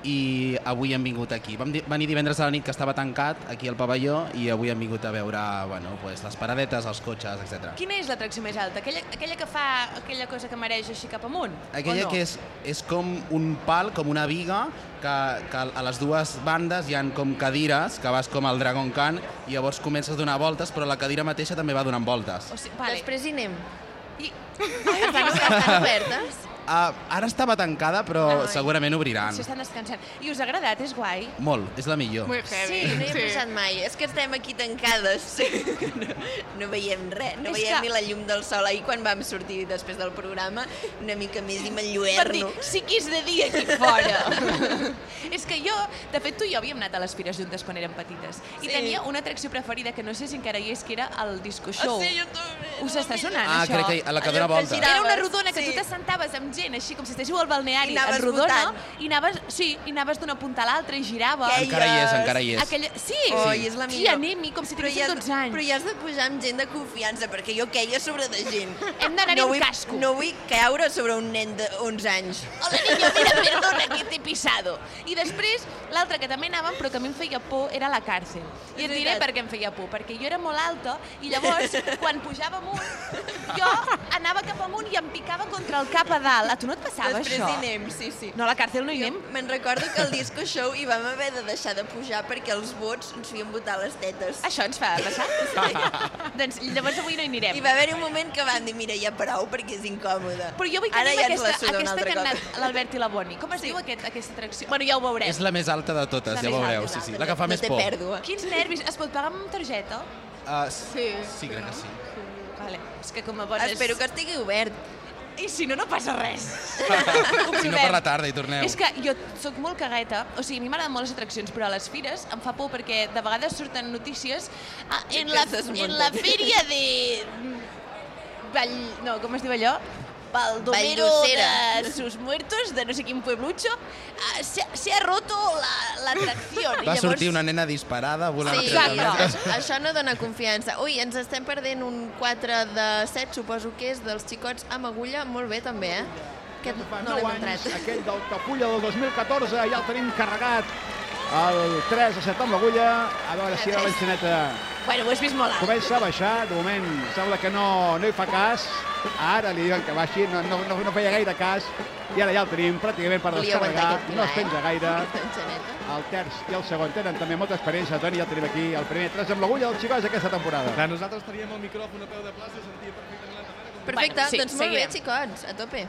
K: i avui hem vingut aquí. Vam di- venir divendres a la nit que estava tancat aquí al pavelló i avui hem vingut a veure bueno, pues, les paradetes, els cotxes, etc.
A: Quina és l'atracció més alta? Aquella, aquella que fa aquella cosa que mereix així cap amunt?
K: Aquella
A: o no?
K: que és, és com un pal, com una viga, que, que a les dues bandes hi han com cadires, que vas com al Dragon Khan, i llavors comences a donar voltes, però la cadira mateixa també va donant voltes.
A: O sigui, vale.
B: Després hi anem. Ah,
A: I...
B: Estan, estan obertes?
K: Ah, ara estava tancada, però
A: Ai.
K: segurament obriran.
A: Si estan descansant. I us ha agradat? És guai?
K: Molt, és la millor.
B: Sí, no hi he pensat mai. És que estem aquí tancades. No, no veiem res, no
A: És
B: veiem
A: que-
B: ni la llum del sol. Ahir quan vam sortir després del programa, una mica més i
A: Per dir,
B: m'enlluerno.
A: sí que és de dia aquí fora. és que jo, de fet, tu i jo havíem anat a les fires juntes quan érem petites. I
B: Sí.
A: tenia una atracció preferida que no sé si encara hi és, que era el disco show.
B: Ah, sí, jo
A: Us està sonant,
K: Ah,
A: això?
K: crec que a la que dona voltes.
A: Era una rodona que
B: Sí.
A: tu t'assentaves amb gent, així com si estéssiu al balneari,
B: I anaves
A: en rodona,
B: votant.
A: i anaves, sí, i anaves d'una punta a l'altra i girava.
B: Aquella- Encara hi és,
K: encara hi és.
A: Aquella, sí,
B: Oh, i és la
A: sí,
B: millor.
A: anem-hi, com si
B: Però hi
A: tinguéssim
B: has-
A: 12 anys.
B: Però hi has de pujar amb gent de confiança, perquè jo queia sobre de gent.
A: Hem d'anar-hi amb
B: vull,
A: casco.
B: No vull caure sobre un nen de 11 anys.
A: Hola, niño, mira, perdona que t'he pisado. I després, l'altra que també anàvem, però que a mi em feia por, era la càrcel. I
B: És
A: et diré
B: veritat.
A: per què em feia por, perquè jo era molt alta i llavors, quan pujava amunt, jo anava cap amunt i em picava contra el cap a dalt. A tu no et passava
B: Després
A: això?
B: hi anem, sí, sí.
A: No, a la càrcel no hi anem.
B: Me'n recordo que al disco show hi vam haver de deixar de pujar perquè els vots ens feien votar les tetes.
A: Això ens fa passar? doncs llavors avui no hi anirem.
B: I va haver-hi un moment que vam dir, mira, ja prou, perquè és incòmode.
A: Però jo vull que
B: Ara
A: anem
B: ja
A: a
B: ens la
A: aquesta,
B: suda un
A: aquesta
B: altre
A: que han
B: cop.
A: anat l'Albert i la Boni. Com es diu aquest, aquesta atracció? Bueno, ja ho veurem.
K: És la més alta de totes,
A: La
K: ja
A: més
K: veureu.
A: alta,
K: Sí, sí.
B: no
K: La que fa
B: té- no
K: més
B: té
K: por.
B: pèrdua.
A: Quins nervis. Es pot pagar amb targeta?
K: Ah, s-
L: Sí.
K: sí, crec que sí.
A: Vale. És que com a bones...
B: Espero que estigui obert.
A: I si no, no passa res.
K: Si no, per la tarda hi torneu.
A: És que jo sóc molt cagueta, o sigui, a mi m'agraden molt les atraccions, però a les fires em fa por perquè de vegades surten notícies ah, en,
B: Que
A: la,
B: es desmunten.
A: en la fèria de... Vall... No, com es diu allò? Baldomero
B: Valducera.
A: de sus muertos, de no sé quin pueblucho, ah, se, se ha roto la- l'atracció. La,
K: Va sortir una nena disparada volant.
B: Sí,
K: tres
A: Exacte.
K: metres.
B: això no dona confiança. Ui, ens estem perdent un 4 de 7, suposo que és, dels xicots amb agulla. Molt bé, també, eh? Aquest
I: Fa
B: no
I: 9
B: l'hem
I: anys,
B: entrat.
I: aquell del Capulla del 2014, ja el tenim carregat. El 3 a 7 amb l'agulla, a veure si ara l'enxaneta
A: Bueno, doncs ho has vist molt alt.
I: comença a baixar. De moment sembla que no, no hi fa cas. Ara li diuen que baixi, no, no, no, no feia gaire cas. I ara ja el tenim pràcticament per
B: Volia aguantar aquest
I: descarregar,
B: eh?
I: no
B: pilar,
I: es penja gaire.
B: Aquesta enxaneta.
I: El terç i el segon tenen també molta experiència, Toni, ja el tenim aquí. El primer 3 amb l'agulla dels xicots aquesta temporada.
J: Clar, nosaltres teníem el micròfon a peu de plaça i sentia perfectament la Tamara com...
A: Bueno,
B: Perfecte,
A: sí,
B: doncs molt bé,
A: seguirem.
B: xicots, a tope.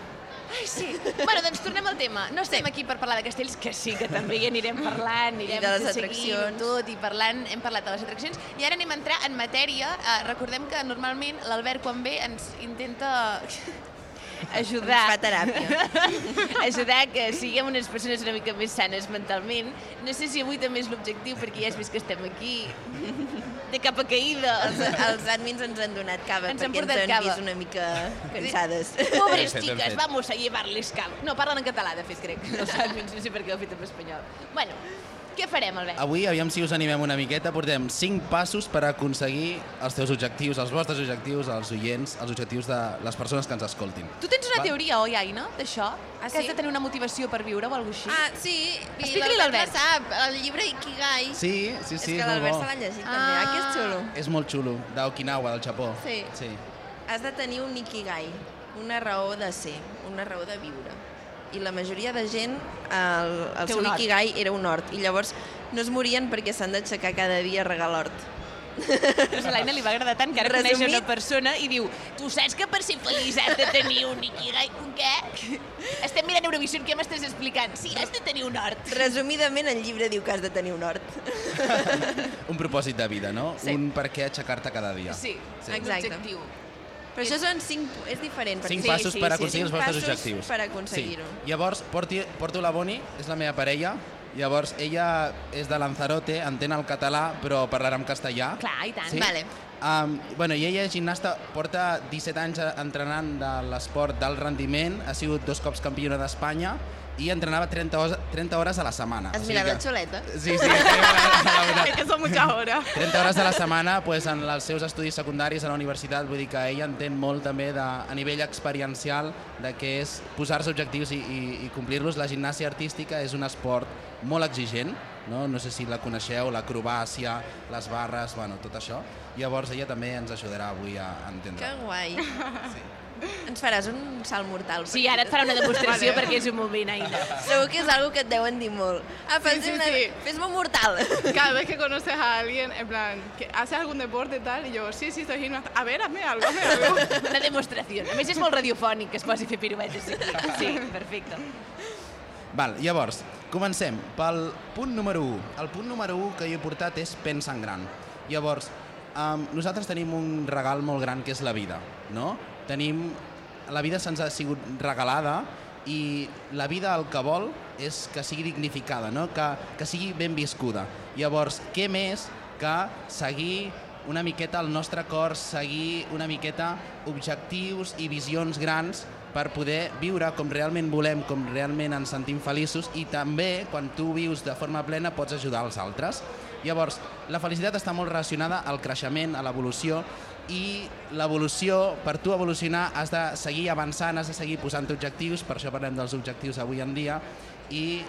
A: Ai, sí. Bueno, doncs tornem al tema. No estem aquí per parlar de castells, que sí, que també hi anirem parlant, anirem
B: I de les
A: seguint
B: atraccions.
A: tot i parlant, hem parlat de les atraccions, i ara anem a entrar en matèria. Eh, recordem que normalment l'Albert, quan ve, ens intenta ajudar.
B: Ens fa teràpia.
A: ajudar que siguem unes persones una mica més sanes mentalment. No sé si avui també és l'objectiu, perquè ja has vist que estem aquí de capa
B: Els,
A: caïda.
B: els admins ens han donat cava
A: Ens han
B: perquè ens
A: portat
B: han
A: cava.
B: vist una mica Eh, cansades.
A: Pobres
K: Hem fet, hem
A: xiques,
K: fet.
A: vamos a llevar-les cava. No, parlen en català, de fet, crec. Els admins, no sé per què ho he fet en espanyol. Bueno, què farem, Albert?
K: Avui, aviam si us animem una miqueta, portem 5 passos per aconseguir els teus objectius, els vostres objectius, els oients, els objectius de les persones que ens escoltin.
A: Tu tens una
K: Va.
A: teoria, oi, Aina, d'això? Que
B: Ah,
A: has
B: sí?
A: de tenir una motivació per viure o alguna cosa així?
B: Ah, sí, i
A: Explica-li l'Albert.
B: l'Albert la sap, el llibre Ikigai.
K: Sí, sí,
B: és
K: sí, és
B: que
K: molt
B: l'Albert
K: bo.
B: se l'ha llegit també, ah, que és xulo.
K: És molt xulo, d'Okinawa, del Japó.
B: Sí.
K: sí.
B: Has de tenir un Ikigai, una raó de ser, una raó de viure. I la majoria de gent, el, el
A: Té
B: seu
A: un hort.
B: Ikigai era un hort, i llavors no es morien perquè s'han d'aixecar cada dia a regar l'hort.
A: Però a l'Aina li va agradar tant que ara
D: Resumit.
A: coneix una persona i diu tu saps que per ser feliç has de tenir un ikigai, un què? Estem mirant Eurovisió, què m'estàs explicant? Sí, has de tenir un hort.
D: Resumidament, el llibre diu que has de tenir un hort.
K: Un propòsit de vida, no?
D: Sí.
K: Un per què aixecar-te cada dia.
A: Sí,
K: Sí.
A: un
D: Exacte.
A: objectiu.
D: Però això són cinc... És diferent. perquè-
K: Cinc passos per aconseguir els
D: cinc
K: vostres
D: passos
K: objectius.
D: per aconseguir-ho.
K: Sí. Llavors, porti, porto la Boni, és la meva parella, llavors ella és de Lanzarote, entén el català, però parlarà en castellà.
A: Clar, i tant.
K: Sí?
D: Vale.
K: Um, bueno, I ella és gimnasta, porta 17 anys eh, entrenant de l'esport d'alt rendiment, ha sigut dos cops campiona d'Espanya i entrenava 30, hores, 30 hores a la setmana.
D: Has
K: O sigui
D: mirat eh?
K: que-
D: la xuleta?
K: Sí, sí, la veritat.
A: que són mucha hora.
K: 30 hores a la setmana pues, en els seus estudis secundaris a la universitat, vull dir que ella entén molt també de, a nivell experiencial de què és posar-se objectius i, i, i complir-los. La gimnàsia artística és un esport molt exigent, no, no sé si la coneixeu, l'acrobàcia, les barres, bueno, tot això. Llavors ella també ens ajudarà avui a
D: Que
K: entendre.
D: guai. Ens faràs un salt mortal.
A: Sí, ara et farà una demostració perquè és un moment, Aina.
D: Segur que és algo que et deuen dir molt. Ah, fes
M: sí,
D: una...
M: sí.
D: Fes-me un mortal.
M: Cada vez que conoces a alguien, en plan, que haces algún deporte y tal, y yo, sí, sí, soy gimnasta. A ver, hazme algo, hazme algo.
A: Una demostració. A més, és molt radiofònic que es posi a fer piruetes aquí. Sí, perfecte.
K: Val, llavors, comencem pel punt número 1. El punt número 1 que jo he portat és Pensa en gran. Llavors, um, nosaltres tenim un regal molt gran que és la vida, no? Tenim... La vida se'ns ha sigut regalada i la vida el que vol és que sigui dignificada, no? que, que sigui ben viscuda. Llavors, què més que seguir una miqueta el nostre cor, seguir una miqueta objectius i visions grans per poder viure com realment volem, com realment ens sentim feliços i també quan tu vius de forma plena pots ajudar els altres. Llavors, la felicitat està molt relacionada al creixement, a l'evolució i l'evolució, per tu evolucionar has de seguir avançant, has de seguir posant objectius, per això parlem dels objectius avui en dia i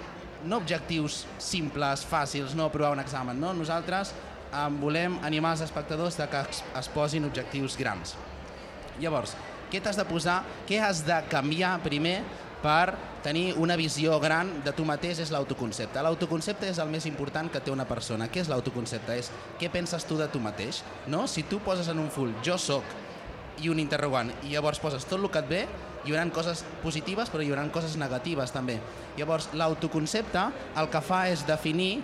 K: no objectius simples, fàcils, no aprovar un examen, no? Nosaltres eh, volem animar els espectadors de que es- es posin objectius grans. Llavors, què t'has de posar, què has de canviar primer per tenir una visió gran de tu mateix és l'autoconcepte. L'autoconcepte és el més important que té una persona. Què és l'autoconcepte? És què penses tu de tu mateix. No? Si tu poses en un full jo sóc i un interrogant i llavors poses tot el que et ve, hi haurà coses positives però hi haurà coses negatives també. Llavors l'autoconcepte el que fa és definir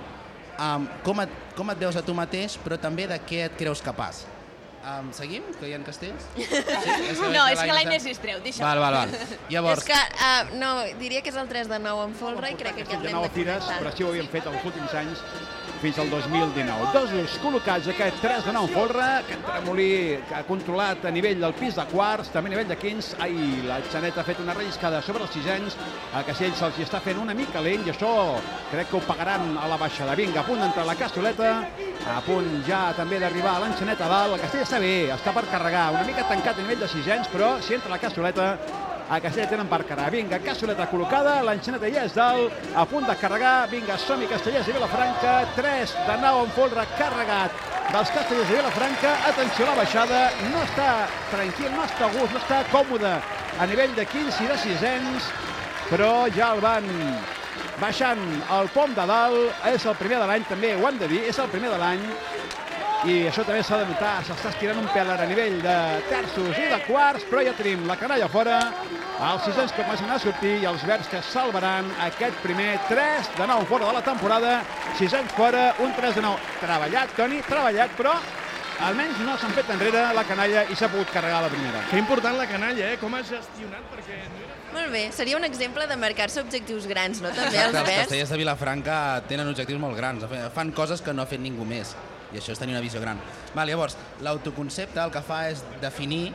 K: um, com, et, com et veus a tu mateix però també de què et creus capaç. Um, seguim? Que hi ha castells? Sí?
A: No, és que l'Aina es distreu, deixa'm.
K: Val, val, val. Llavors,
D: És que, uh, no, diria que és el 3 de 9 en folre i crec que aquest
I: de
D: l'hem
I: nou
D: de
I: a Fires,
D: connectar.
I: però així ho havíem fet els últims anys fins al 2019. Dosos col·locats aquest 3 de 9 folre, que en Tremolí que ha controlat a nivell del pis de quarts, també a nivell de quins. Ai, la Xaneta ha fet una relliscada sobre els sisens, a Castells se'ls hi està fent una mica lent i això crec que ho pagaran a la baixada. Vinga, a punt d'entrar la Castelleta, a punt ja també d'arribar a l'enxaneta a dalt. El Castell està bé, està per carregar, una mica tancat a nivell de sisens, però si entra la Castelleta a Castellet tenen per carregar. Vinga, cassoleta col·locada, l'enxaneta ja és dalt, a punt de carregar. Vinga, som-hi, Castellers i Vilafranca. 3 de 9 en folre carregat dels Castellers i Vilafranca. Atenció a la baixada, no està tranquil, no està a gust, no està còmode a nivell de 15 i de 600, però ja el van baixant al pom de dalt. És el primer de l'any, també ho hem de dir, és el primer de l'any. I això també s'ha de notar, s'està estirant un pèl ara a nivell de terços i de quarts, però ja tenim la canalla fora, els sisens que comencen a sortir i els verds que salvaran aquest primer 3 de 9 fora de la temporada, sisens fora, un 3 de 9 treballat, Toni, treballat, però almenys no s'han fet enrere la canalla i s'ha pogut carregar la primera.
J: Que important la canalla, eh? Com ha gestionat, perquè...
D: Molt bé, seria un exemple de marcar-se objectius grans, no? També els
K: Exacte, els
D: verds.
K: castellers de Vilafranca tenen objectius molt grans, fe- fan coses que no ha fet ningú més, i això és tenir una visió gran. Val, llavors, l'autoconcepte el que fa és definir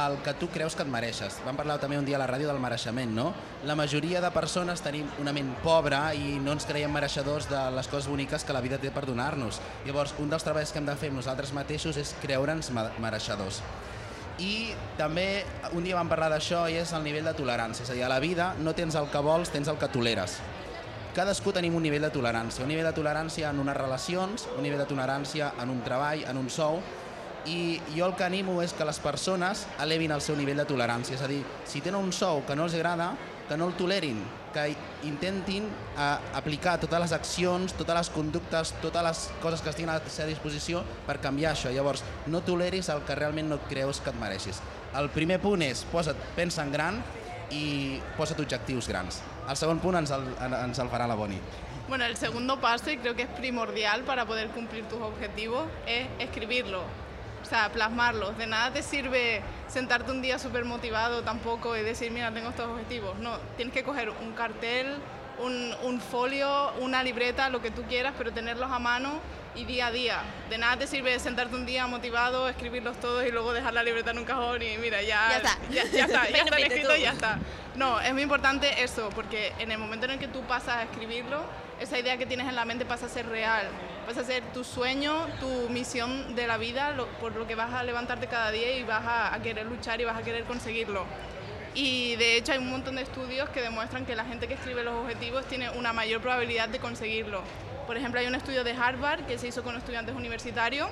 K: el que tu creus que et mereixes. Vam parlar també un dia a la ràdio del mereixement, no? La majoria de persones tenim una ment pobra i no ens creiem mereixedors de les coses boniques que la vida té per donar-nos. Llavors, un dels treballs que hem de fer amb nosaltres mateixos és creure'ns ma- mereixedors. I també un dia vam parlar d'això i és el nivell de tolerància. És a dir, a la vida no tens el que vols, tens el que toleres. Cadascú tenim un nivell de tolerància. Un nivell de tolerància en unes relacions, un nivell de tolerància en un treball, en un sou, i jo el que animo és que les persones elevin el seu nivell de tolerància. És a dir, si tenen un sou que no els agrada, que no el tolerin, que intentin eh, aplicar totes les accions, totes les conductes, totes les coses que estiguin a la seva disposició per canviar això. Llavors, no toleris el que realment no creus que et mereixis. El primer punt és posa't, pensa en gran i posa't objectius grans. El segon punt ens el, en- ens el farà la Boni.
M: Bueno, el segundo paso, y creo que es primordial para poder cumplir tus objetivos, es escribirlo, o sea, plasmarlos. De nada te sirve sentarte un día súper motivado tampoco y decir, mira, tengo estos objetivos. No, tienes que coger un cartel, un, un folio, una libreta, lo que tú quieras, pero tenerlos a mano y día a día. De nada te sirve sentarte un día motivado, escribirlos todos y luego dejar la libreta en un cajón y mira, ya,
D: Ya está.
M: ya, ya está, ya
D: Ven,
M: están
D: vete tú.
M: escritos, ya está. No, es muy importante eso, porque en el momento en el que tú pasas a escribirlo, esa idea que tienes en la mente pasa a ser real, pasa a ser tu sueño, tu misión de la vida, lo- por lo que vas a levantarte cada día y vas a, a querer luchar y vas a querer conseguirlo. Y de hecho hay un montón de estudios que demuestran que la gente que escribe los objetivos tiene una mayor probabilidad de conseguirlo. Por ejemplo, hay un estudio de Harvard que se hizo con estudiantes universitarios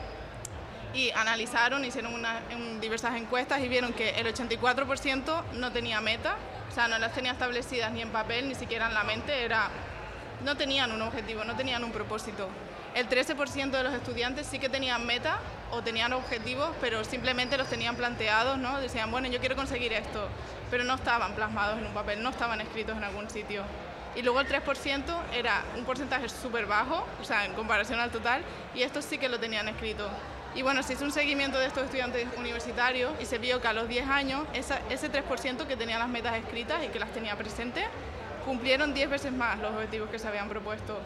M: y analizaron, hicieron una- en diversas encuestas y vieron que el 84% no tenía meta, o sea, no las tenía establecidas ni en papel, ni siquiera en la mente, era, no tenían un objetivo, no tenían un propósito. El 13% de los estudiantes sí que tenían meta o tenían objetivos, pero simplemente los tenían planteados, ¿no? Decían, bueno, yo quiero conseguir esto, pero no estaban plasmados en un papel, no estaban escritos en algún sitio. Y luego el 3% era un porcentaje súper bajo, o sea, en comparación al total, y estos sí que lo tenían escrito. Y bueno, se hizo un seguimiento de estos estudiantes universitarios y se vio que a los 10 años esa- ese 3% que tenía las metas escritas y que las tenía presentes, cumplieron 10 veces más los objetivos que se habían propuesto.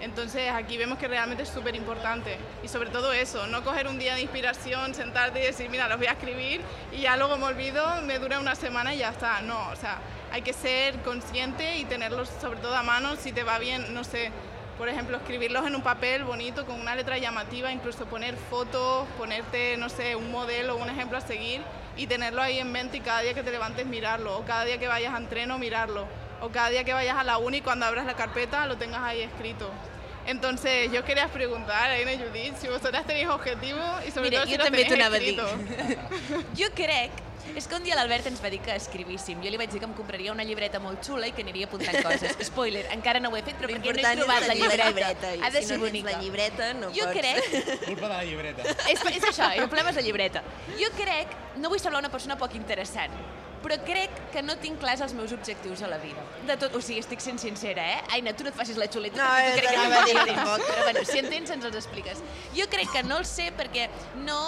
M: Entonces aquí vemos que realmente es súper importante y sobre todo eso, no coger un día de inspiración, sentarte y decir, mira, los voy a escribir y ya luego me olvido, me dura una semana y ya está. No, o sea, hay que ser consciente y tenerlos sobre todo a mano si te va bien, no sé, por ejemplo, escribirlos en un papel bonito con una letra llamativa, incluso poner fotos, ponerte, no sé, un modelo, un ejemplo a seguir y tenerlo ahí en mente y cada día que te levantes mirarlo, o cada día que vayas a entreno mirarlo, o cada día que vayas a la uni cuando abras la carpeta lo tengas ahí escrito. Entonces, yo quería preguntar a Aina y Judith si vosotras tenéis objetivos y sobre
A: Mira,
M: todo si
A: jo
M: los
A: també
M: tenéis
A: t'ho anava a
M: escritos.
A: dir. jo crec és que un dia l'Albert ens va dir que escrivíssim. Jo li vaig dir que em compraria una llibreta molt xula i que aniria apuntant coses. Spoiler, encara no ho he fet, però perquè no he
D: L'important és
A: trobat la
D: tenir la
A: llibreta.
D: llibreta, i
A: ha de
D: si
A: ser
D: no tens
A: bonica.
D: la llibreta, no
A: jo
D: pots.
A: crec
N: Culpa de la llibreta.
A: és, és això, el problema és la llibreta. Jo crec, no vull semblar una persona poc interessant, però crec que no tinc clars els meus objectius a la vida. De tot, o sigui, estic sent sincera, eh? Aina, tu no et facis la xuleta,
D: No, és
A: perquè tu crec
D: el
A: que
D: que va dir
A: no en tens.
D: tampoc.
A: Però bueno, si en tens, ens els expliques. Jo crec que no els sé perquè no,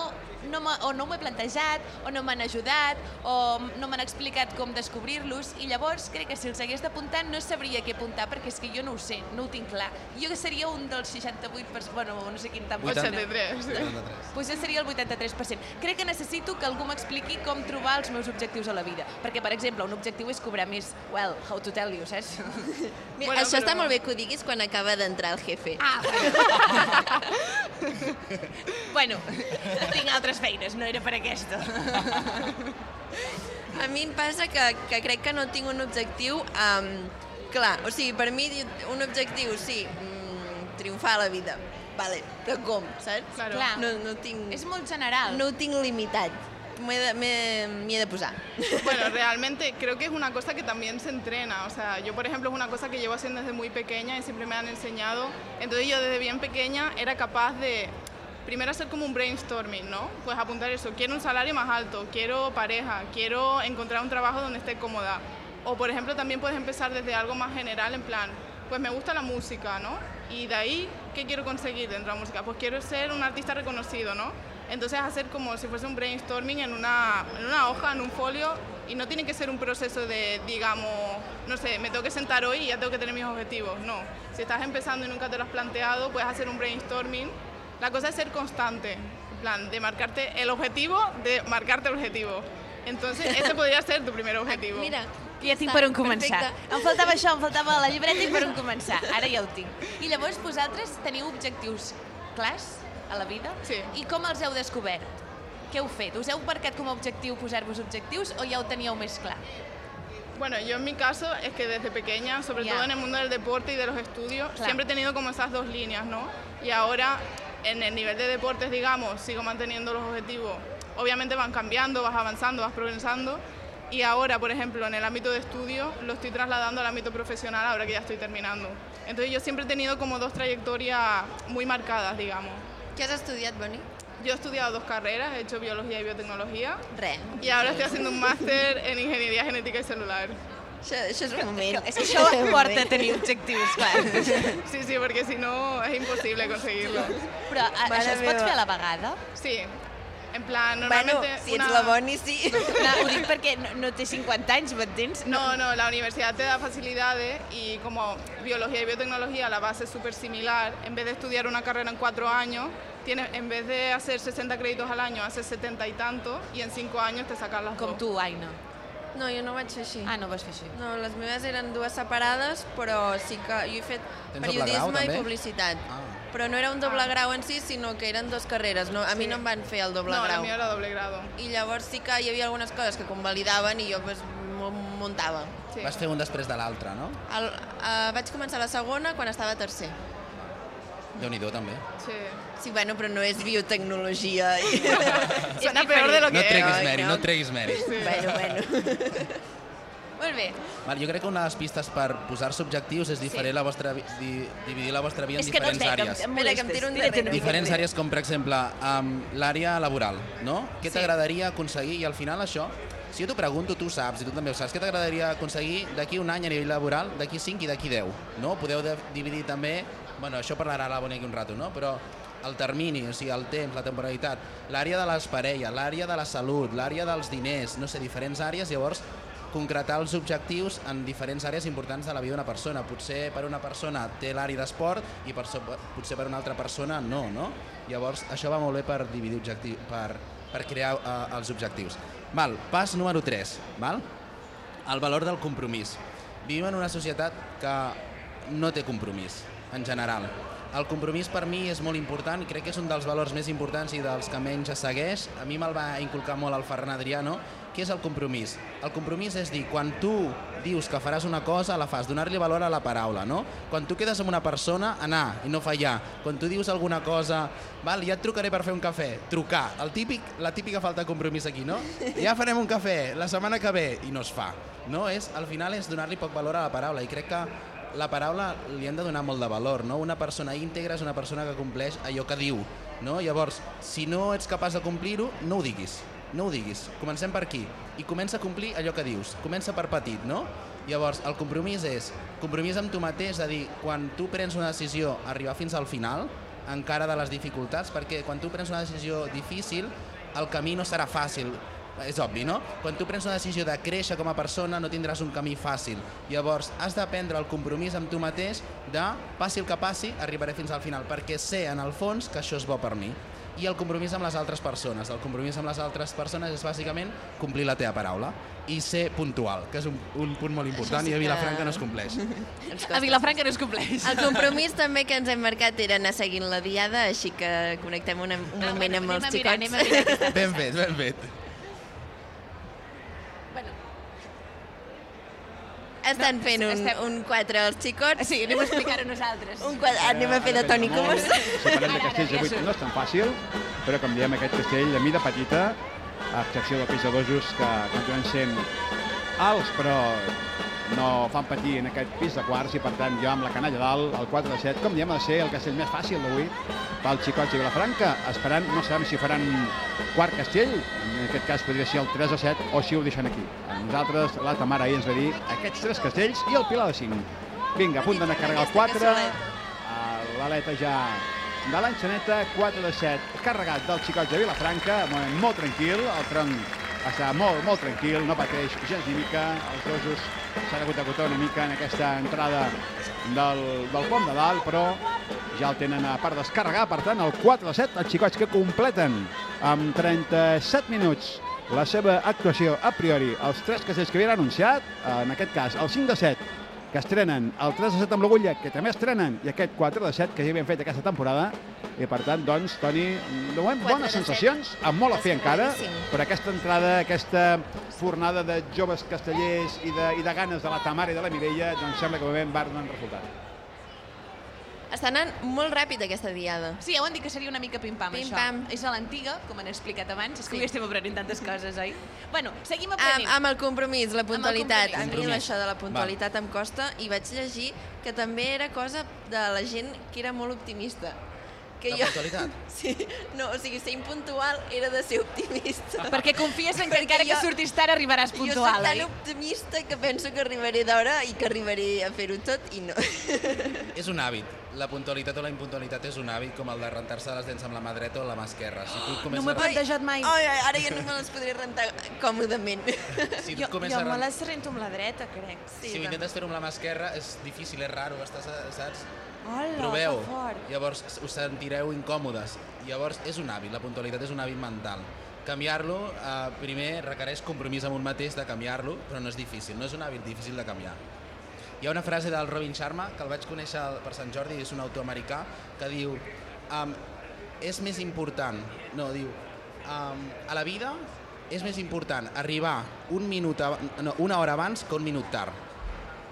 A: no m'ha- o no m'ho he plantejat, o no m'han ajudat, o no m'han explicat com descobrir-los, i llavors crec que si els hagués d'apuntar no sabria què apuntar, perquè és que jo no ho sé, no ho tinc clar. Jo seria un dels 68, per, bueno, no sé quin tant.
M: 83, sí. 83.
A: Pues jo seria el 83%. Crec que necessito que algú m'expliqui com trobar els meus objectius a la vida. Perquè, per exemple, un objectiu és cobrar més. Well, how to tell you, saps?
B: Mira, això està molt bé que ho diguis quan acaba d'entrar el jefe.
A: Ah, Bueno, tinc altres feines, no era per aquesta.
D: A mi em passa que, que crec que no tinc un objectiu um, clar. O sigui, per mi un objectiu, sí, mm, triomfar a la vida. Vale, però com, saps?
A: Claro. Clar.
D: No, no tinc...
A: És molt general.
D: No ho tinc limitat. M'he de, m'he- m'hi he de posar.
M: Bueno, realmente creo que es una cosa que también se entrena. O sea, yo, por ejemplo, es una cosa que llevo haciendo desde muy pequeña y siempre me han enseñado. Entonces, yo desde bien pequeña era capaz de primero hacer como un brainstorming, ¿no? Pues apuntar eso. Quiero un salario más alto, quiero pareja, quiero encontrar un trabajo donde esté cómoda. O, por ejemplo, también puedes empezar desde algo más general, en plan, pues me gusta la música, ¿no? Y de ahí, ¿qué quiero conseguir dentro de la música? Pues quiero ser un artista reconocido, ¿no? Entonces hacer como si fuese un brainstorming en una, en una hoja, en un folio, y no tiene que ser un proceso de, digamos, no sé, me tengo que sentar hoy y ya tengo que tener mis objetivos, no. Si estás empezando y nunca te lo has planteado, puedes hacer un brainstorming. La cosa es ser constante, en plan, de marcarte el objetivo, de marcarte el objetivo. Entonces, ese podría ser tu primer objetivo.
B: Mira,
A: Ja tinc per on començar. Em faltava això, em faltava la llibreta i per on començar. Ara ja ho tinc. I llavors vosaltres teniu objectius clars a la vida? Sí. I com els heu descobert? Què heu fet? Us heu marcat com a objectiu posar-vos objectius o ja ho teníeu més clar?
M: Bueno, yo en mi caso es que desde pequeña, sobre
A: Ya.
M: todo en el mundo del deporte y de los estudios,
A: Claro.
M: siempre he tenido como esas dos líneas, ¿no? Y ahora en el nivel de deportes, digamos, sigo manteniendo los objetivos. Obviamente van cambiando, vas avanzando, vas progresando, y ahora, por ejemplo, en el ámbito de estudio lo estoy trasladando al ámbito profesional ahora que ya estoy terminando. Entonces yo siempre he tenido como dos trayectorias muy marcadas, digamos.
B: ¿Qué has estudiat, Boni?
M: Yo he estudiado dos carreras, he hecho biología y biotecnología.
B: Re.
M: Y ahora estoy haciendo un máster en ingeniería genética y celular.
B: Això, això és un moment.
A: És que això porta a tenir objectius, clar.
M: Sí, sí, perquè si no és impossible aconseguir-lo.
A: Però a,
B: Mare
A: això es pot
B: meva.
A: fer a la vegada?
M: Sí. En plan,
B: Bueno,
M: normalmente...
B: si ets la Boni, sí.
A: No, ho dic perquè no, no té 50 anys, m'entens?
M: No, no, la universidad te da facilidades y como biología y biotecnología la base es súper similar, en vez de estudiar una carrera en cuatro años, tienes, en vez de hacer 60 créditos al año, haces 70 y tanto y en cinco años te sacas las
A: Com
M: dos.
A: tu, Aina.
D: No, jo no ho vaig fer així.
A: Ah, no vas fer així.
D: No, les meves eren dues separades, però sí que jo he fet
B: Tens doble grau,
D: periodisme i
B: també? Ah.
D: publicitat.
A: Ah.
D: Però no era un doble grau en si, sinó que eren dues carreres. No, a mi no em van fer el doble
M: No, la
D: grau.
M: mía era doble grado.
D: I llavors sí que hi havia algunes coses que convalidaven i jo pues, m'ho muntava.
M: Sí.
K: Vas fer un després de l'altre, no?
D: El, eh, vaig començar la segona quan estava a tercer.
K: Déu-n'hi-do, també.
M: Sí.
D: Sí, bueno, però no és biotecnologia.
M: Suena peor de lo
K: No
M: que
K: treguis
M: era,
K: mèrit, no treguis mèrit.
M: Sí.
D: Bueno, bueno.
A: Molt bé.
K: Val, jo crec que una de les pistes per posar-se objectius és diferir
A: Sí.
K: la vostra, vi- di, dividir la vostra vida en
A: És que no et
K: diferents
A: veig, em-
K: àrees.
A: em molestes.
D: Espera, que em tiro un
A: Tira't
D: darrere.
K: Diferents àrees com, per exemple, amb l'àrea laboral, no? Què t'agradaria aconseguir? I al final això, si jo t'ho pregunto, tu ho saps, i tu també ho saps, què t'agradaria aconseguir d'aquí un any a nivell laboral, d'aquí 5 i d'aquí 10, no? Podeu de- dividir també, bueno, això parlarà la Bona aquí un rato, no? Però el termini, o sigui, el temps, la temporalitat, l'àrea de les parelles, l'àrea de la salut, l'àrea dels diners, no sé, diferents àrees, llavors concretar els objectius en diferents àrees importants de la vida d'una persona. Potser per una persona té l'àrea d'esport i per, so- potser per una altra persona no, no? Llavors, això va molt bé per dividir objectiu, per, per crear eh, els objectius. Val, pas número 3, val? el valor del compromís. Vivim en una societat que no té compromís, en general. El compromís per mi és molt important, crec que és un dels valors més importants i dels que menys es segueix. A mi me'l va inculcar molt el Ferran Adriano. Què és el compromís? El compromís és dir, quan tu dius que faràs una cosa, la fas, donar-li valor a la paraula, no? Quan tu quedes amb una persona, anar i no fallar. Quan tu dius alguna cosa, val, ja et trucaré per fer un cafè, trucar. El típic, la típica falta de compromís aquí, no? Ja farem un cafè la setmana que ve i no es fa. No, és, al final és donar-li poc valor a la paraula i crec que la paraula li hem de donar molt de valor, no? Una persona íntegra és una persona que compleix allò que diu, no? Llavors, si no ets capaç de complir-ho, no ho diguis, no ho diguis. Comencem per aquí i comença a complir allò que dius. Comença per petit, no? Llavors, el compromís és compromís amb tu mateix, és a dir, quan tu prens una decisió, arribar fins al final, encara de les dificultats, perquè quan tu prens una decisió difícil, el camí no serà fàcil, és obvi, no? Quan tu prens una decisió de créixer com a persona no tindràs un camí fàcil. Llavors, has de prendre el compromís amb tu mateix de, passi el que passi, arribaré fins al final, perquè sé en el fons que això és bo per mi. I el compromís amb les altres persones. El compromís amb les altres persones és bàsicament complir la teva paraula i ser puntual, que és un, un punt molt important
B: sí
K: i a
B: que-
K: Vilafranca no es compleix.
A: A Vilafranca no es compleix.
B: El compromís també que ens hem marcat era anar seguint la diada, així que connectem una, un moment amb
A: anem
B: els
A: a
B: xicots.
A: mirar, anem a mirar què està
K: Ben fet, ben fet.
B: Estan fent un, un 4 els xicots.
A: Sí, anem a explicar-ho nosaltres.
B: Un 4, anem a fer de Toni Comos.
I: Separem de castells de 8 no és tan fàcil, però canviem aquest castell de mida petita, a excepció del peix de gojos que continuen sent alts, però no fan patir en aquest pis de quarts i per tant jo amb la canalla dalt, el 4 de 7, com diem, ha de ser el castell més fàcil d'avui pels xicots i Vilafranca, esperant, no sabem si faran quart castell, en aquest cas podria ser el 3 de 7 o si ho deixen aquí. A nosaltres la Tamara ahir ens va dir aquests tres castells i el Pilar de 5. Vinga, a punt d'anar a carregar el 4, a l'aleta ja de l'enxaneta, 4 de 7, carregat del xicot de Vilafranca, un moment molt tranquil, el tronc està molt, molt tranquil, no pateix gens ni mica, els dosos s'han hagut d'acotar una mica en aquesta entrada del, del pont de dalt, però ja el tenen a part descarregar, per tant, el 4 de 7, els xicots que completen amb 37 minuts la seva actuació a priori, els tres castells que havien anunciat, en aquest cas el 5 de 7, que estrenen el 3 de 7 amb l'Agulla, que també estrenen, i aquest 4 de 7 que ja havien fet aquesta temporada, i per tant, doncs, Toni, de
O: 4
I: moment,
O: de
I: bones
O: set.
I: sensacions, amb molt a fer encara,
O: Seguríssim.
I: per aquesta entrada, aquesta fornada de joves castellers i de, i de ganes de la Tamara i de la Mireia, doncs sembla que de moment va donant resultat.
B: Està anant molt ràpid aquesta diada.
A: Sí, ja ho han dit que seria una mica pim-pam, això.
B: Pim-pam.
A: És a l'antiga, com han explicat abans, és que avui estem aprenent tantes coses, oi? Bueno, seguim
B: Amb,
A: aprenent.
B: amb el compromís, la puntualitat. A mi
A: compromís.
B: això de la puntualitat em costa i vaig llegir que també era cosa de la gent que era molt optimista. Que
P: La puntualitat?
B: Sí, no, o sigui, ser impuntual era de ser optimista.
A: Ah, Perquè confies en que encara que surtis tard arribaràs
B: Jo
A: puntual,
B: soc tan
A: oi?
B: optimista que penso que arribaré d'hora i que arribaré a fer-ho tot i no.
K: És un hàbit. La puntualitat o la impuntualitat és un hàbit com el de rentar-se les dents amb la mà dreta o la mà esquerra. Si tu comences,
B: m'ho he
A: plantejat mai.
B: Ai, ai, ara ja no me les podré rentar còmodament.
K: Si tu Jo- comences jo a me ren- les
A: rento amb la dreta, crec.
K: si ho intentes fer amb la mà esquerra és difícil, és raro, estàs, a- saps?
A: Hola,
K: Proveu. Llavors us sentireu incòmodes. Llavors és un hàbit, la puntualitat és un hàbit mental. Canviar-lo, eh, primer requereix compromís amb un mateix de canviar-lo, però no és difícil, no és un hàbit difícil de canviar. Hi ha una frase del Robin Sharma, que el vaig conèixer per Sant Jordi, és un autor americà, que diu um, és més important, no, diu um, a la vida és més important arribar un minut ab- no, una hora abans que un minut tard.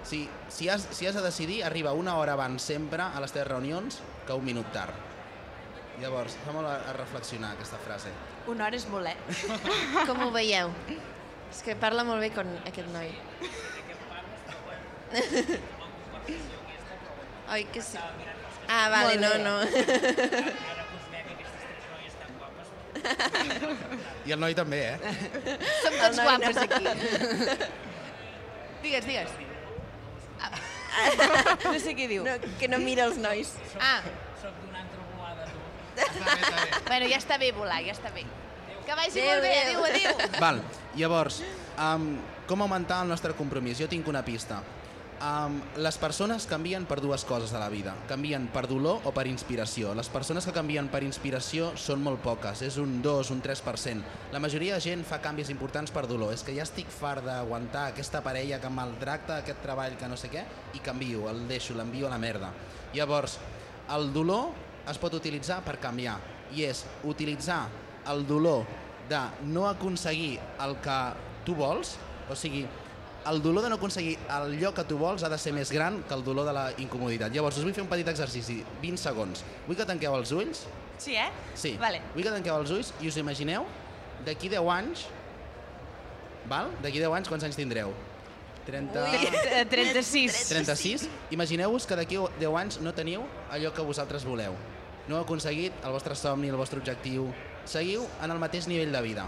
K: Si, si, has, si has de decidir, arriba una hora abans sempre a les teves reunions que un minut tard. Llavors, fa molt a, a reflexionar aquesta frase.
A: Una hora és molt, eh?
B: Com ho veieu? És que parla molt bé con aquest noi. Oi que sí? Ah, vale,
K: Molt
B: no,
K: bé.
B: no.
K: I el noi també, eh?
A: Som
B: El
A: tots
B: noi
A: guapos
B: no.
A: aquí. Digues, digues. No sé què diu.
B: No, que no mira els nois.
A: Ah. Bueno, ja està bé volar, ja està bé. Que vagi
B: Adéu,
A: molt bé,
B: adéu.
A: adéu, adéu.
K: Val, llavors, um, com augmentar el nostre compromís? Jo tinc una pista. Um, les persones canvien per dues coses a la vida. Canvien per dolor o per inspiració. Les persones que canvien per inspiració són molt poques, és un 2, un 3%. La majoria de gent fa canvis importants per dolor. És que ja estic fart d'aguantar aquesta parella que em maltracta, aquest treball que no sé què, i canvio, el deixo, l'envio a la merda. Llavors, el dolor es pot utilitzar per canviar, i és utilitzar el dolor de no aconseguir el que tu vols, o sigui, el dolor de no aconseguir el lloc que tu vols ha de ser més gran que el dolor de la incomoditat. Llavors, us vull fer un petit exercici, 20 segons. Vull que tanqueu els ulls,
A: Sí, eh?
K: sí,
A: Vale.
K: vull que tanqueu els ulls i us imagineu d'aquí 10 anys, val? D'aquí 10 anys quants anys tindreu? 30...
A: Ui, eh, 36.
K: 36. Imagineu-vos que d'aquí 10 anys no teniu allò que vosaltres voleu. No heu aconseguit el vostre somni, el vostre objectiu. Seguiu en el mateix nivell de vida.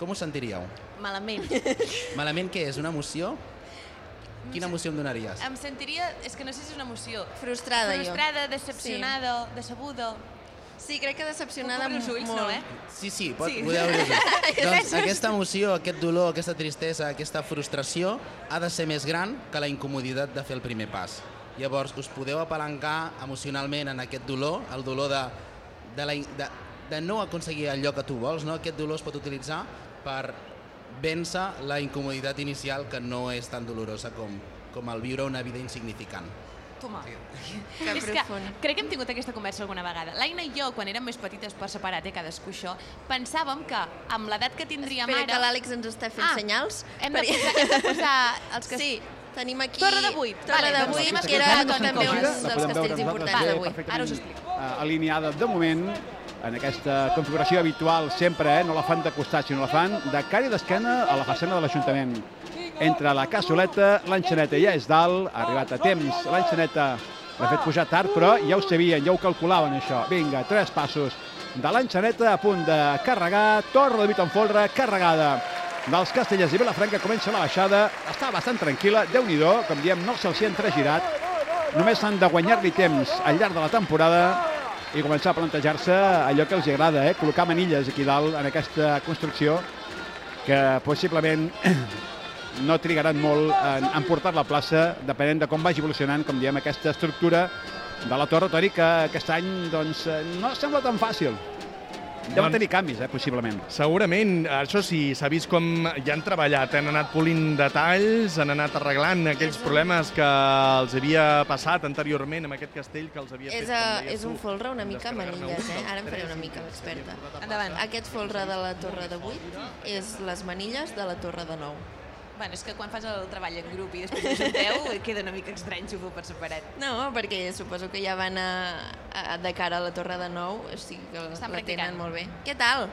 K: Com us sentiríeu?
A: Malament.
K: Malament què és? Una emoció? Quina emoció em donaries?
A: Em sentiria, és que no sé si és una emoció.
B: Frustrada, jo.
A: Frustrada, decepcionada, decebuda.
B: Sí, crec que decepcionada
A: Puc obrir els ulls,
B: molt.
A: no, eh?
K: Sí, sí, pot,
A: Sí.
K: sí. podeu dir doncs
B: Gràcies.
K: aquesta emoció, aquest dolor, aquesta tristesa, aquesta frustració ha de ser més gran que la incomoditat de fer el primer pas. Llavors, us podeu apalancar emocionalment en aquest dolor, el dolor de, de, la, in- de, de no aconseguir el lloc que tu vols, no? Aquest dolor es pot utilitzar per vèncer la incomoditat inicial que no és tan dolorosa com, com el viure una vida insignificant.
A: Toma.
B: Que
A: és que
B: profund.
A: crec que hem tingut aquesta conversa alguna vegada. L'Aina i jo, quan érem més petites per separat, eh, cadascú això, pensàvem que amb l'edat que tindríem
B: Espera
A: ara...
B: que l'àlex ens està fent senyals.
A: Ah, Hem de
B: Per-
A: posar, hem de posar els que...
B: Sí, tenim aquí...
A: Torre de vuit.
B: Torre
A: Vale,
B: de
A: doncs
B: vuit,
A: seguim
B: que era
A: explicant-nos
B: doncs,
A: una
B: també un
A: cosa. La
B: dels
A: podem
B: castells
I: nosaltres
A: eh?
B: importants
I: bé,
B: avui.
I: perfectament,
B: Ara us explico.
I: eh, alineada de moment en aquesta configuració habitual sempre, eh, no la fan de costat, sinó la fan de cara i d'esquena a la façana de l'Ajuntament. Entre la cassoleta, l'enxaneta ja és dalt, ha arribat a temps, l'enxaneta l'ha fet pujar tard, però ja ho sabien, ja ho calculaven això. Vinga, tres passos de l'enxaneta a punt de carregar, torre de Vita en folre, carregada dels Castellers i Vilafranca comença la baixada, està bastant tranquil·la, déu nhi com diem, no se'ls hi ha entregirat, Només han de guanyar-li temps al llarg de la temporada i començar a plantejar-se allò que els agrada, eh? col·locar manilles aquí dalt en aquesta construcció que possiblement no trigaran molt en, en portar la plaça, depenent de com vagi evolucionant, com diem, aquesta estructura de la Torre Tori, que aquest any doncs, eh, no sembla tan fàcil. Deu
J: Doncs-
I: tenir canvis, eh, possiblement.
J: Segurament, això sí, s'ha vist com ja han treballat, han anat polint detalls, han anat arreglant aquells problemes que els havia passat anteriorment amb aquest castell que els havia
B: És,
J: fet. com
B: a,
J: deies
B: és
J: tu,
B: un folre una mica
J: descarregar-ne
B: manilles,
J: un,
B: eh?
J: dos,
B: Ara em faré
J: tres,
B: una
J: i
B: mica l'experta.
A: Endavant.
B: Aquest folre de la torre de 8 és les manilles de la torre de 9.
A: Bueno, és que quan fas el treball en grup i després us junteu, eh, queda una mica estrany, supo, per separat.
B: No, perquè suposo que ja van a, a, de cara a la Torre de Nou, o sigui que
A: Estan
B: la
A: practicant.
B: tenen molt bé. Què tal?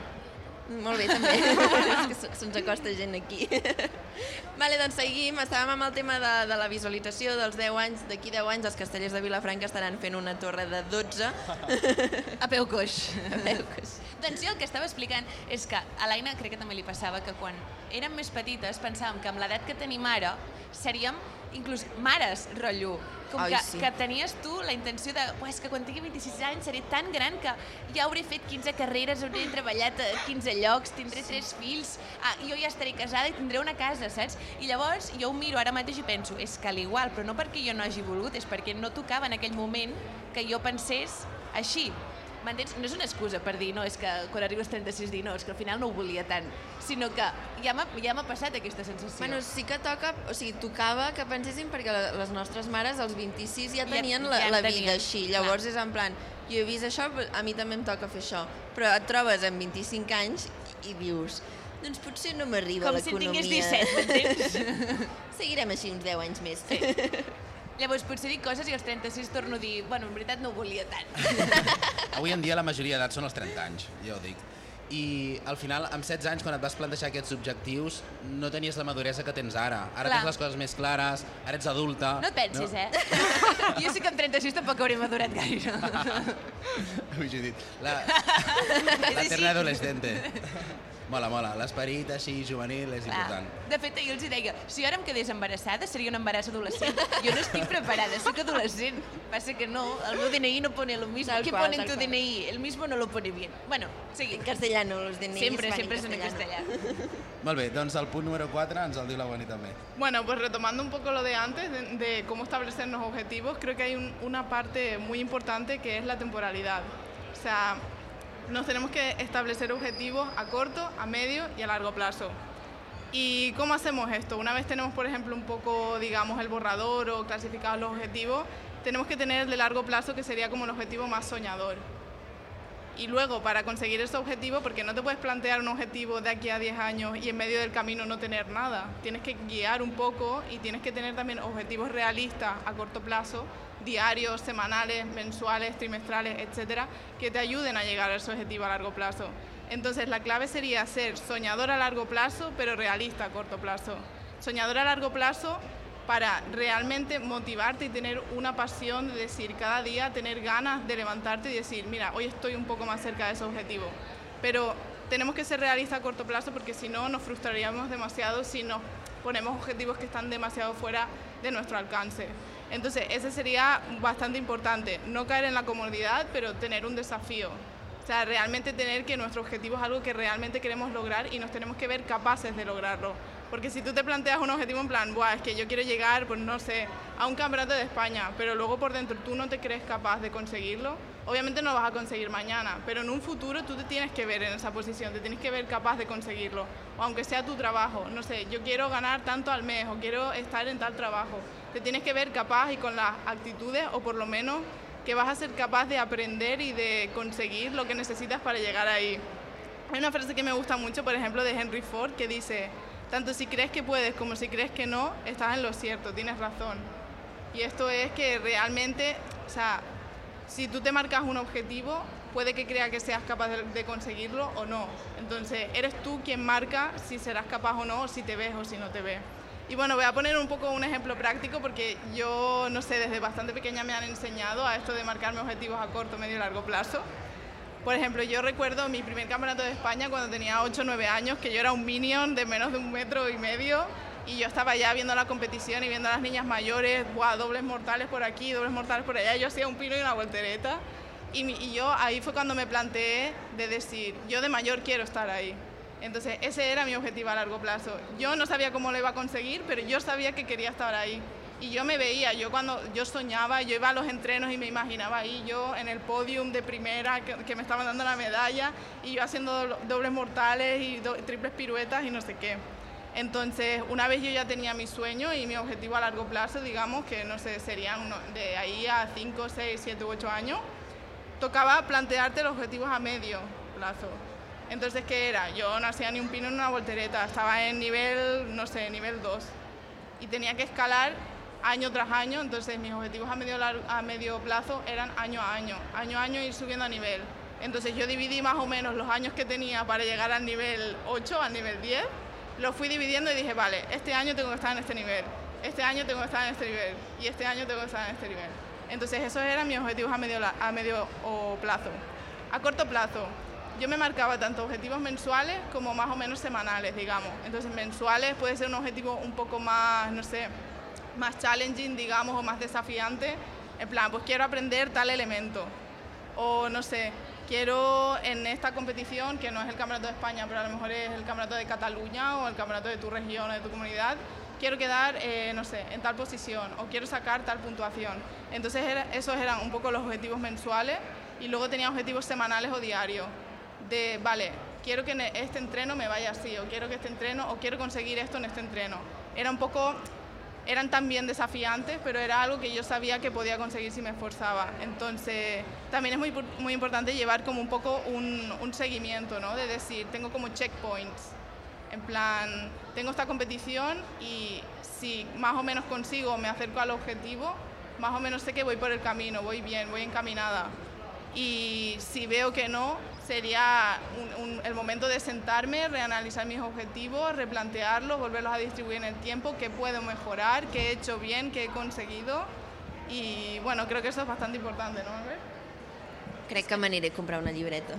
B: Molt bé, també. és que se- se'ns acosta gent aquí. vale, doncs seguim. Estàvem amb el tema de, de la visualització dels 10 anys. D'aquí 10 anys els castellers de Vilafranca estaran fent una torre de 12.
A: A peu coix. A peu coix. doncs jo el que estava explicant és que a l'Aina crec que també li passava que quan érem més petites pensàvem que amb l'edat que tenim ara seríem inclús mares, rotllo. Com
B: Ai,
A: que,
B: sí.
A: que tenies tu la intenció de "Buah, és que quan tingui 26 anys seré tan gran que ja hauré fet 15 carreres, hauré treballat a 15 llocs, tindré sí. 3 fills, ah, jo ja estaré casada i tindré una casa, saps? I llavors jo ho miro ara mateix i penso, és que l'igual, però no perquè jo no hagi volgut, és perquè no tocava en aquell moment que jo pensés així. M'entens? No és una excusa per dir, no, és que quan arribo als 36 dir, no, és que al final no ho volia tant, sinó que ja m'ha ja m'ha passat aquesta sensació.
B: Bueno, sí que toca, o sigui, tocava que pensessin perquè la- les nostres mares als 26 ja
A: Ja-
B: tenien
A: ja
B: la,
A: en
B: la
A: tenien,
B: vida així,
A: clar.
B: llavors és en plan, jo he vist això, però a mi també em toca fer això, però et trobes amb 25 anys i dius, doncs potser no m'arriba
A: Com si en
B: l'economia.
A: tingués 17,
B: m'entens? Seguirem així uns 10 anys més. Sí.
A: Llavors potser dic coses i als 36 torno a dir, bueno, en veritat no ho volia tant.
O: Avui en dia la majoria d'edat són els 30 anys, ja ho dic. I al final, amb 16 anys, quan et vas plantejar aquests objectius, no tenies la maduresa que tens ara. Ara
A: Clar.
O: tens les coses més clares, ara ets adulta.
A: No et pensis, no. eh? jo sí que amb 36 tampoc hauré madurat gaire.
O: Ui, Judit. La,
A: És
O: la
A: així.
O: eterna adolescente. Mola, mola. L'esperit així juvenil és
A: Clar.
O: important.
A: Ah, De fet, ahir els hi deia, si jo ara em quedés embarassada seria un embaràs adolescent. Jo no estic preparada, sóc adolescent. Passa que no, el meu DNI no pone lo mismo.
B: Tal
A: ¿Qué
B: cual,
A: pone en
B: tal
A: tu
B: cual.
A: DNI? El mismo no lo pone bien. Bueno, seguim.
B: En castellano, los DNIs
A: Siempre,
B: van en
A: siempre es en
B: castellano.
A: castellano.
O: Molt bé, doncs el punt número 4 ens el diu la Bonnie també.
M: Bueno, pues retomando un poco lo de antes, de, de cómo establecernos objetivos, creo que hay un- una parte muy importante que es la temporalidad. O sea, nos tenemos que establecer objetivos a corto, a medio y a largo plazo. ¿Y cómo hacemos esto? Una vez tenemos, por ejemplo, un poco, digamos, el borrador o clasificados los objetivos, tenemos que tener el de largo plazo, que sería como el objetivo más soñador. Y luego, para conseguir ese objetivo, porque no te puedes plantear un objetivo de aquí a 10 años y en medio del camino no tener nada. Tienes que guiar un poco y tienes que tener también objetivos realistas a corto plazo, diarios, semanales, mensuales, trimestrales, etcétera, que te ayuden a llegar a ese objetivo a largo plazo. Entonces, la clave sería ser soñador a largo plazo, pero realista a corto plazo. Soñador a largo plazo para realmente motivarte y tener una pasión de decir cada día, tener ganas de levantarte y decir, mira, hoy estoy un poco más cerca de ese objetivo. Pero tenemos que ser realistas a corto plazo porque si no nos frustraríamos demasiado si nos ponemos objetivos que están demasiado fuera de nuestro alcance. Entonces, ese sería bastante importante, no caer en la comodidad, pero tener un desafío. O sea, realmente tener que nuestro objetivo es algo que realmente queremos lograr y nos tenemos que ver capaces de lograrlo. Porque si tú te planteas un objetivo en plan, Buah, es que yo quiero llegar, pues no sé, a un campeonato de España, pero luego por dentro tú no te crees capaz de conseguirlo, obviamente no lo vas a conseguir mañana, pero en un futuro tú te tienes que ver en esa posición, te tienes que ver capaz de conseguirlo. O aunque sea tu trabajo, no sé, yo quiero ganar tanto al mes o quiero estar en tal trabajo, te tienes que ver capaz y con las actitudes o por lo menos que vas a ser capaz de aprender y de conseguir lo que necesitas para llegar ahí. Hay una frase que me gusta mucho, por ejemplo, de Henry Ford, que dice, tanto si crees que puedes como si crees que no, estás en lo cierto, tienes razón. Y esto es que realmente, o sea, si tú te marcas un objetivo, puede que crea que seas capaz de, de conseguirlo o no. Entonces, eres tú quien marca si serás capaz o no, o si te ves o si no te ves. Y bueno, voy a poner un poco un ejemplo práctico porque yo, no sé, desde bastante pequeña me han enseñado a esto de marcarme objetivos a corto, medio y largo plazo. Por ejemplo, yo recuerdo mi primer campeonato de España cuando tenía 8 o 9 años, que yo era un minion de menos de un metro y medio. Y yo estaba ya viendo la competición y viendo a las niñas mayores, ¡buah! Dobles mortales por aquí, dobles mortales por allá. Yo hacía un pino y una voltereta. Y, mi- y yo ahí fue cuando me planteé de decir, yo de mayor quiero estar ahí. Entonces, ese era mi objetivo a largo plazo. Yo no sabía cómo lo iba a conseguir, pero yo sabía que quería estar ahí. Y yo me veía, yo cuando yo soñaba, yo iba a los entrenos y me imaginaba ahí yo en el podium de primera que, que me estaban dando la medalla y yo haciendo do- dobles mortales y do- triples piruetas y no sé qué. Entonces, una vez yo ya tenía mi sueño y mi objetivo a largo plazo, digamos que no sé, serían uno- de ahí a 5, 6, 7 u 8 años, tocaba plantearte los objetivos a medio plazo. Entonces, ¿qué era? Yo no hacía ni un pino en una voltereta, estaba en nivel, no sé, nivel 2. Y tenía que escalar año tras año, entonces mis objetivos a medio, lar- a medio plazo eran año a año, año a año ir subiendo a nivel. Entonces yo dividí más o menos los años que tenía para llegar al nivel 8, al nivel 10, lo fui dividiendo y dije, vale, este año tengo que estar en este nivel, este año tengo que estar en este nivel y este año tengo que estar en este nivel. Entonces esos eran mis objetivos a medio, la- a medio o plazo. A corto plazo, yo me marcaba tanto objetivos mensuales como más o menos semanales, digamos. Entonces mensuales puede ser un objetivo un poco más, no sé, más challenging, digamos, o más desafiante. En plan, pues quiero aprender tal elemento. O no sé, quiero en esta competición, que no es el Campeonato de España, pero a lo mejor es el Campeonato de Cataluña o el Campeonato de tu región o de tu comunidad, quiero quedar, eh, no sé, en tal posición o quiero sacar tal puntuación. Entonces era- esos eran un poco los objetivos mensuales y luego tenía objetivos semanales o diarios. De, vale, quiero que en este entreno me vaya así, o quiero que este entreno, o quiero conseguir esto en este entreno. Era un poco eran también desafiantes, pero era algo que yo sabía que podía conseguir si me esforzaba. Entonces, también es muy, pu- muy importante llevar como un poco un, un seguimiento, ¿no? De decir, tengo como checkpoints. En plan, tengo esta competición y si más o menos consigo, me acerco al objetivo, más o menos sé que voy por el camino, voy bien, voy encaminada. Y si veo que no, sería un- un- el momento de sentarme, reanalizar mis objetivos, replantearlos, volverlos a distribuir en el tiempo, qué puedo mejorar, qué he hecho bien, qué he conseguido. Y bueno, creo que eso es bastante importante, ¿no, Albert?
B: Crec que m'aniré a comprar una llibreta.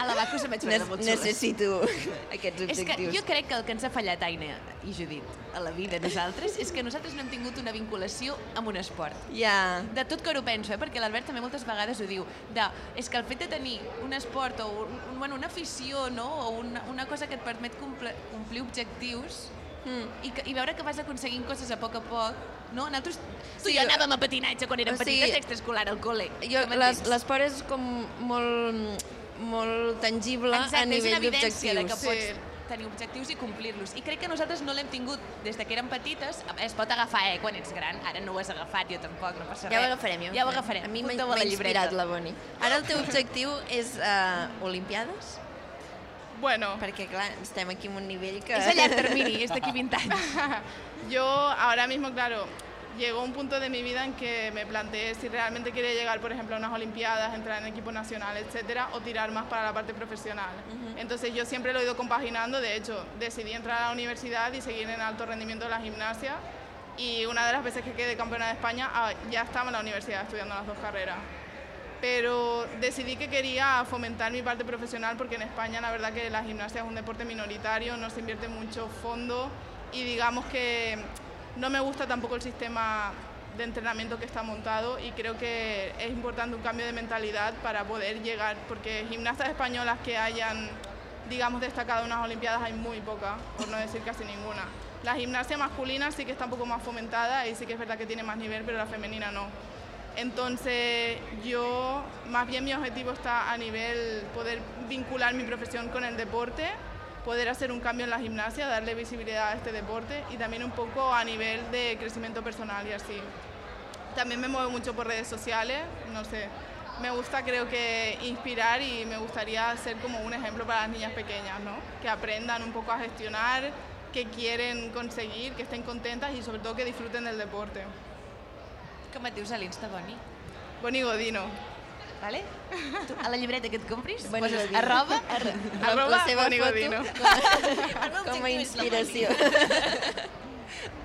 A: A la Bacu se m'haig
B: Ne
A: molt xules.
B: necessito aquests
A: És que
B: objectius.
A: jo crec que el que ens ha fallat, Aina i Judit, a la vida a nosaltres, és que nosaltres no hem tingut una vinculació amb un esport.
B: Ja.
A: De tot que ho penso, eh? perquè l'Albert també moltes vegades ho diu, de, és que el fet de tenir un esport o un, un- bueno, una afició no? o una, una cosa que et permet comple, complir objectius mm. i, que, i veure que vas aconseguint coses a poc a poc, no? Nosaltres, tu sí, i jo
B: jo-
A: anàvem a patinatge quan érem
B: O sigui,
A: petites, sí, extraescolar al col·le.
B: Jo,
A: Que
B: les-
A: m'entens?
B: l'esport és com molt, molt tangible
A: Exacte,
B: a nivell
A: és una evidència de que
B: d'objectius.
A: pots tenir objectius i complir-los. I crec que nosaltres no l'hem tingut des de que érem petites. Es pot agafar, eh, quan ets gran. Ara no ho has agafat, jo tampoc, no passa
B: Ja ho
A: res.
B: agafarem, ja ho
A: Eh, ja ho
B: agafarem.
A: agafarem.
B: A mi m'ha-
A: Apunteu a la
B: m'ha
A: llibreta.
B: inspirat la Boni. Ara el teu objectiu és uh, Olimpiades?
M: Bueno.
B: Perquè, clar, estem aquí en un nivell que...
M: Es Yo ahora mismo, claro, llegó un punto de mi vida en que me planteé si realmente quería llegar, por ejemplo, a unas Olimpiadas, entrar en equipo nacional, etcétera, o tirar más para la parte profesional. Entonces yo siempre lo he ido compaginando, de hecho, decidí entrar a la universidad y seguir en alto rendimiento en la gimnasia y una de las veces que quedé campeona de España ah, ya estaba en la universidad estudiando las dos carreras pero decidí que quería fomentar mi parte profesional porque en España la verdad que la gimnasia es un deporte minoritario, no se invierte mucho fondo y digamos que no me gusta tampoco el sistema de entrenamiento que está montado y creo que es importante un cambio de mentalidad para poder llegar, porque gimnastas españolas que hayan, digamos, destacado unas Olimpiadas hay muy pocas, por no decir casi ninguna. La gimnasia masculina sí que está un poco más fomentada y sí que es verdad que tiene más nivel, pero la femenina no. Entonces, yo, más bien mi objetivo está a nivel poder vincular mi profesión con el deporte, poder hacer un cambio en la gimnasia, darle visibilidad a este deporte y también un poco a nivel de crecimiento personal y así. También me muevo mucho por redes sociales, no sé. Me gusta, creo que, inspirar y me gustaría ser como un ejemplo para las niñas pequeñas, ¿no? Que aprendan un poco a gestionar, que quieren conseguir, que estén contentas y sobre todo que disfruten del deporte.
A: Com et dius a l'Insta, Boni?
M: Boni Godino.
A: Vale? Tu, a la llibreta que et compris,
B: Boni
A: poses
B: Godino.
A: arroba, arro-
B: La- la seva
A: Boni
B: foto
A: Godino.
B: com-
A: L'objectiu és
B: com a
A: la Boni.
B: inspiració.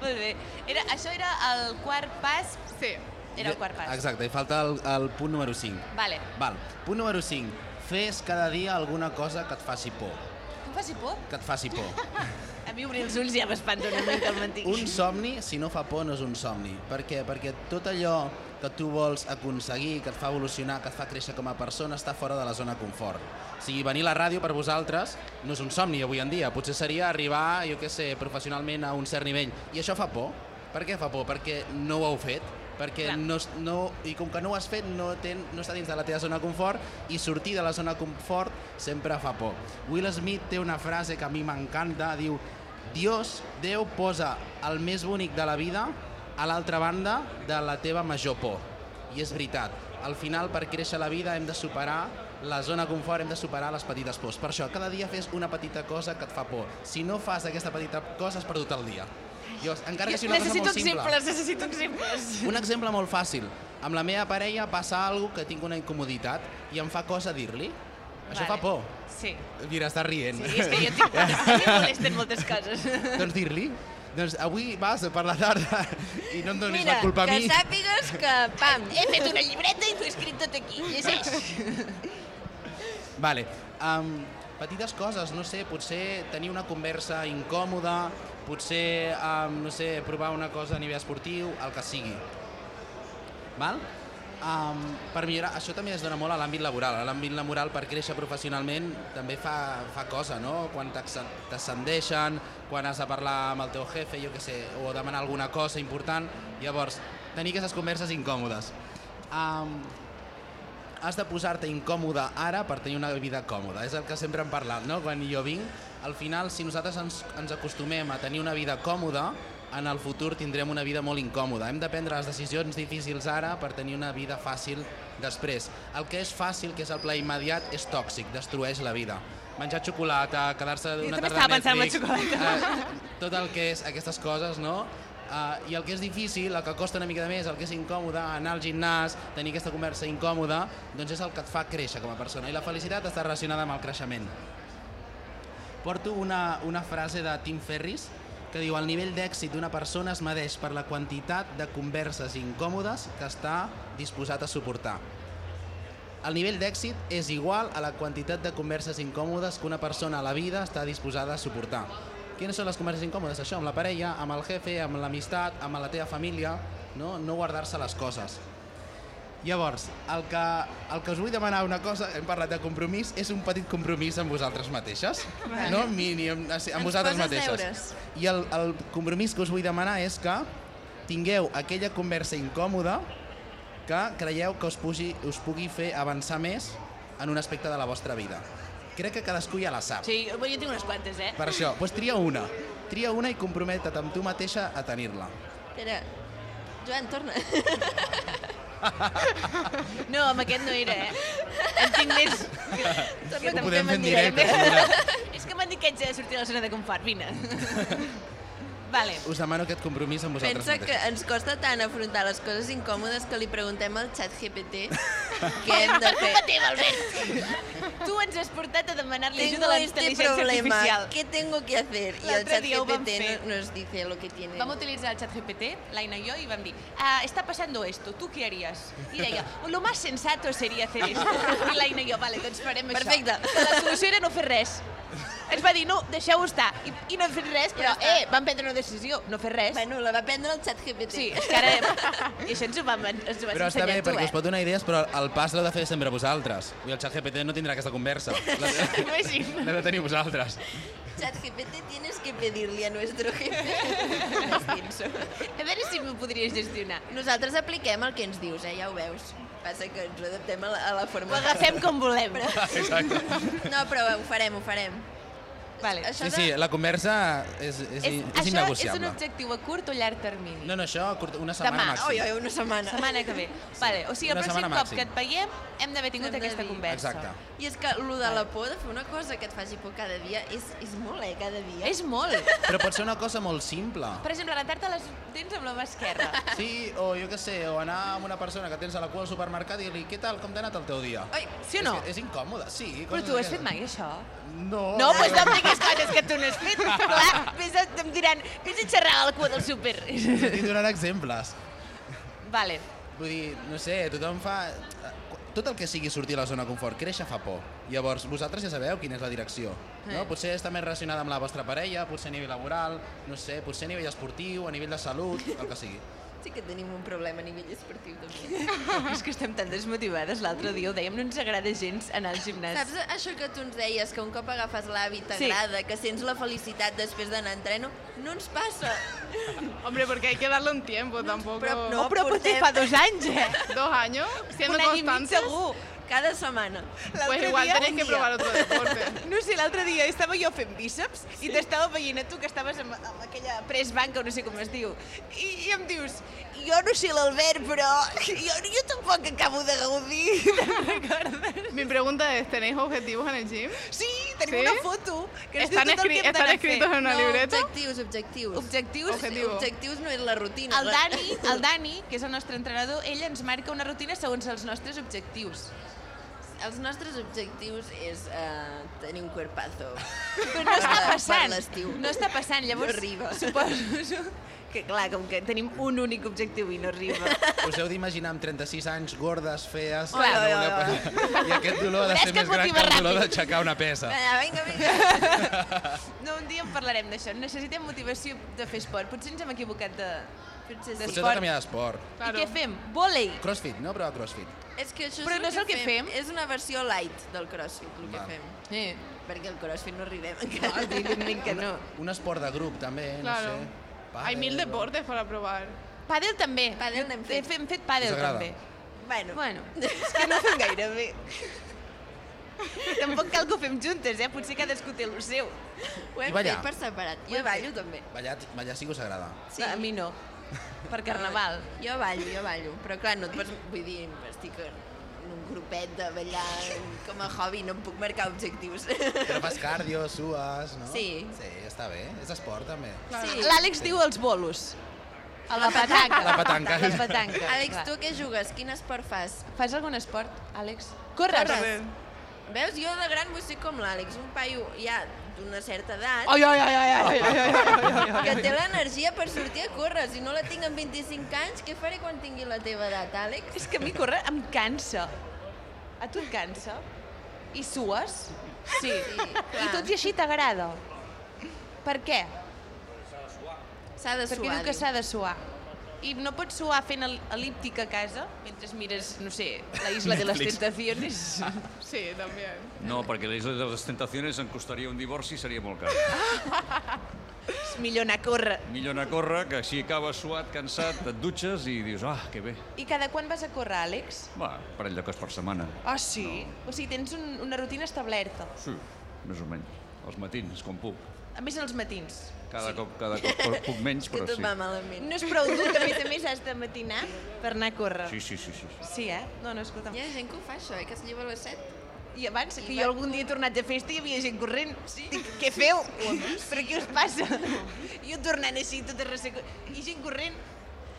A: Molt bé. Era, això era el quart pas?
M: Sí.
A: Era el quart pas.
K: Exacte, i falta el, el punt número 5.
A: Vale.
K: Val. Punt número 5. Fes cada dia alguna cosa que et faci por.
A: Que em faci por?
K: Que et faci por.
A: A mi obrir els ulls ja m'espanta una mica al matí.
K: Un somni, si no fa por, no és un somni. Per què? Perquè tot allò que tu vols aconseguir, que et fa evolucionar, que et fa créixer com a persona, està fora de la zona de confort. O sigui, venir a la ràdio per vosaltres no és un somni avui en dia. Potser seria arribar, jo què sé, professionalment a un cert nivell. I això fa por. Per què fa por? Perquè no ho heu fet. Perquè
O: Clar.
K: no, es- no, i com que no ho has fet, no, ten, no està dins de la teva zona de confort i sortir de la zona de confort sempre fa por. Will Smith té una frase que a mi m'encanta, diu Dios, Déu posa el més bonic de la vida a l'altra banda de la teva major por. I és veritat, al final per créixer a la vida hem de superar la zona confort, hem de superar les petites pors. Per això, cada dia fes una petita cosa que et fa por. Si no fas aquesta petita cosa, has perdut el dia. Llavors, encara que sigui una
B: necessito
K: cosa molt simple.
B: exemples, necessito exemples.
K: Un exemple molt fàcil. Amb la meva parella passa alguna que tinc una incomoditat i em fa cosa dir-li. Això fa
B: Vale.
K: por.
A: Sí.
K: Mira, està rient.
A: Sí, és que jo tinc... A mi em molesten moltes coses.
K: doncs dir-li. Doncs avui vas per la tarda i no em donis
B: Mira,
K: la culpa a
B: que
K: mi.
B: sàpigues que, pam,
A: he fet una llibreta i t'ho he escrit tot aquí. Llegeix.
K: Vale. Um, petites coses, no sé, potser tenir una conversa incòmoda, potser, um, no sé, provar una cosa a nivell esportiu, el que sigui. Val? Um, per millorar, això també es dona molt a l'àmbit laboral. A l'àmbit laboral, per créixer professionalment, també fa, fa cosa, no? Quan t'acce- t'ascendeixen, quan has de parlar amb el teu jefe, jo què sé, o demanar alguna cosa important. Llavors, tenir aquestes converses incòmodes. Um, has de posar-te incòmode ara per tenir una vida còmoda. És el que sempre hem parlat, no? Quan jo vinc, al final, si nosaltres ens, ens acostumem a tenir una vida còmoda, en el futur tindrem una vida molt incòmoda. Hem de prendre les decisions difícils ara per tenir una vida fàcil després. El que és fàcil, que és el pla immediat, és tòxic, destrueix la vida. Menjar xocolata, quedar-se
A: Jo
K: una
A: també
K: tarda a
A: estava pensant en la
K: Netflix...
A: xocolata.
K: eh, tot el que és aquestes coses, no? Uh, I el que és difícil, el que costa una mica de més, el que és incòmode, anar al gimnàs, tenir aquesta conversa incòmoda, doncs és el que et fa créixer com a persona. I la felicitat està relacionada amb el creixement. Porto una, una frase de Tim Ferris que diu el nivell d'èxit d'una persona es medeix per la quantitat de converses incòmodes que està disposat a suportar. El nivell d'èxit és igual a la quantitat de converses incòmodes que una persona a la vida està disposada a suportar. Quines són les converses incòmodes? Això, amb la parella, amb el jefe, amb l'amistat, amb la teva família, no, no guardar-se les coses. Llavors, el que, el que us vull demanar una cosa, hem parlat de compromís, és un petit compromís amb vosaltres mateixes,
Q: Vale.
K: no? Mini, amb, sí,
Q: Ens
K: amb vosaltres
Q: poses
K: mateixes.
Q: deures.
K: I el, el compromís que us vull demanar és que tingueu aquella conversa incòmoda que creieu que us pugui, us pugui fer avançar més en un aspecte de la vostra vida. Crec que cadascú ja la sap.
A: Sí, bueno, jo tinc unes quantes, eh?
K: Per això, doncs tria una. Tria una i comprometre't amb tu mateixa a tenir-la.
B: Espera, Joan, torna. no, amb aquest no era, eh? En tinc més...
K: Ho
A: També- també
K: podem fer en
A: m'han dit,
K: directe,
A: també.
K: segurament.
A: És que m'han dit que haig de sortir de la zona de confort, vine. vale.
K: Us demano aquest compromís amb vosaltres
B: Pensa que
K: mateixos.
B: ens costa tant afrontar les coses incòmodes que li preguntem al xat GPT què hem de fer.
A: Culpa teva, Albert! tu ens has portat a demanar-li
B: Tengo
A: ajuda a la
B: este
A: intel·ligència
B: problema,
A: artificial.
B: ¿qué tengo que hacer? I el
A: L'altre
B: xat
A: dia ho vam
B: GPT
A: fer.
B: no, nos dice lo que tiene.
A: Vam utilitzar el xat GPT, l'Aina i jo, i vam dir, ah, está pasando esto, ¿tú qué harías? I deia, lo más sensato sería hacer esto. I l'Aina i jo, vale, doncs farem
B: Perfecte.
A: això. La solució era no fer res. Ens va dir, no, deixeu-ho estar. I, I no he fet res, però, eh, vam prendre una decisió, no fer res.
B: Bueno, la va prendre el xat GPT.
A: Sí, és que ara... I això ens ho vam, ens ho vas
K: Però està bé,
A: ensenyar tu,
K: perquè
A: eh?
K: us pot donar idees, però el pas l'heu de fer sempre vosaltres. I el xat GPT no tindrà aquesta conversa. L'heu
A: Imagina.
K: de tenir vosaltres.
B: Chat GPT tienes que pedirle a nuestro jefe.
A: a veure si m'ho podries gestionar.
B: Nosaltres apliquem el que ens dius, eh? ja ho veus. Passa que ens ho adaptem a la, a la forma.
A: Ho agafem com volem.
K: Exacte.
B: No, però ho farem, ho farem.
A: Vale.
K: Sí, sí, la conversa és, és, és, és
A: això és un
K: innegociable.
A: objectiu a curt o llarg termini?
K: No, no, això a curt- una setmana
A: Demà.
K: màxim.
B: una setmana.
A: Setmana que ve. Vale, o sigui, el
K: Una
A: pròxim
K: setmana
A: cop
K: màxim.
A: que et veiem hem d'haver tingut
B: Hem de
A: aquesta
B: dir.
A: conversa.
K: Exacte.
B: I és que lo de la por de fer una cosa que et faci por cada dia és, és molt, eh, cada dia.
A: És molt.
K: Però pot ser una cosa molt simple.
A: Per exemple, rentar-te les dents amb la mà esquerra.
K: Sí, o jo què sé, o anar amb una persona que tens a la cua al supermercat i dir-li què tal, com t'ha anat el teu dia?
A: Ai, sí o no?
K: És, que és incòmode, sí.
A: Però
K: coses
A: tu ho has
K: d'aquestes.
A: fet mai, això?
K: No.
A: No, doncs no em diguis coses que tu no has fet. Clar, vés a, em diran, vés a xerrar a la cua del súper.
K: Estic donant exemples.
A: Vale.
K: Vull dir, no sé, tothom fa... Tot el que sigui sortir a la zona de confort, créixer fa por. Llavors, vosaltres ja sabeu quina és la direcció. No?
A: Eh.
Q: Sí.
K: Potser està més relacionada amb la vostra parella, potser a nivell laboral, no sé, potser a nivell esportiu, a nivell de salut, el que sigui.
B: Sí que tenim un problema a nivell esportiu, també.
A: És que estem tan desmotivades. L'altre dia ho dèiem, no ens agrada gens anar al gimnàs.
B: Saps això que tu ens deies, que un cop agafes l'hàbit
A: Sí.
B: t'agrada, que sents la felicitat després d'anar a entreno? No ens passa.
M: Hombre, porque hay que darle un tiempo, tampoco...
B: Oh. Pero no, Oh, pero pues portem- sí, fa dos anys, eh?
M: ¿Dos años? Siendo
B: Un any i mig
M: constantes.
B: segur. cada semana.
M: Pues igual tenéis que probar otro deporte.
A: No sé, l'altre dia estava jo fent bíceps i t'estava veient a tu que estaves amb, amb aquella press banca, no sé com es diu, i, i em dius, jo no sé l'Albert, però jo, jo tampoc acabo de gaudir.
M: Mi pregunta es, ¿tenéis objetivos en el gym?
A: Sí, tenim
M: ¿Sí?
A: una foto que ens
M: Estan
A: diu tot el
M: escri-
A: que hem
M: estan
A: d'anar a fer.
M: escritos en una libreta?
B: Objectius, objectius.
A: Objectius,
B: Objectiu. objectius no és la rutina.
A: El
B: la-
A: Dani, el Dani, que és el nostre entrenador, ell ens marca una rutina segons els nostres objectius.
B: Els nostres objectius és eh, tenir un cuerpazo.
A: Però no està passant.
B: Per l'estiu.
A: No està passant, llavors
B: No arriba.
A: suposo que clar, com que tenim un únic objectiu i no arriba.
K: Us heu d'imaginar amb 36 anys, gordes, fees...
A: Oi,
K: que
A: oi,
K: voleu
A: oi,
K: pas- I aquest dolor ha de ser
A: Ves
K: més
A: que
K: gran que
A: motiva
K: el dolor
A: ràpid. Eh,
K: d'aixecar una pesa.
A: Vinga, vinga, vinga. No, un dia en parlarem d'això. Necessitem motivació de fer esport. Potser ens hem equivocat de... Potser
K: Potser heu de canviar d'esport.
A: I què fem? Volei.
K: Crossfit, no? Però crossfit.
B: És que això
A: Però
B: és
A: no és el que fem.
B: És una versió light del crossfit, el que
K: Va.
B: fem.
A: Sí.
B: Perquè el crossfit no arribem encara.
A: evidentment que no.
K: Un esport de grup, també,
M: Claro.
K: no sé.
M: Hay mil
K: Pádel,
M: deportes para probar.
A: Pàdel també. Pàdel n'hem fet. Hem fet pàdel
K: Us agrada?
A: també.
B: Bueno.
A: bueno, és que no fem gaire bé. Tampoc cal que ho fem juntes, eh? Potser cadascú té el seu.
B: Ho
K: hem I ballar? fet per
B: separat. Jo ballo també.
K: Ballar, ballar sí que us agrada.
A: Sí. A mi no. Per carnaval.
B: Jo ballo, jo ballo. Però clar, no et pots... Vull dir, estic en un grupet de ballar com a hobby, no em puc marcar objectius.
K: Però fas cardio, sues, no?
B: Sí.
K: Sí, està bé. És esport, també.
B: Sí.
A: L'Àlex diu els bolos. A la petanca.
K: La petanca.
A: La petanca.
B: Àlex,
A: clar.
B: tu què jugues? Quin esport fas?
A: Fas algun esport, Àlex? Corres?
B: Corres. Veus, jo de gran vull ser com l'Àlex, un paio ja d'una certa edat
A: Ai, ai, ai, ai, ai, ai, ai, ai, ai, ai.
B: que té l'energia per sortir a córrer. Si no la tinc amb 25 anys, què faré quan tingui la teva edat, Àlex?
A: És que a mi córrer em cansa. A tu et cansa? I sues? Sí. I tot i així t'agrada. Per què?
B: S'ha de
A: Perquè
B: suar,
A: diu que
B: diu.
A: s'ha de suar. I no pots suar fent el- elíptica a casa mentre mires, no sé, la isla de les
H: Netflix.
A: tentaciones.
M: Sí, también.
H: No, perquè la isla de les tentacions em costaria un divorci i seria molt car.
A: És millor anar a córrer.
H: Millor anar a córrer, que així acabes suat, cansat, et dutxes i dius, ah, que bé.
A: I cada quan vas a córrer, Àlex?
H: Va, parell de cops per setmana.
A: Ah, sí? O sigui, tens un, una rutina establerta.
H: Sí, més o menys. Els matins, com puc.
A: A més, els matins.
H: Cada cop, cada cop puc- puc menys, però sí.
B: malament.
A: No és prou dur, que a més a més has de matinar per anar a córrer.
H: Sí, sí, sí, sí. sí.
A: Sí, eh? No, no, escolta'm.
B: Hi ha gent que ho fa, això, eh? que es lleva a les 7.
A: I abans, que jo algun dia he tornat de festa i hi havia gent corrent. Sí? Dic, què feu? Però què us passa? Jo tornant així, tota resseca... I gent corrent.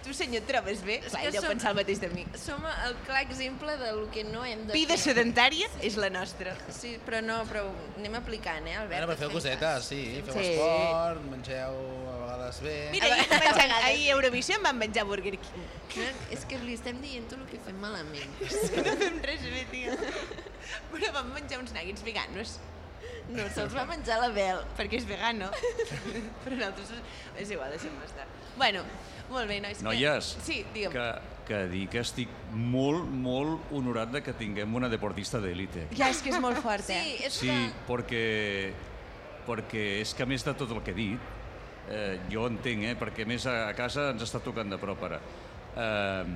A: Tu, senyor, et trobes bé? Va,
B: que
A: ell deu
B: som-
A: pensar el mateix de mi.
B: Som el clar exemple del que no hem de
A: Vida
B: fer.
A: sedentària és la nostra.
B: Sí, però no, però anem aplicant, eh, Albert?
K: Bueno, però feu
B: Fem
K: cosetes, sí. Feu
A: Sí.
K: esport, mengeu a vegades bé.
A: Mira, ahir, em vaig a, ahir a Eurovisió em van menjar Burger King.
B: pas. No, és que li estem dient tot el que fem malament.
A: No fem res bé, tia. Però vam menjar uns nuggets veganos.
B: No, se'ls va menjar la Bel.
A: Perquè és vegano. Però nosaltres... És igual, deixem-me estar. Bueno, molt bé, nois. que-
H: Noies,
A: Sí, digue'm.
H: que, que dir que estic molt, molt honorat de que tinguem una deportista d'élite.
A: Ja, és que és molt fort, eh?
B: Sí, és
H: Sí, perquè, perquè és que a més de tot el que he dit, eh, jo entenc, eh, perquè a més a, a casa ens està tocant de prop ara. Eh,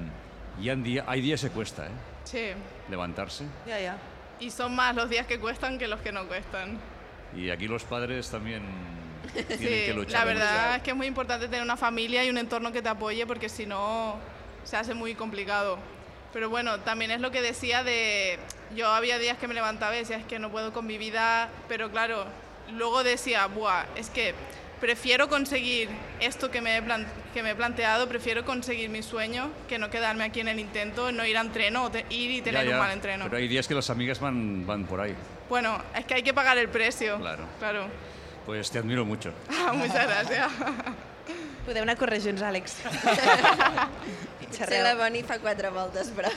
H: hi ha dia, hay días que cuesta, eh,
M: Sí.
H: levantarse.
A: Ya, ya.
M: Y son más los días que cuestan que los que no cuestan.
H: Y aquí los padres también tienen
M: Sí,
H: que luchar.
M: la verdad
H: demasiado.
M: es que es muy importante tener una familia y un entorno que te apoye porque si no se hace muy complicado. Pero bueno, también es lo que decía de... Yo había días que me levantaba y decía, es que no puedo con mi vida, pero claro, luego decía, buah, es que prefiero conseguir esto que me he, plan- que me he planteado, prefiero conseguir mi sueño que no quedarme aquí en el intento, no ir a entreno o te- ir y tener
H: Ya, ya,
M: un mal entreno.
H: Pero hay días que las amigas van, van por ahí.
M: Bueno, es que hay que pagar el precio.
H: Claro.
M: Claro.
H: Pues te admiro mucho.
M: Muchas gracias.
A: Podeu anar a córrer junts, Àlex.
B: Potser la Boni fa quatre voltes, però...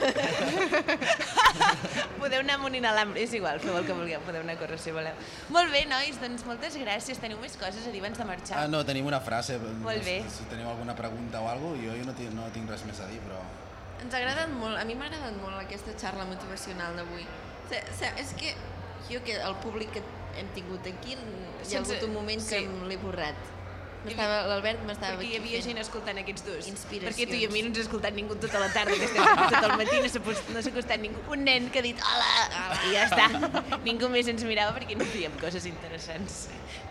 A: Podeu anar amunt i anar a l'ambre, és igual, feu el que vulgueu, podeu anar a córrer si voleu. Molt bé, nois, doncs moltes gràcies. Teniu més coses a dir abans de marxar?
K: Ah, no, tenim una frase.
A: Molt bé.
K: Si, si teniu alguna pregunta o alguna cosa, jo, jo no, tinc, no tinc res més a dir, però...
B: Ens ha agradat molt, a mi m'ha agradat molt aquesta xarra motivacional d'avui. Se- se- És que jo que el públic que hem tingut aquí, hi ha
A: Sense-
B: hagut un moment
A: sí.
B: que em l'he borrat. L'Albert m'estava...
A: Perquè hi havia gent escoltant aquests dos. Perquè tu i a
B: Inspiracions.
A: mi no ens ha escoltat ningú tota la tarda, que estem aquí tot el matí, no s'ha post- no s'ha acostat ningú. Un nen que ha dit hola, i ja està. Ningú més ens mirava perquè no fèiem coses interessants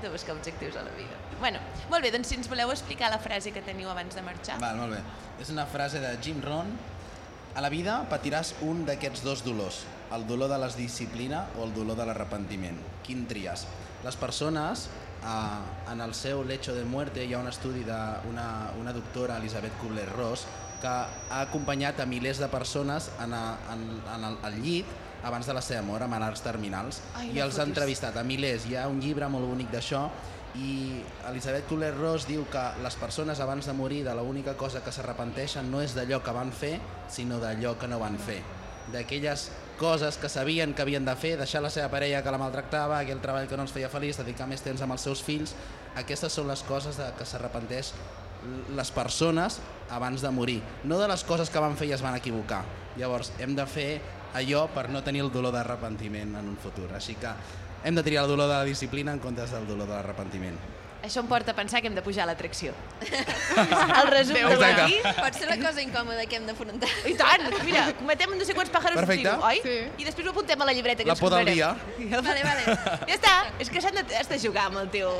A: de buscar objectius a la vida. Bueno, molt bé, doncs si ens voleu explicar la frase que teniu abans de marxar.
K: Val, molt bé. És una frase de Jim Rohn. A la vida patiràs un d'aquests dos dolors, el dolor de la disciplina o el dolor de l'arrepentiment. Quin tries? Les persones, eh, en el seu lecho de muerte, hi ha un estudi d'una una doctora, Elisabeth Kubler-Ross, que ha acompanyat a milers de persones en, a, en, en el, al llit abans de la seva mort, amb malalts terminals,
O: Ai,
K: i
O: no
K: els ha
O: fotis.
K: entrevistat a milers. Hi ha un llibre molt bonic d'això, i Elisabet Kubler-Ross diu que les persones abans de morir de l'única cosa que s'arrepenteixen no és d'allò que van fer, sinó d'allò que no van fer. D'aquelles coses que sabien que havien de fer, deixar la seva parella que la maltractava, aquell treball que no els feia feliç, dedicar més temps amb els seus fills, aquestes són les coses de que s'arrepenteix l- les persones abans de morir, no de les coses que van fer i es van equivocar. Llavors, hem de fer allò per no tenir el dolor d'arrepentiment en un futur. Així que hem de triar el dolor de la disciplina en comptes del dolor de l'arrepentiment.
A: Això em porta a pensar que hem de pujar a l'atracció. El resum
K: Déu Exacte.
A: d'aquí...
B: Pot ser la cosa incòmoda que hem d'afrontar.
A: I tant! Mira, cometem no sé quants pàjaros d'un
K: Perfecte.
A: tiro, oi? Sí. I després ho apuntem a la llibreta que
K: La
A: ens
K: por del
A: comprarem. Vale, vale. Ja està. És que s'han de, has de jugar amb el teu,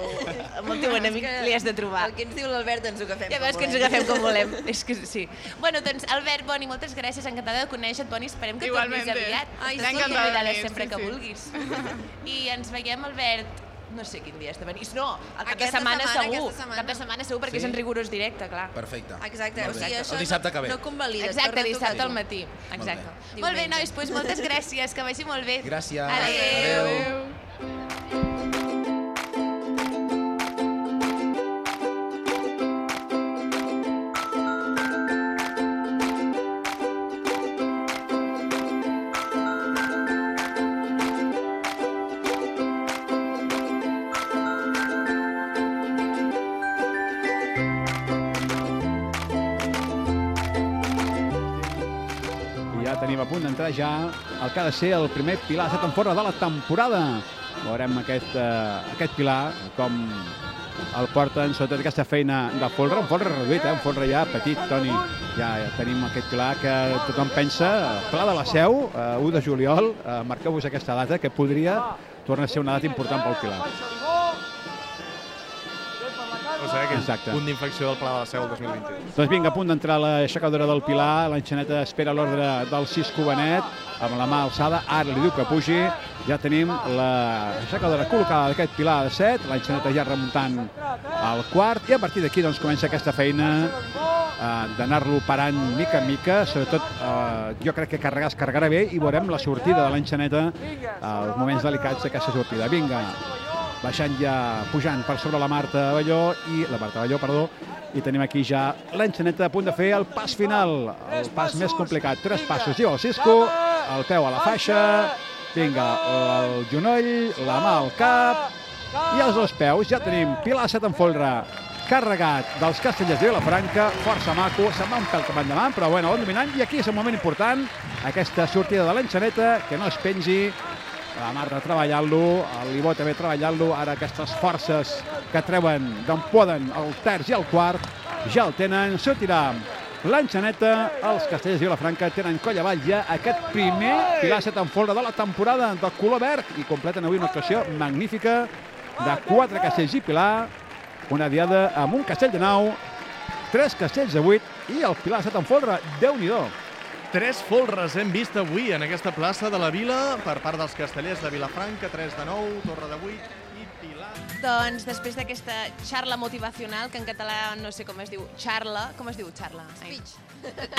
A: amb el teu
B: És
A: enemic,
B: que
A: li has de trobar.
B: El que ens diu l'Albert ens ho agafem
A: Ja veus que ens agafem com volem. És que sí. Bueno, doncs, Albert, Boni, moltes gràcies. Encantada de conèixer-te, Boni. Esperem que
M: Igualmente.
A: tornis aviat.
M: Ai,
A: Estàs molt
M: encantada de
A: convidada
M: venir,
A: sempre
M: sí,
A: que
M: sí.
A: vulguis. I ens veiem, Albert, no sé quin dia has de venir. No, el cap de
B: Aquesta
A: setmana,
B: setmana,
A: segur.
B: aquesta setmana.
A: Cap de setmana segur perquè
K: Sí?
A: és en rigorós directe, clar.
K: Perfecte.
B: Exacte,
K: Molt
B: o sigui,
K: bé.
B: això
K: el dissabte que ve.
B: no convalides,
A: Exacte,
B: torna a
A: dissabte
B: tocar-ho.
A: al matí.
K: Molt bé.
A: Exacte. Molt bé, molt bé nois, doncs moltes gràcies, que vagi molt bé.
K: Gràcies.
A: Adéu.
K: Adéu.
I: I ja tenim a punt d'entrar ja el que ha de ser el primer pilar estat en forma de la temporada. Veurem aquest, eh, aquest pilar com el porten, sobretot aquesta feina de folre, un folre reduït, eh? un folre ja petit, Toni. Ja, ja tenim aquest pilar que tothom pensa, eh, Pla de la Seu, eh, 1 de juliol, eh, marqueu-vos aquesta data, que podria tornar a ser una data important pel pilar.
J: O sigui, aquell
I: Exacte.
J: punt d'inflexió del Pla de la Seu 2021.
I: Doncs vinga, a punt d'entrar a l'aixecadora del Pilar, l'enxaneta espera l'ordre del sis cubanet, amb la mà alçada, ara li diu que pugi, ja tenim l'aixecadora col·locada d'aquest Pilar de 7, l'enxaneta ja remuntant al quart, i a partir d'aquí doncs, comença aquesta feina eh, d'anar-lo parant mica en mica, sobretot eh, jo crec que carregar es carregarà bé i veurem la sortida de l'enxaneta als moments delicats d'aquesta sortida. Vinga, baixant ja, pujant per sobre la Marta Balló i la Marta Balló, perdó, i tenim aquí ja l'enxaneta a punt de fer el pas final, el pas més complicat, tres passos, diu el Cisco, el peu a la faixa, vinga, el genoll, la mà al cap, i els dos peus ja tenim Pilar Set en folre, carregat dels castellers de Vilafranca, força maco, se'n va un pèl cap endavant, però bueno, el dominant, i aquí és el moment important, aquesta sortida de l'enxaneta, que no es pengi, la Marta treballant-lo, el Libó també treballant-lo, ara aquestes forces que treuen d'on poden el terç i el quart, ja el tenen, sortirà l'enxaneta, els castells de Vilafranca tenen coll avall ja aquest primer pilar set en folre de la temporada de color verd i completen avui una actuació magnífica de quatre castells i pilar, una diada amb un castell de nou, tres castells de vuit i el pilar set en folre, Déu-n'hi-do.
J: Tres folres hem vist avui en aquesta plaça de la Vila per part dels castellers de Vilafranca, 3 de 9, Torre de 8 i Pilar.
A: Doncs després d'aquesta xarla motivacional, que en català no sé com es diu, xarla, com es diu xarla? Ai.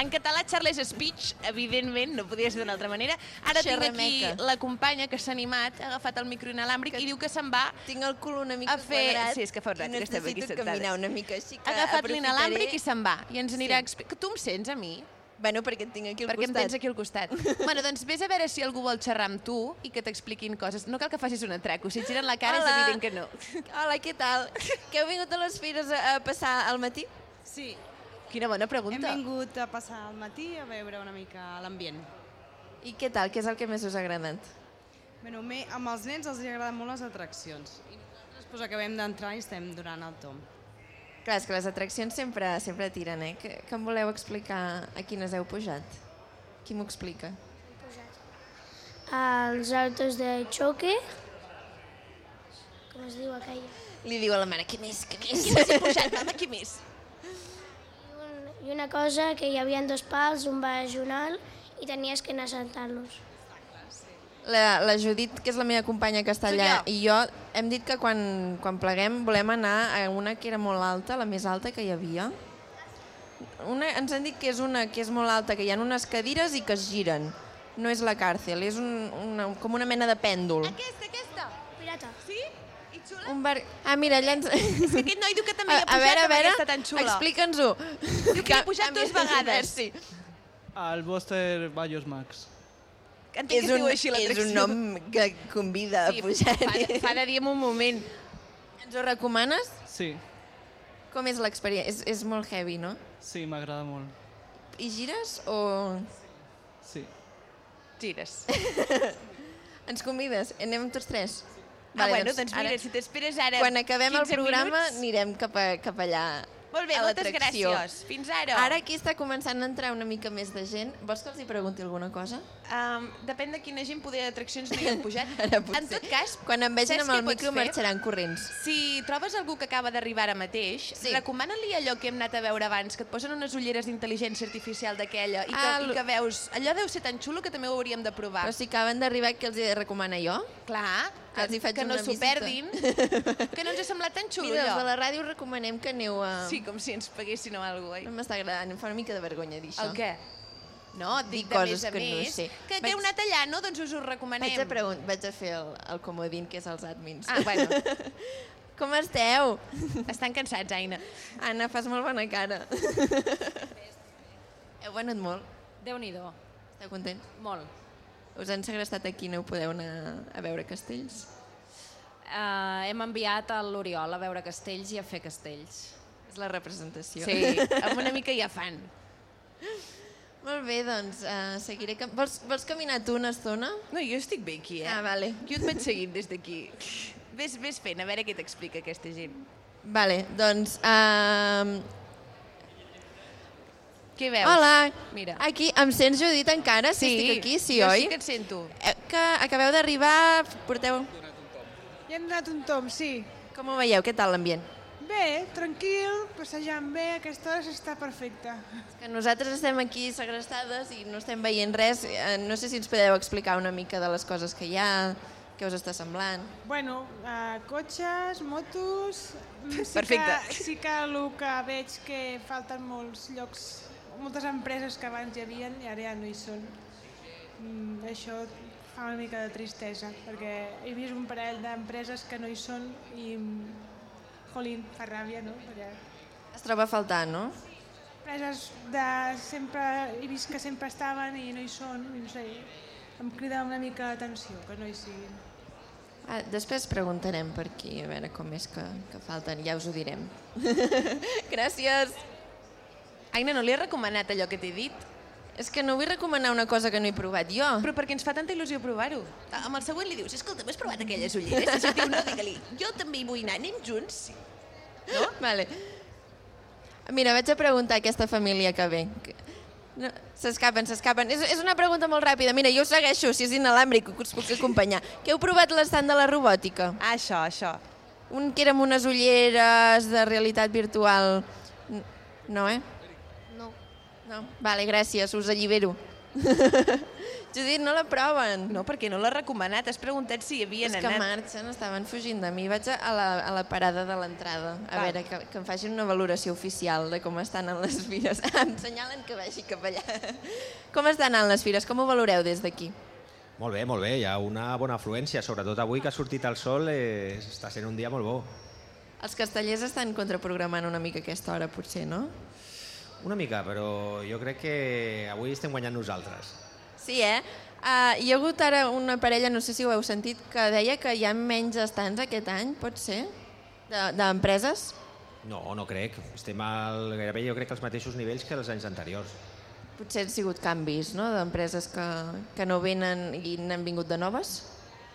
A: en català xarla és speech, evidentment, no podia ser d'una altra manera. Ara tinc aquí
B: Xerrameca.
A: la companya que s'ha animat, ha agafat el micro inalàmbric i diu que se'n va
B: Tinc el cul una mica
A: a fer...
B: quadrat
A: sí, és que fa un rato
B: i
A: que estem aquí
B: necessito
A: sentades.
B: caminar una mica, així que
A: ha agafat
B: aprofitaré-
A: l'inalàmbric i se'n va i ens anirà sí. a explicar. Tu em sents a mi?
B: Bueno, perquè et tinc aquí al
A: perquè
B: costat.
A: em tens aquí al costat. bueno, doncs vés a veure si algú vol xerrar amb tu i que t'expliquin coses. No cal que facis un atraco, si et giren la cara
B: Hola.
A: és evident que no.
B: Hola, què tal? que heu vingut a les fires a, a passar al matí?
R: Sí.
A: Quina bona pregunta.
R: Hem vingut a passar el matí a veure una mica l'ambient.
B: I què tal? Què és el que més us ha agradat?
R: Bueno, me, amb els nens els hi agraden molt les atraccions. I nosaltres doncs acabem d'entrar i estem durant el tomb.
B: Clar, és que les atraccions sempre sempre tiren, eh? Que, que em voleu explicar a quines heu pujat? Qui m'ho explica?
Q: Els autos de choque. Com es diu aquella?
B: Li diu a la mare, qui més, qui més?
A: Qui més he pujat, mama, qui més?
Q: I una cosa que hi havia dos pals, un vaginal, i tenies que anar sentant-los.
B: La, la Judit, que és la meva companya que està allà, i jo hem dit que quan, quan pleguem volem anar a una que era molt alta, la més alta que hi havia. Una, ens han dit que és una que és molt alta, que hi ha unes cadires i que es giren. No és la càrcel, és un, una, com una mena de pèndol.
A: Aquesta, aquesta.
Q: Pirata.
A: Sí? I xula?
B: Un bar... Ah, mira, allà ens... És
A: que aquest noi diu que també hi ha pujat
B: veure, a
A: amb
B: veure,
A: aquesta tan xula.
B: Explica'ns-ho.
A: Diu que hi ha pujat dues vegades.
B: Sí.
S: Al Buster Bayos Max.
A: Entenc que es diu així
B: és
A: l'atracció.
B: un nom que convida a pujar-hi.
A: fa, fa de dir en un moment.
B: Ens ho recomanes?
S: Sí,
B: Com és l'experiència? És, és molt heavy, no?
S: sí, m'agrada molt.
B: I gires o...
S: Sí.
A: Gires.
B: Ens convides? Anem tots tres?
A: Ah, bueno, doncs mira, si t'esperes ara
B: Quan acabem el
A: 15
B: programa
A: minuts-
B: anirem cap, a, cap allà
A: Molt bé,
B: a
A: moltes
B: l'atracció.
A: gràcies. Fins ara.
B: Ara aquí està començant a entrar una mica més de gent. Vols que els hi pregunti alguna cosa?
A: Um, depèn de quina gent poder d'atraccions no hi han pujat.
B: Ara
A: en tot cas,
B: Quan em vegin
A: saps
B: amb
A: què
B: el
A: pots
B: micro
A: fer?
B: marxaran corrents.
A: Si trobes algú que acaba d'arribar ara mateix, sí. recomana-li allò que hem anat a veure abans, que et posen unes ulleres d'intel·ligència artificial d'aquella i, que,
B: Ah,
A: i
B: lo-
A: que veus... Allò deu ser tan xulo que també ho hauríem de provar.
B: Però si acaben d'arribar, què els hi recomano jo?
A: Clar,
B: Que els hi faig
A: que no
B: una
A: s'ho
B: visita.
A: perdin, que no ens ha semblat tan xulo
B: Mira, els
A: allò.
B: de la ràdio eh, recomanem que aneu a...
A: Sí, com si ens paguessin o alguna cosa.
B: No m'està agradant, em fa una mica de vergonya dir això.
A: El què? No, et dic
B: Dir
A: de
B: coses
A: més a
B: que no
A: més.
B: sé.
A: Que, que
B: Vaig-
A: heu anat allà, no? Doncs us ho recomanem.
B: Vaig a, pregun vaig a fer el, el comodín, que és els admins.
A: Ah, bueno.
B: Com esteu?
A: Estan cansats, Aina.
B: Anna, fas molt bona cara. Heu venut molt?
T: Déu-n'hi-do.
B: Esteu contents?
T: Molt.
B: Us han segrestat aquí, no podeu anar a veure castells?
T: Uh, hem enviat a l'Oriol a veure castells i a fer castells.
B: És la representació.
A: Sí, amb una mica ja fan.
B: Molt bé, doncs uh, seguiré... Cam... Vols, vols caminar tu una estona?
A: No, jo estic bé aquí, eh?
B: Ah, vale.
A: Jo et vaig seguint des d'aquí. Ves, ves fent, a veure què t'explica aquesta gent.
B: Vale, doncs... Uh...
A: Què veus?
B: Hola,
A: Mira.
B: aquí, em sents Judit encara? Sí,
A: Sí,
B: estic aquí, sí,
A: jo
B: oi?
A: sí que et sento.
B: Eh, Que acabeu d'arribar, porteu...
U: Hi hem donat un tom, sí.
B: Com ho veieu? Què tal l'ambient?
U: Bé, tranquil, passejant bé, a aquesta hora s'està perfecta.
B: Que nosaltres estem aquí segrestades i no estem veient res. Eh, No sé si ens podeu explicar una mica de les coses que hi ha, què us està semblant.
U: Bueno, uh, cotxes, motos... mm, Sí
B: Perfecte.
U: Que, sí que el que veig que falten molts llocs, moltes empreses que abans hi havia i ara ja no hi són. Mm, això fa una mica de tristesa, perquè he vist un parell d'empreses que no hi són i... mm, Jolín, fa ràbia, no? Perquè
B: Es troba a faltar, no?
U: preses de sempre, he vist que sempre estaven i no hi són, i no sé, em crida una mica l'atenció que no hi siguin.
B: Ah, després preguntarem per aquí, a veure com és que, que falten, ja us ho direm. Gràcies.
A: Aina, no li he recomanat allò que t'he dit?
B: És que no vull recomanar una cosa que no he provat jo.
A: Però perquè ens fa tanta il·lusió provar-ho. A- Ah, Amb el següent li dius, escolta, has provat aquelles ulleres? I si et diu no, digue-li, jo també hi vull anar, anem junts?
B: No? Vale. Mira, vaig a preguntar a aquesta família que ve. Que- No, s'escapen, s'escapen. És, és una pregunta molt ràpida. Mira, jo us segueixo, si és inalàmbric, us puc acompanyar. Que heu provat l'estant de la robòtica?
A: Ah, això, això.
B: Un que era amb unes ulleres de realitat virtual. N- No, eh?
Q: No.
B: No. Vale, gràcies, us allibero. Judit, no la proven.
A: No, perquè no l'ha recomanat. Has preguntat si hi havien
B: És
A: anat.
B: que marxen, estaven fugint de mi. Vaig a la, a la parada de l'entrada, a
A: Va.
B: veure, que, que em facin una valoració oficial de com estan en les fires. em senyalen que vagi cap allà. Com estan en les fires? Com ho valoreu des d'aquí?
F: Molt bé, molt bé, hi ha una bona afluència, sobretot avui que ha sortit el sol, eh, està sent un dia molt bo.
B: Els castellers estan contraprogramant una mica aquesta hora, potser, no?
F: Una mica, però jo crec que avui estem guanyant nosaltres.
B: Sí, eh? Uh, hi ha hagut ara una parella, no sé si ho heu sentit, que deia que hi ha menys estants aquest any, pot ser, de- d'empreses?
F: No, no crec. Estem al, gairebé jo crec que als mateixos nivells que els anys anteriors.
B: Potser han sigut canvis, no?, d'empreses que, que no venen i n'han vingut de noves?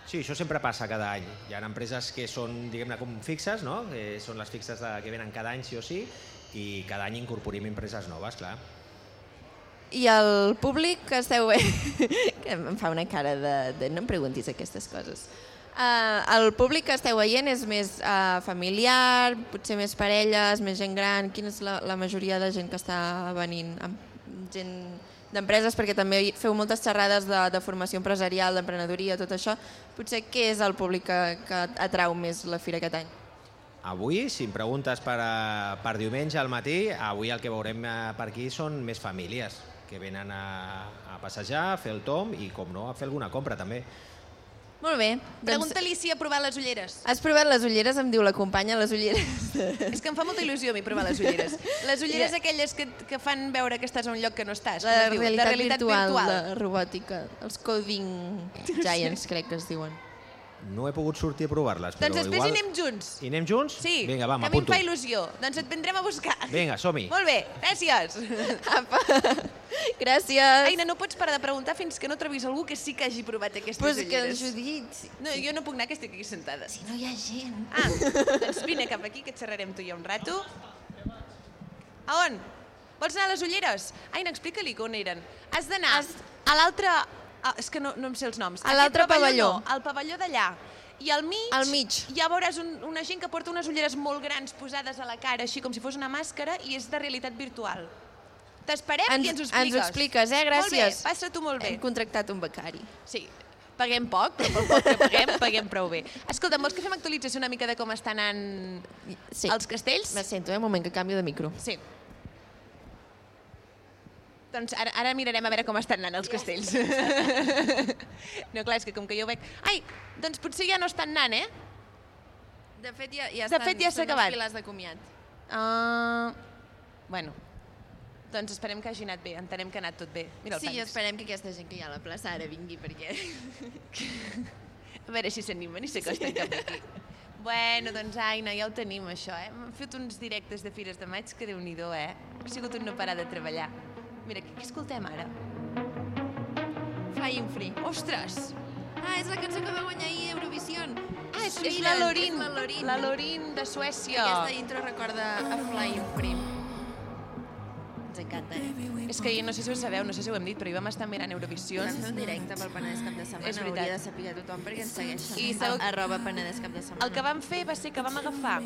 F: Sí, això sempre passa cada any. Hi ha empreses que són, diguem-ne, com fixes, no? que són les fixes de, que venen cada any sí o sí, i cada any incorporim empreses noves, clar.
B: I el públic que esteu bé, que em fa una cara de, de no em preguntis aquestes coses. Uh, el públic que esteu veient és més uh, familiar, potser més parelles, més gent gran, quina és la, la majoria de gent que està venint? Amb gent d'empreses, perquè també hi- feu moltes xerrades de, de formació empresarial, d'emprenedoria, tot això. Potser què és el públic que, que atrau més la fira aquest any?
F: Avui, si em preguntes per, a, per diumenge al matí, avui el que veurem eh, per aquí són més famílies que venen a, a passejar, a fer el tom i, com no, a fer alguna compra també.
B: Molt bé. Doncs,
A: Pregunta-li si ha provat les ulleres.
B: has provat les ulleres? Em diu la companya, les ulleres.
A: És que em fa molta il·lusió a mi provar les ulleres. Les ulleres aquelles que, que fan veure que estàs a un lloc que no estàs. com
B: La
A: es diu?
B: realitat,
A: la realitat virtual.
B: la robòtica, els coding giants, crec que es diuen.
F: No he pogut sortir a provar-les, però
A: Doncs després
F: igual...
A: hi anem junts.
F: Hi anem junts?
A: Sí,
F: Vinga, va,
A: que a mi em
F: m'apunto.
A: fa il·lusió. Doncs et vendrem a buscar.
F: Vinga, som-hi.
A: Molt bé, gràcies.
B: Apa. Gràcies.
A: Aina, no pots parar de preguntar fins que no trobis algú que sí que hagi provat aquestes
B: Pues que
A: ulleres.
B: ens ho dit.
A: No, jo no puc anar, que estic aquí sentada. Si
B: no hi ha gent.
A: Ah, doncs vine cap aquí, que et xerrarem tu i jo un rato. A on? Vols anar a les ulleres? Aina, explica-li que on eren. Has d'anar a l'altre... Ah, és que no, no em sé els noms.
B: A l'altre
A: Aquest
B: pavelló.
A: No, al pavelló d'allà. I al mig,
B: Al mig.
A: ja veuràs un, una gent que porta unes ulleres molt grans posades a la cara, així com si fos una màscara, i és de realitat virtual. T'esperem
B: Ens-
A: i ens ho
B: ens ho
A: expliques.
B: expliques, eh? Gràcies.
A: Molt bé, passa tu molt bé.
B: Hem contractat un becari.
A: Sí, paguem poc, però pel poc que paguem, paguem prou bé. Escolta, vols que fem actualització una mica de com estan anant
B: Sí.
A: els castells?
B: Me sento, eh? Un moment, que canvio de micro.
A: Sí. Doncs ara, ara mirarem a veure com estan anant els castells. No, clar, és que com que jo ho veig... Ai, doncs potser ja no estan anant, eh?
B: De fet, ja, ja
A: De fet, ja s'ha acabat.
B: Són les piles de comiat.
A: Uh, bueno, doncs esperem que hagi anat bé, entenem que ha anat tot bé. Mira el
B: sí,
A: Fèlix.
B: esperem que aquesta gent que hi ha a la plaça ara vingui, perquè...
A: A veure si s'animen i s'acosten cap aquí. Bueno, doncs Aina, ja ho tenim això, eh? Hem fet uns directes de Fires de Maig que déu nhi eh? Ha sigut un no parar de treballar. Mira, què, què escoltem ara?
B: Flying Free.
A: Ostres!
B: Ah, és la cançó que va guanyar ahir Eurovisió.
A: Ah, és, és
B: Sweden,
A: la Lorin,
B: és la Lorin.
A: la Lorin de Suècia.
B: Aquesta intro recorda a Flying Free. Ens encanta, eh?
A: És que ahir, no sé si ho sabeu, no sé si ho hem dit, però hi vam estar mirant Eurovisió.
B: Vam fer un directe pel Penedès cap de setmana,
A: És veritat.
B: hauria de saber tothom perquè ens segueixen.
A: I sabeu-
B: A- Arroba Penedès cap de setmana.
A: El que vam fer va ser que vam agafar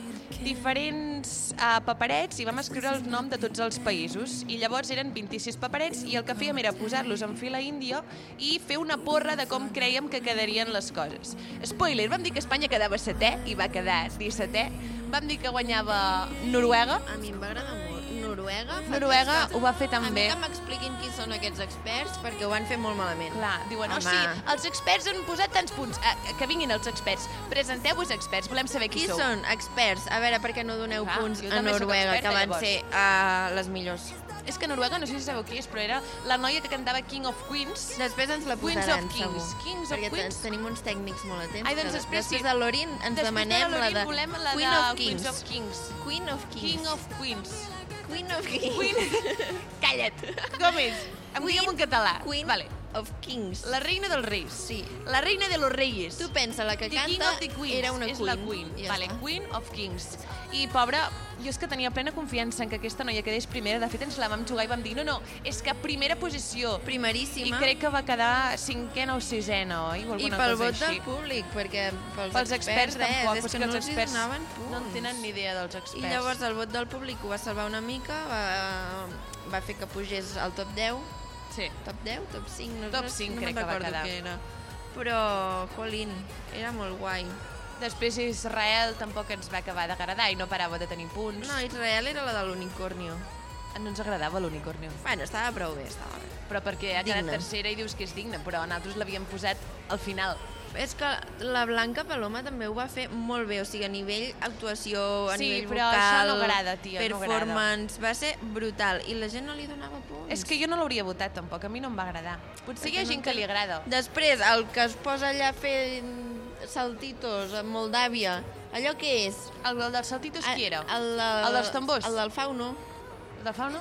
A: diferents uh, paperets i vam escriure el nom de tots els països. I llavors eren 26 paperets i el que fèiem era posar-los en fila índia i fer una porra de com creiem que quedarien les coses. Spoiler, vam dir que Espanya quedava setè i va quedar 17è. Vam dir que guanyava Noruega.
B: A mi em va agradar molt. Noruega. fa
A: Noruega
B: temps
A: ho va fer tan
B: A mi
A: bé.
B: que m'expliquin qui són aquests experts, perquè ho van fer molt malament.
A: Clar, diuen,
B: Home.
A: oh sí, els experts han posat tants punts. Eh, que vinguin els experts. Presenteu-vos experts, volem saber qui,
B: Qui
A: sou.
B: són experts? A veure, per què no doneu
A: Clar,
B: punts
A: jo
B: a
A: també sóc
B: Noruega,
A: experta,
B: que van
A: llavors.
B: ser uh, les millors.
A: És ah, que Noruega, no sé si sabeu qui és, però era la noia que cantava King of Queens.
B: Després ens la
A: Queens
B: posaran,
A: of Kings.
B: segur.
A: Kings
B: perquè
A: of Queens.
B: Perquè tenim uns tècnics molt atents.
A: Ai, doncs
B: que
A: després sí.
B: després de l'Orin ens
A: Després
B: demanem
A: de
B: la
A: l'Orin
B: de,
A: volem la
B: Queen,
A: de
B: of
A: Queens
B: Kings.
A: of Kings.
B: Queen of Kings.
A: King of Queens.
B: Queen of Kings.
A: Queen... Calla't. Com és? Em diguem en català.
B: Queen
A: vale.
B: of Kings.
A: La reina dels reis.
B: Sí.
A: La reina de los reyes.
B: Tu pensa, la
A: The
B: que
A: King
B: canta
A: of the Queens.
B: era una
A: és
B: queen.
A: la queen.
B: Ja
A: vale,
B: està.
A: Queen of Kings. I, pobra, jo és que tenia plena confiança en que aquesta noia quedés primera. De fet, ens la vam jugar i vam dir, no, no, és que primera posició.
B: Primeríssima.
A: I crec que va quedar cinquena o sisena, oi? O
B: I
A: alguna
B: pel
A: cosa
B: vot del
A: així.
B: públic, perquè pels,
A: Pels experts,
B: res,
A: tampoc, però
B: és
A: és
B: que,
A: que
B: no
A: els
B: els hi
A: experts
B: donaven
A: no en
B: punts.
A: tenen ni idea dels experts.
B: I llavors el vot del públic ho va salvar una mica, va, va fer que pugés al top 10.
A: Sí.
B: Top 10, top 5, no,
A: Top
B: no,
A: 5
B: no
A: crec
B: me'n
A: que va
B: recordo
A: quedar.
B: què era. Però, Colin, era molt guai.
A: Després Israel tampoc ens va acabar d'agradar i no parava de tenir punts. Ah,
B: No, Israel era la de l'unicornio.
A: No ens agradava l'unicornio.
B: Bueno, estava prou bé, estava bé.
A: Però perquè ha quedat
B: Digna.
A: tercera i dius que és digna, però nosaltres l'havíem posat al final.
B: És que la Blanca Paloma també ho va fer molt bé, o sigui, a nivell actuació, a
A: Sí,
B: nivell
A: però
B: vocal...
A: això no agrada, tia, no agrada.
B: Performance, va ser brutal. I la gent no li donava punts.
A: És que jo no l'hauria votat tampoc, a mi no em va agradar. Potser hi ha
B: Perquè no
A: gent que li agrada.
B: Després, el que es posa allà a fer saltitos a Moldàvia, allò què és? Ah,
A: El, el dels saltitos qui era?
B: El, el,
A: El dels tambors?
B: El del fauno.
A: El del fauno?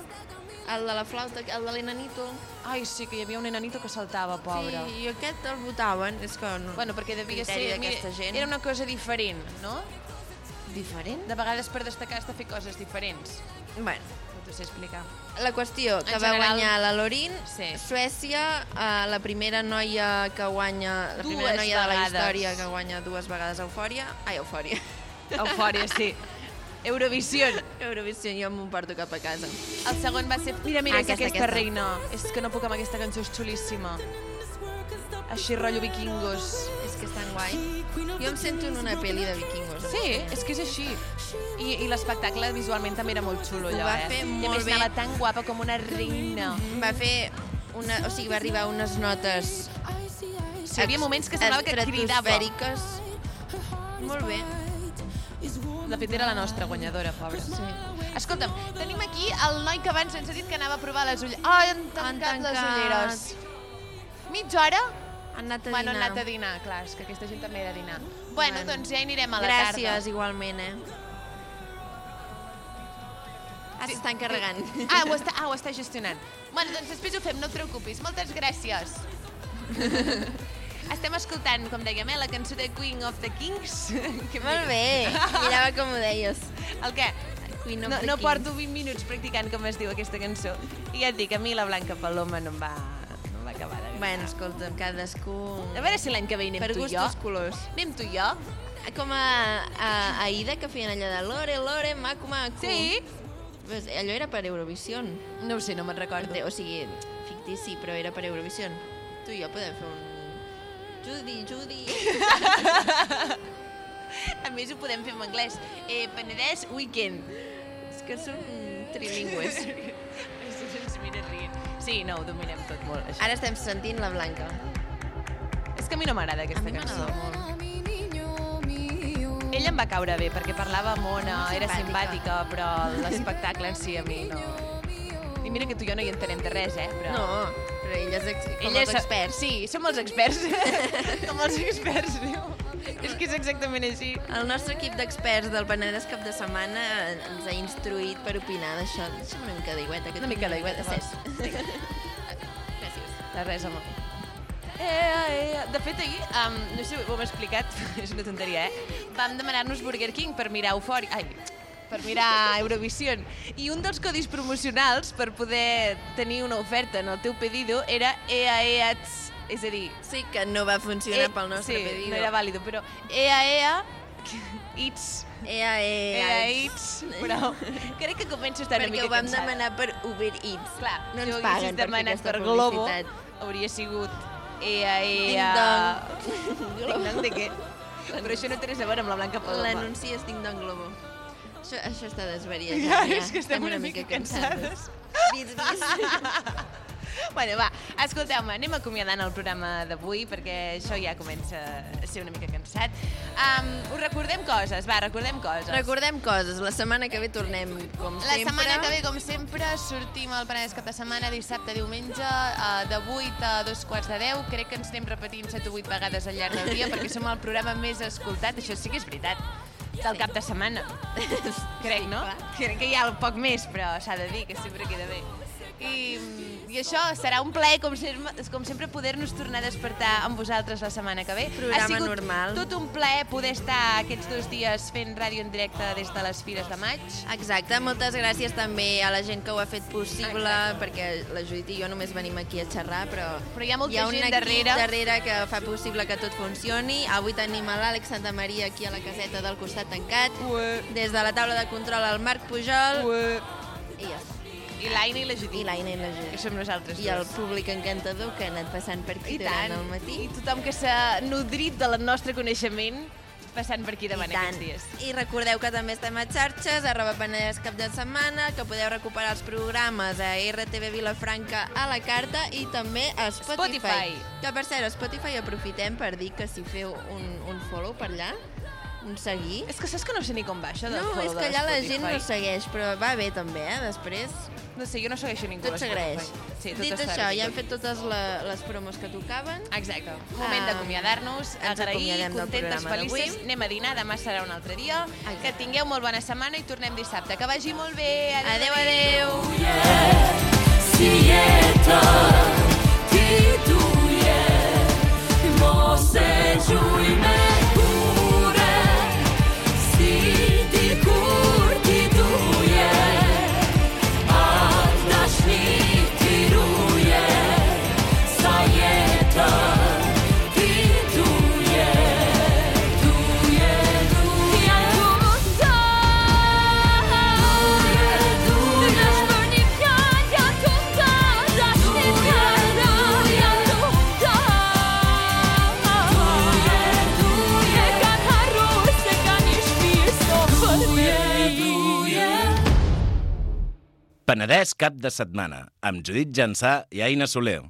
B: el de la flauta, el de l'enanito.
A: Ai, sí, que hi havia un enanito que saltava, pobre.
B: Sí, i aquest el votaven, és que no...
A: Bueno, perquè devia
B: criteri
A: ser...
B: d'aquesta
A: mira,
B: gent.
A: Era una cosa diferent, no?
B: Diferent?
A: De vegades per destacar has de fer coses diferents.
B: Bueno,
A: No t'ho sé explicar.
B: la qüestió, que
A: En
B: va
A: general-
B: guanyar la Lorin,
A: Sí.
B: Suècia, eh, la primera noia que guanya... La primera
A: Dues
B: noia de la
A: vegades.
B: història que guanya dues vegades Eufòria. Ai, Eufòria.
A: Eufòria, sí. Eurovisió.
B: Eurovisió, jo m'ho porto cap a casa.
A: El segon va ser... Mira, mira, aquesta, aquesta, aquesta,
B: Aquesta, aquesta.
A: reina. És que no puc amb aquesta cançó, és xulíssima. Així, rotllo vikingos.
B: És que és tan guai. Jo em sento en una pel·li de vikingos.
A: Sí, és que és així. I, i l'espectacle visualment també era molt xulo,
B: Ho
A: allò,
B: va
A: eh?
B: fer
A: I a
B: molt
A: més,
B: bé.
A: anava tan guapa com una reina.
B: Va fer una... O sigui, va arribar a unes notes...
A: Sí, hi havia moments que semblava que cridava.
B: estratosfèriques. Molt bé.
A: De fet, era la nostra guanyadora, pobra. Sí. Escolta'm, tenim aquí el noi que abans ens ha dit que anava a provar les ulleres. Ah, han tancat,
B: Han tancat.
A: les ulleres. Mitja hora?
B: Han anat a
A: bueno,
B: dinar.
A: han anat a dinar, clar, és que aquesta gent també era a dinar. Bueno,
B: Bueno.
A: doncs ja hi anirem a la
B: Gràcies,
A: tarda.
B: igualment, eh? Ah, s'estan carregant.
A: Ah, ho està, ah, ho està gestionant. Bueno, doncs després ho fem, no et preocupis. Moltes gràcies. Estem escoltant, com dèiem, eh, la cançó de Queen of the Kings. Que
B: Molt bé, mirava com ho deies.
A: El què?
B: Queen of
A: no,
B: the
A: no
B: Kings.
A: porto 20 minuts practicant com es diu aquesta cançó. I ja et dic, a mi la Blanca Paloma no em va, no em va acabar de...
B: Bueno, escolta'm, cadascú...
A: A veure si l'any que ve hi anem
B: Per
A: tu i jo.
B: gustos colors.
A: Anem tu i jo.
B: Com a, a, a Ida, que feien allò de Lore, Lore, maco, maco.
A: Sí.
B: Pues allò era per Eurovision.
A: No ho sé, no me'n recordo.
B: O sigui, fictici, però era per Eurovision. Tu i jo podem fer un... Judy, Judy.
A: A més, ho podem fer en anglès. Eh, Penedès Weekend. És que som
B: trilingües.
A: Ens miren rient. Sí, no, ho dominem tot molt. Això.
B: Ara estem sentint la Blanca.
A: És que a mi no m'agrada aquesta cançó. Ella em va caure bé, perquè parlava mona, era simpàtica, però l'espectacle en si a mi no... I mira que tu i jo no hi entenem de res, eh? Però...
B: No, però ella és ex- com els
A: és-
B: experts.
A: Sí, som els experts. com els experts, diu. És que és exactament així.
B: El nostre equip d'experts del Penedès cap de setmana eh, ens ha instruït per opinar d'això. Deixa'm una mica d'aigüeta.
A: Una mica d'aigüeta,
B: Cesc.
A: vols?
B: Gràcies.
A: De res, home. Eh, eh, eh. De fet, ahir, um, no sé, ho hem explicat, és una tonteria, eh? Vam demanar-nos Burger King per mirar Eufòria... Ai, per mirar Eurovision. I un dels codis promocionals per poder tenir una oferta en el teu pedido era E EAEATS, és a dir... eh,
B: Sí, que no va funcionar pel nostre
A: sí,
B: pedido.
A: no era vàlido, però E EAEA... It's...
B: Ea, ea,
A: Era
B: ets.
A: Eats, E però crec que començo a estar una
B: Perquè
A: mica
B: ho vam
A: cansada.
B: demanar per Uber Eats.
A: Clar,
B: no ens
A: si ho
B: paguen
A: haguessis
B: per fer
A: demanat
B: aquesta
A: per Globo,
B: publicitat.
A: hauria sigut ea, ea...
B: Ding dong.
A: Ding-dong eh, de què? Però això no té res a veure amb la Blanca Paloma.
B: L'anunci és Ding Dong Globo. Això, això està desvariat.
A: Ja, és que estem una mica cansades.
B: Vis, vis.
A: Bueno, va, escolteu-me, anem acomiadant el programa d'avui perquè això ja comença a ser una mica cansat. Um, us recordem coses, va, recordem coses.
B: Recordem coses. La setmana que ve tornem, com
A: La
B: sempre.
A: setmana que ve, com sempre, sortim al Penedès cap de setmana, dissabte, diumenge, eh, de 8 a dos quarts de 10. Crec que ens anem repetint 7 o 8 vegades al llarg del dia perquè som el programa més escoltat, això sí que és veritat, del cap de setmana. Crec, no? Crec que hi ha el poc més, però s'ha de dir que sempre queda bé. I, i això serà un plaer, com, ser, com sempre, poder-nos tornar a despertar amb vosaltres la setmana que ve.
B: Programa
A: ha sigut
B: normal.
A: tot un plaer poder estar aquests dos dies fent ràdio en directe des de les Fires de Maig.
B: Exacte, moltes gràcies també a la gent que ho ha fet possible, perquè la Judit i jo només venim aquí a xerrar, però,
A: Però hi ha molta
B: hi ha un
A: gent
B: equip
A: darrere.
B: darrere que fa possible que tot funcioni. Avui tenim a l'Àlex Santa Maria aquí a la caseta del costat tancat,
A: Ué.
B: des de la taula de control al Marc Pujol,
A: Ué.
B: i ja està.
A: I l'Aina i la Judit.
B: I l'Aina i la Judit.
A: Que som nosaltres
B: I el
A: dues.
B: públic encantador que ha anat passant per aquí
A: I
B: durant
A: tant.
B: el matí.
A: I tothom que s'ha nodrit del nostre coneixement passant per aquí davant
B: tant.
A: aquests dies.
B: I recordeu que també estem a xarxes, arroba Penedès cap de setmana, que podeu recuperar els programes a RTV Vilafranca a la carta i també a Spotify.
A: Spotify.
B: Que per cert, a Spotify aprofitem per dir que si feu un, un follow per allà, un seguir...
A: És que saps que no sé ni com va això del
B: No,
A: follow
B: és que
A: de
B: allà la
A: Spotify.
B: gent no segueix, però va bé també, eh, després.
A: No sé, jo no segueixo ningú
B: Tot
A: a
B: s'agraeix.
A: Spotify. Doncs, Sí, tot
B: Dit
A: es fa
B: això,
A: bé,
B: ja
A: tot.
B: hem fet totes la, les promos que tocaven.
A: Exacte. Moment d'acomiadar-nos,
B: Ah, Ens
A: agrair,
B: acomiadem del
A: contentes,
B: programa d'avui.
A: felices. Anem a dinar, demà serà un altre dia. Que tingueu molt bona setmana i tornem dissabte. Que vagi molt bé.
B: Adéu, adéu.
A: Yeah.
V: bachilleta, tituje, moseđujme kure, si ti kur tituje, a dašnik tiruje, sajeta, tituje, tuje, tuje,
W: Penedès cap de setmana, amb Judit Jansà i Aina Soler.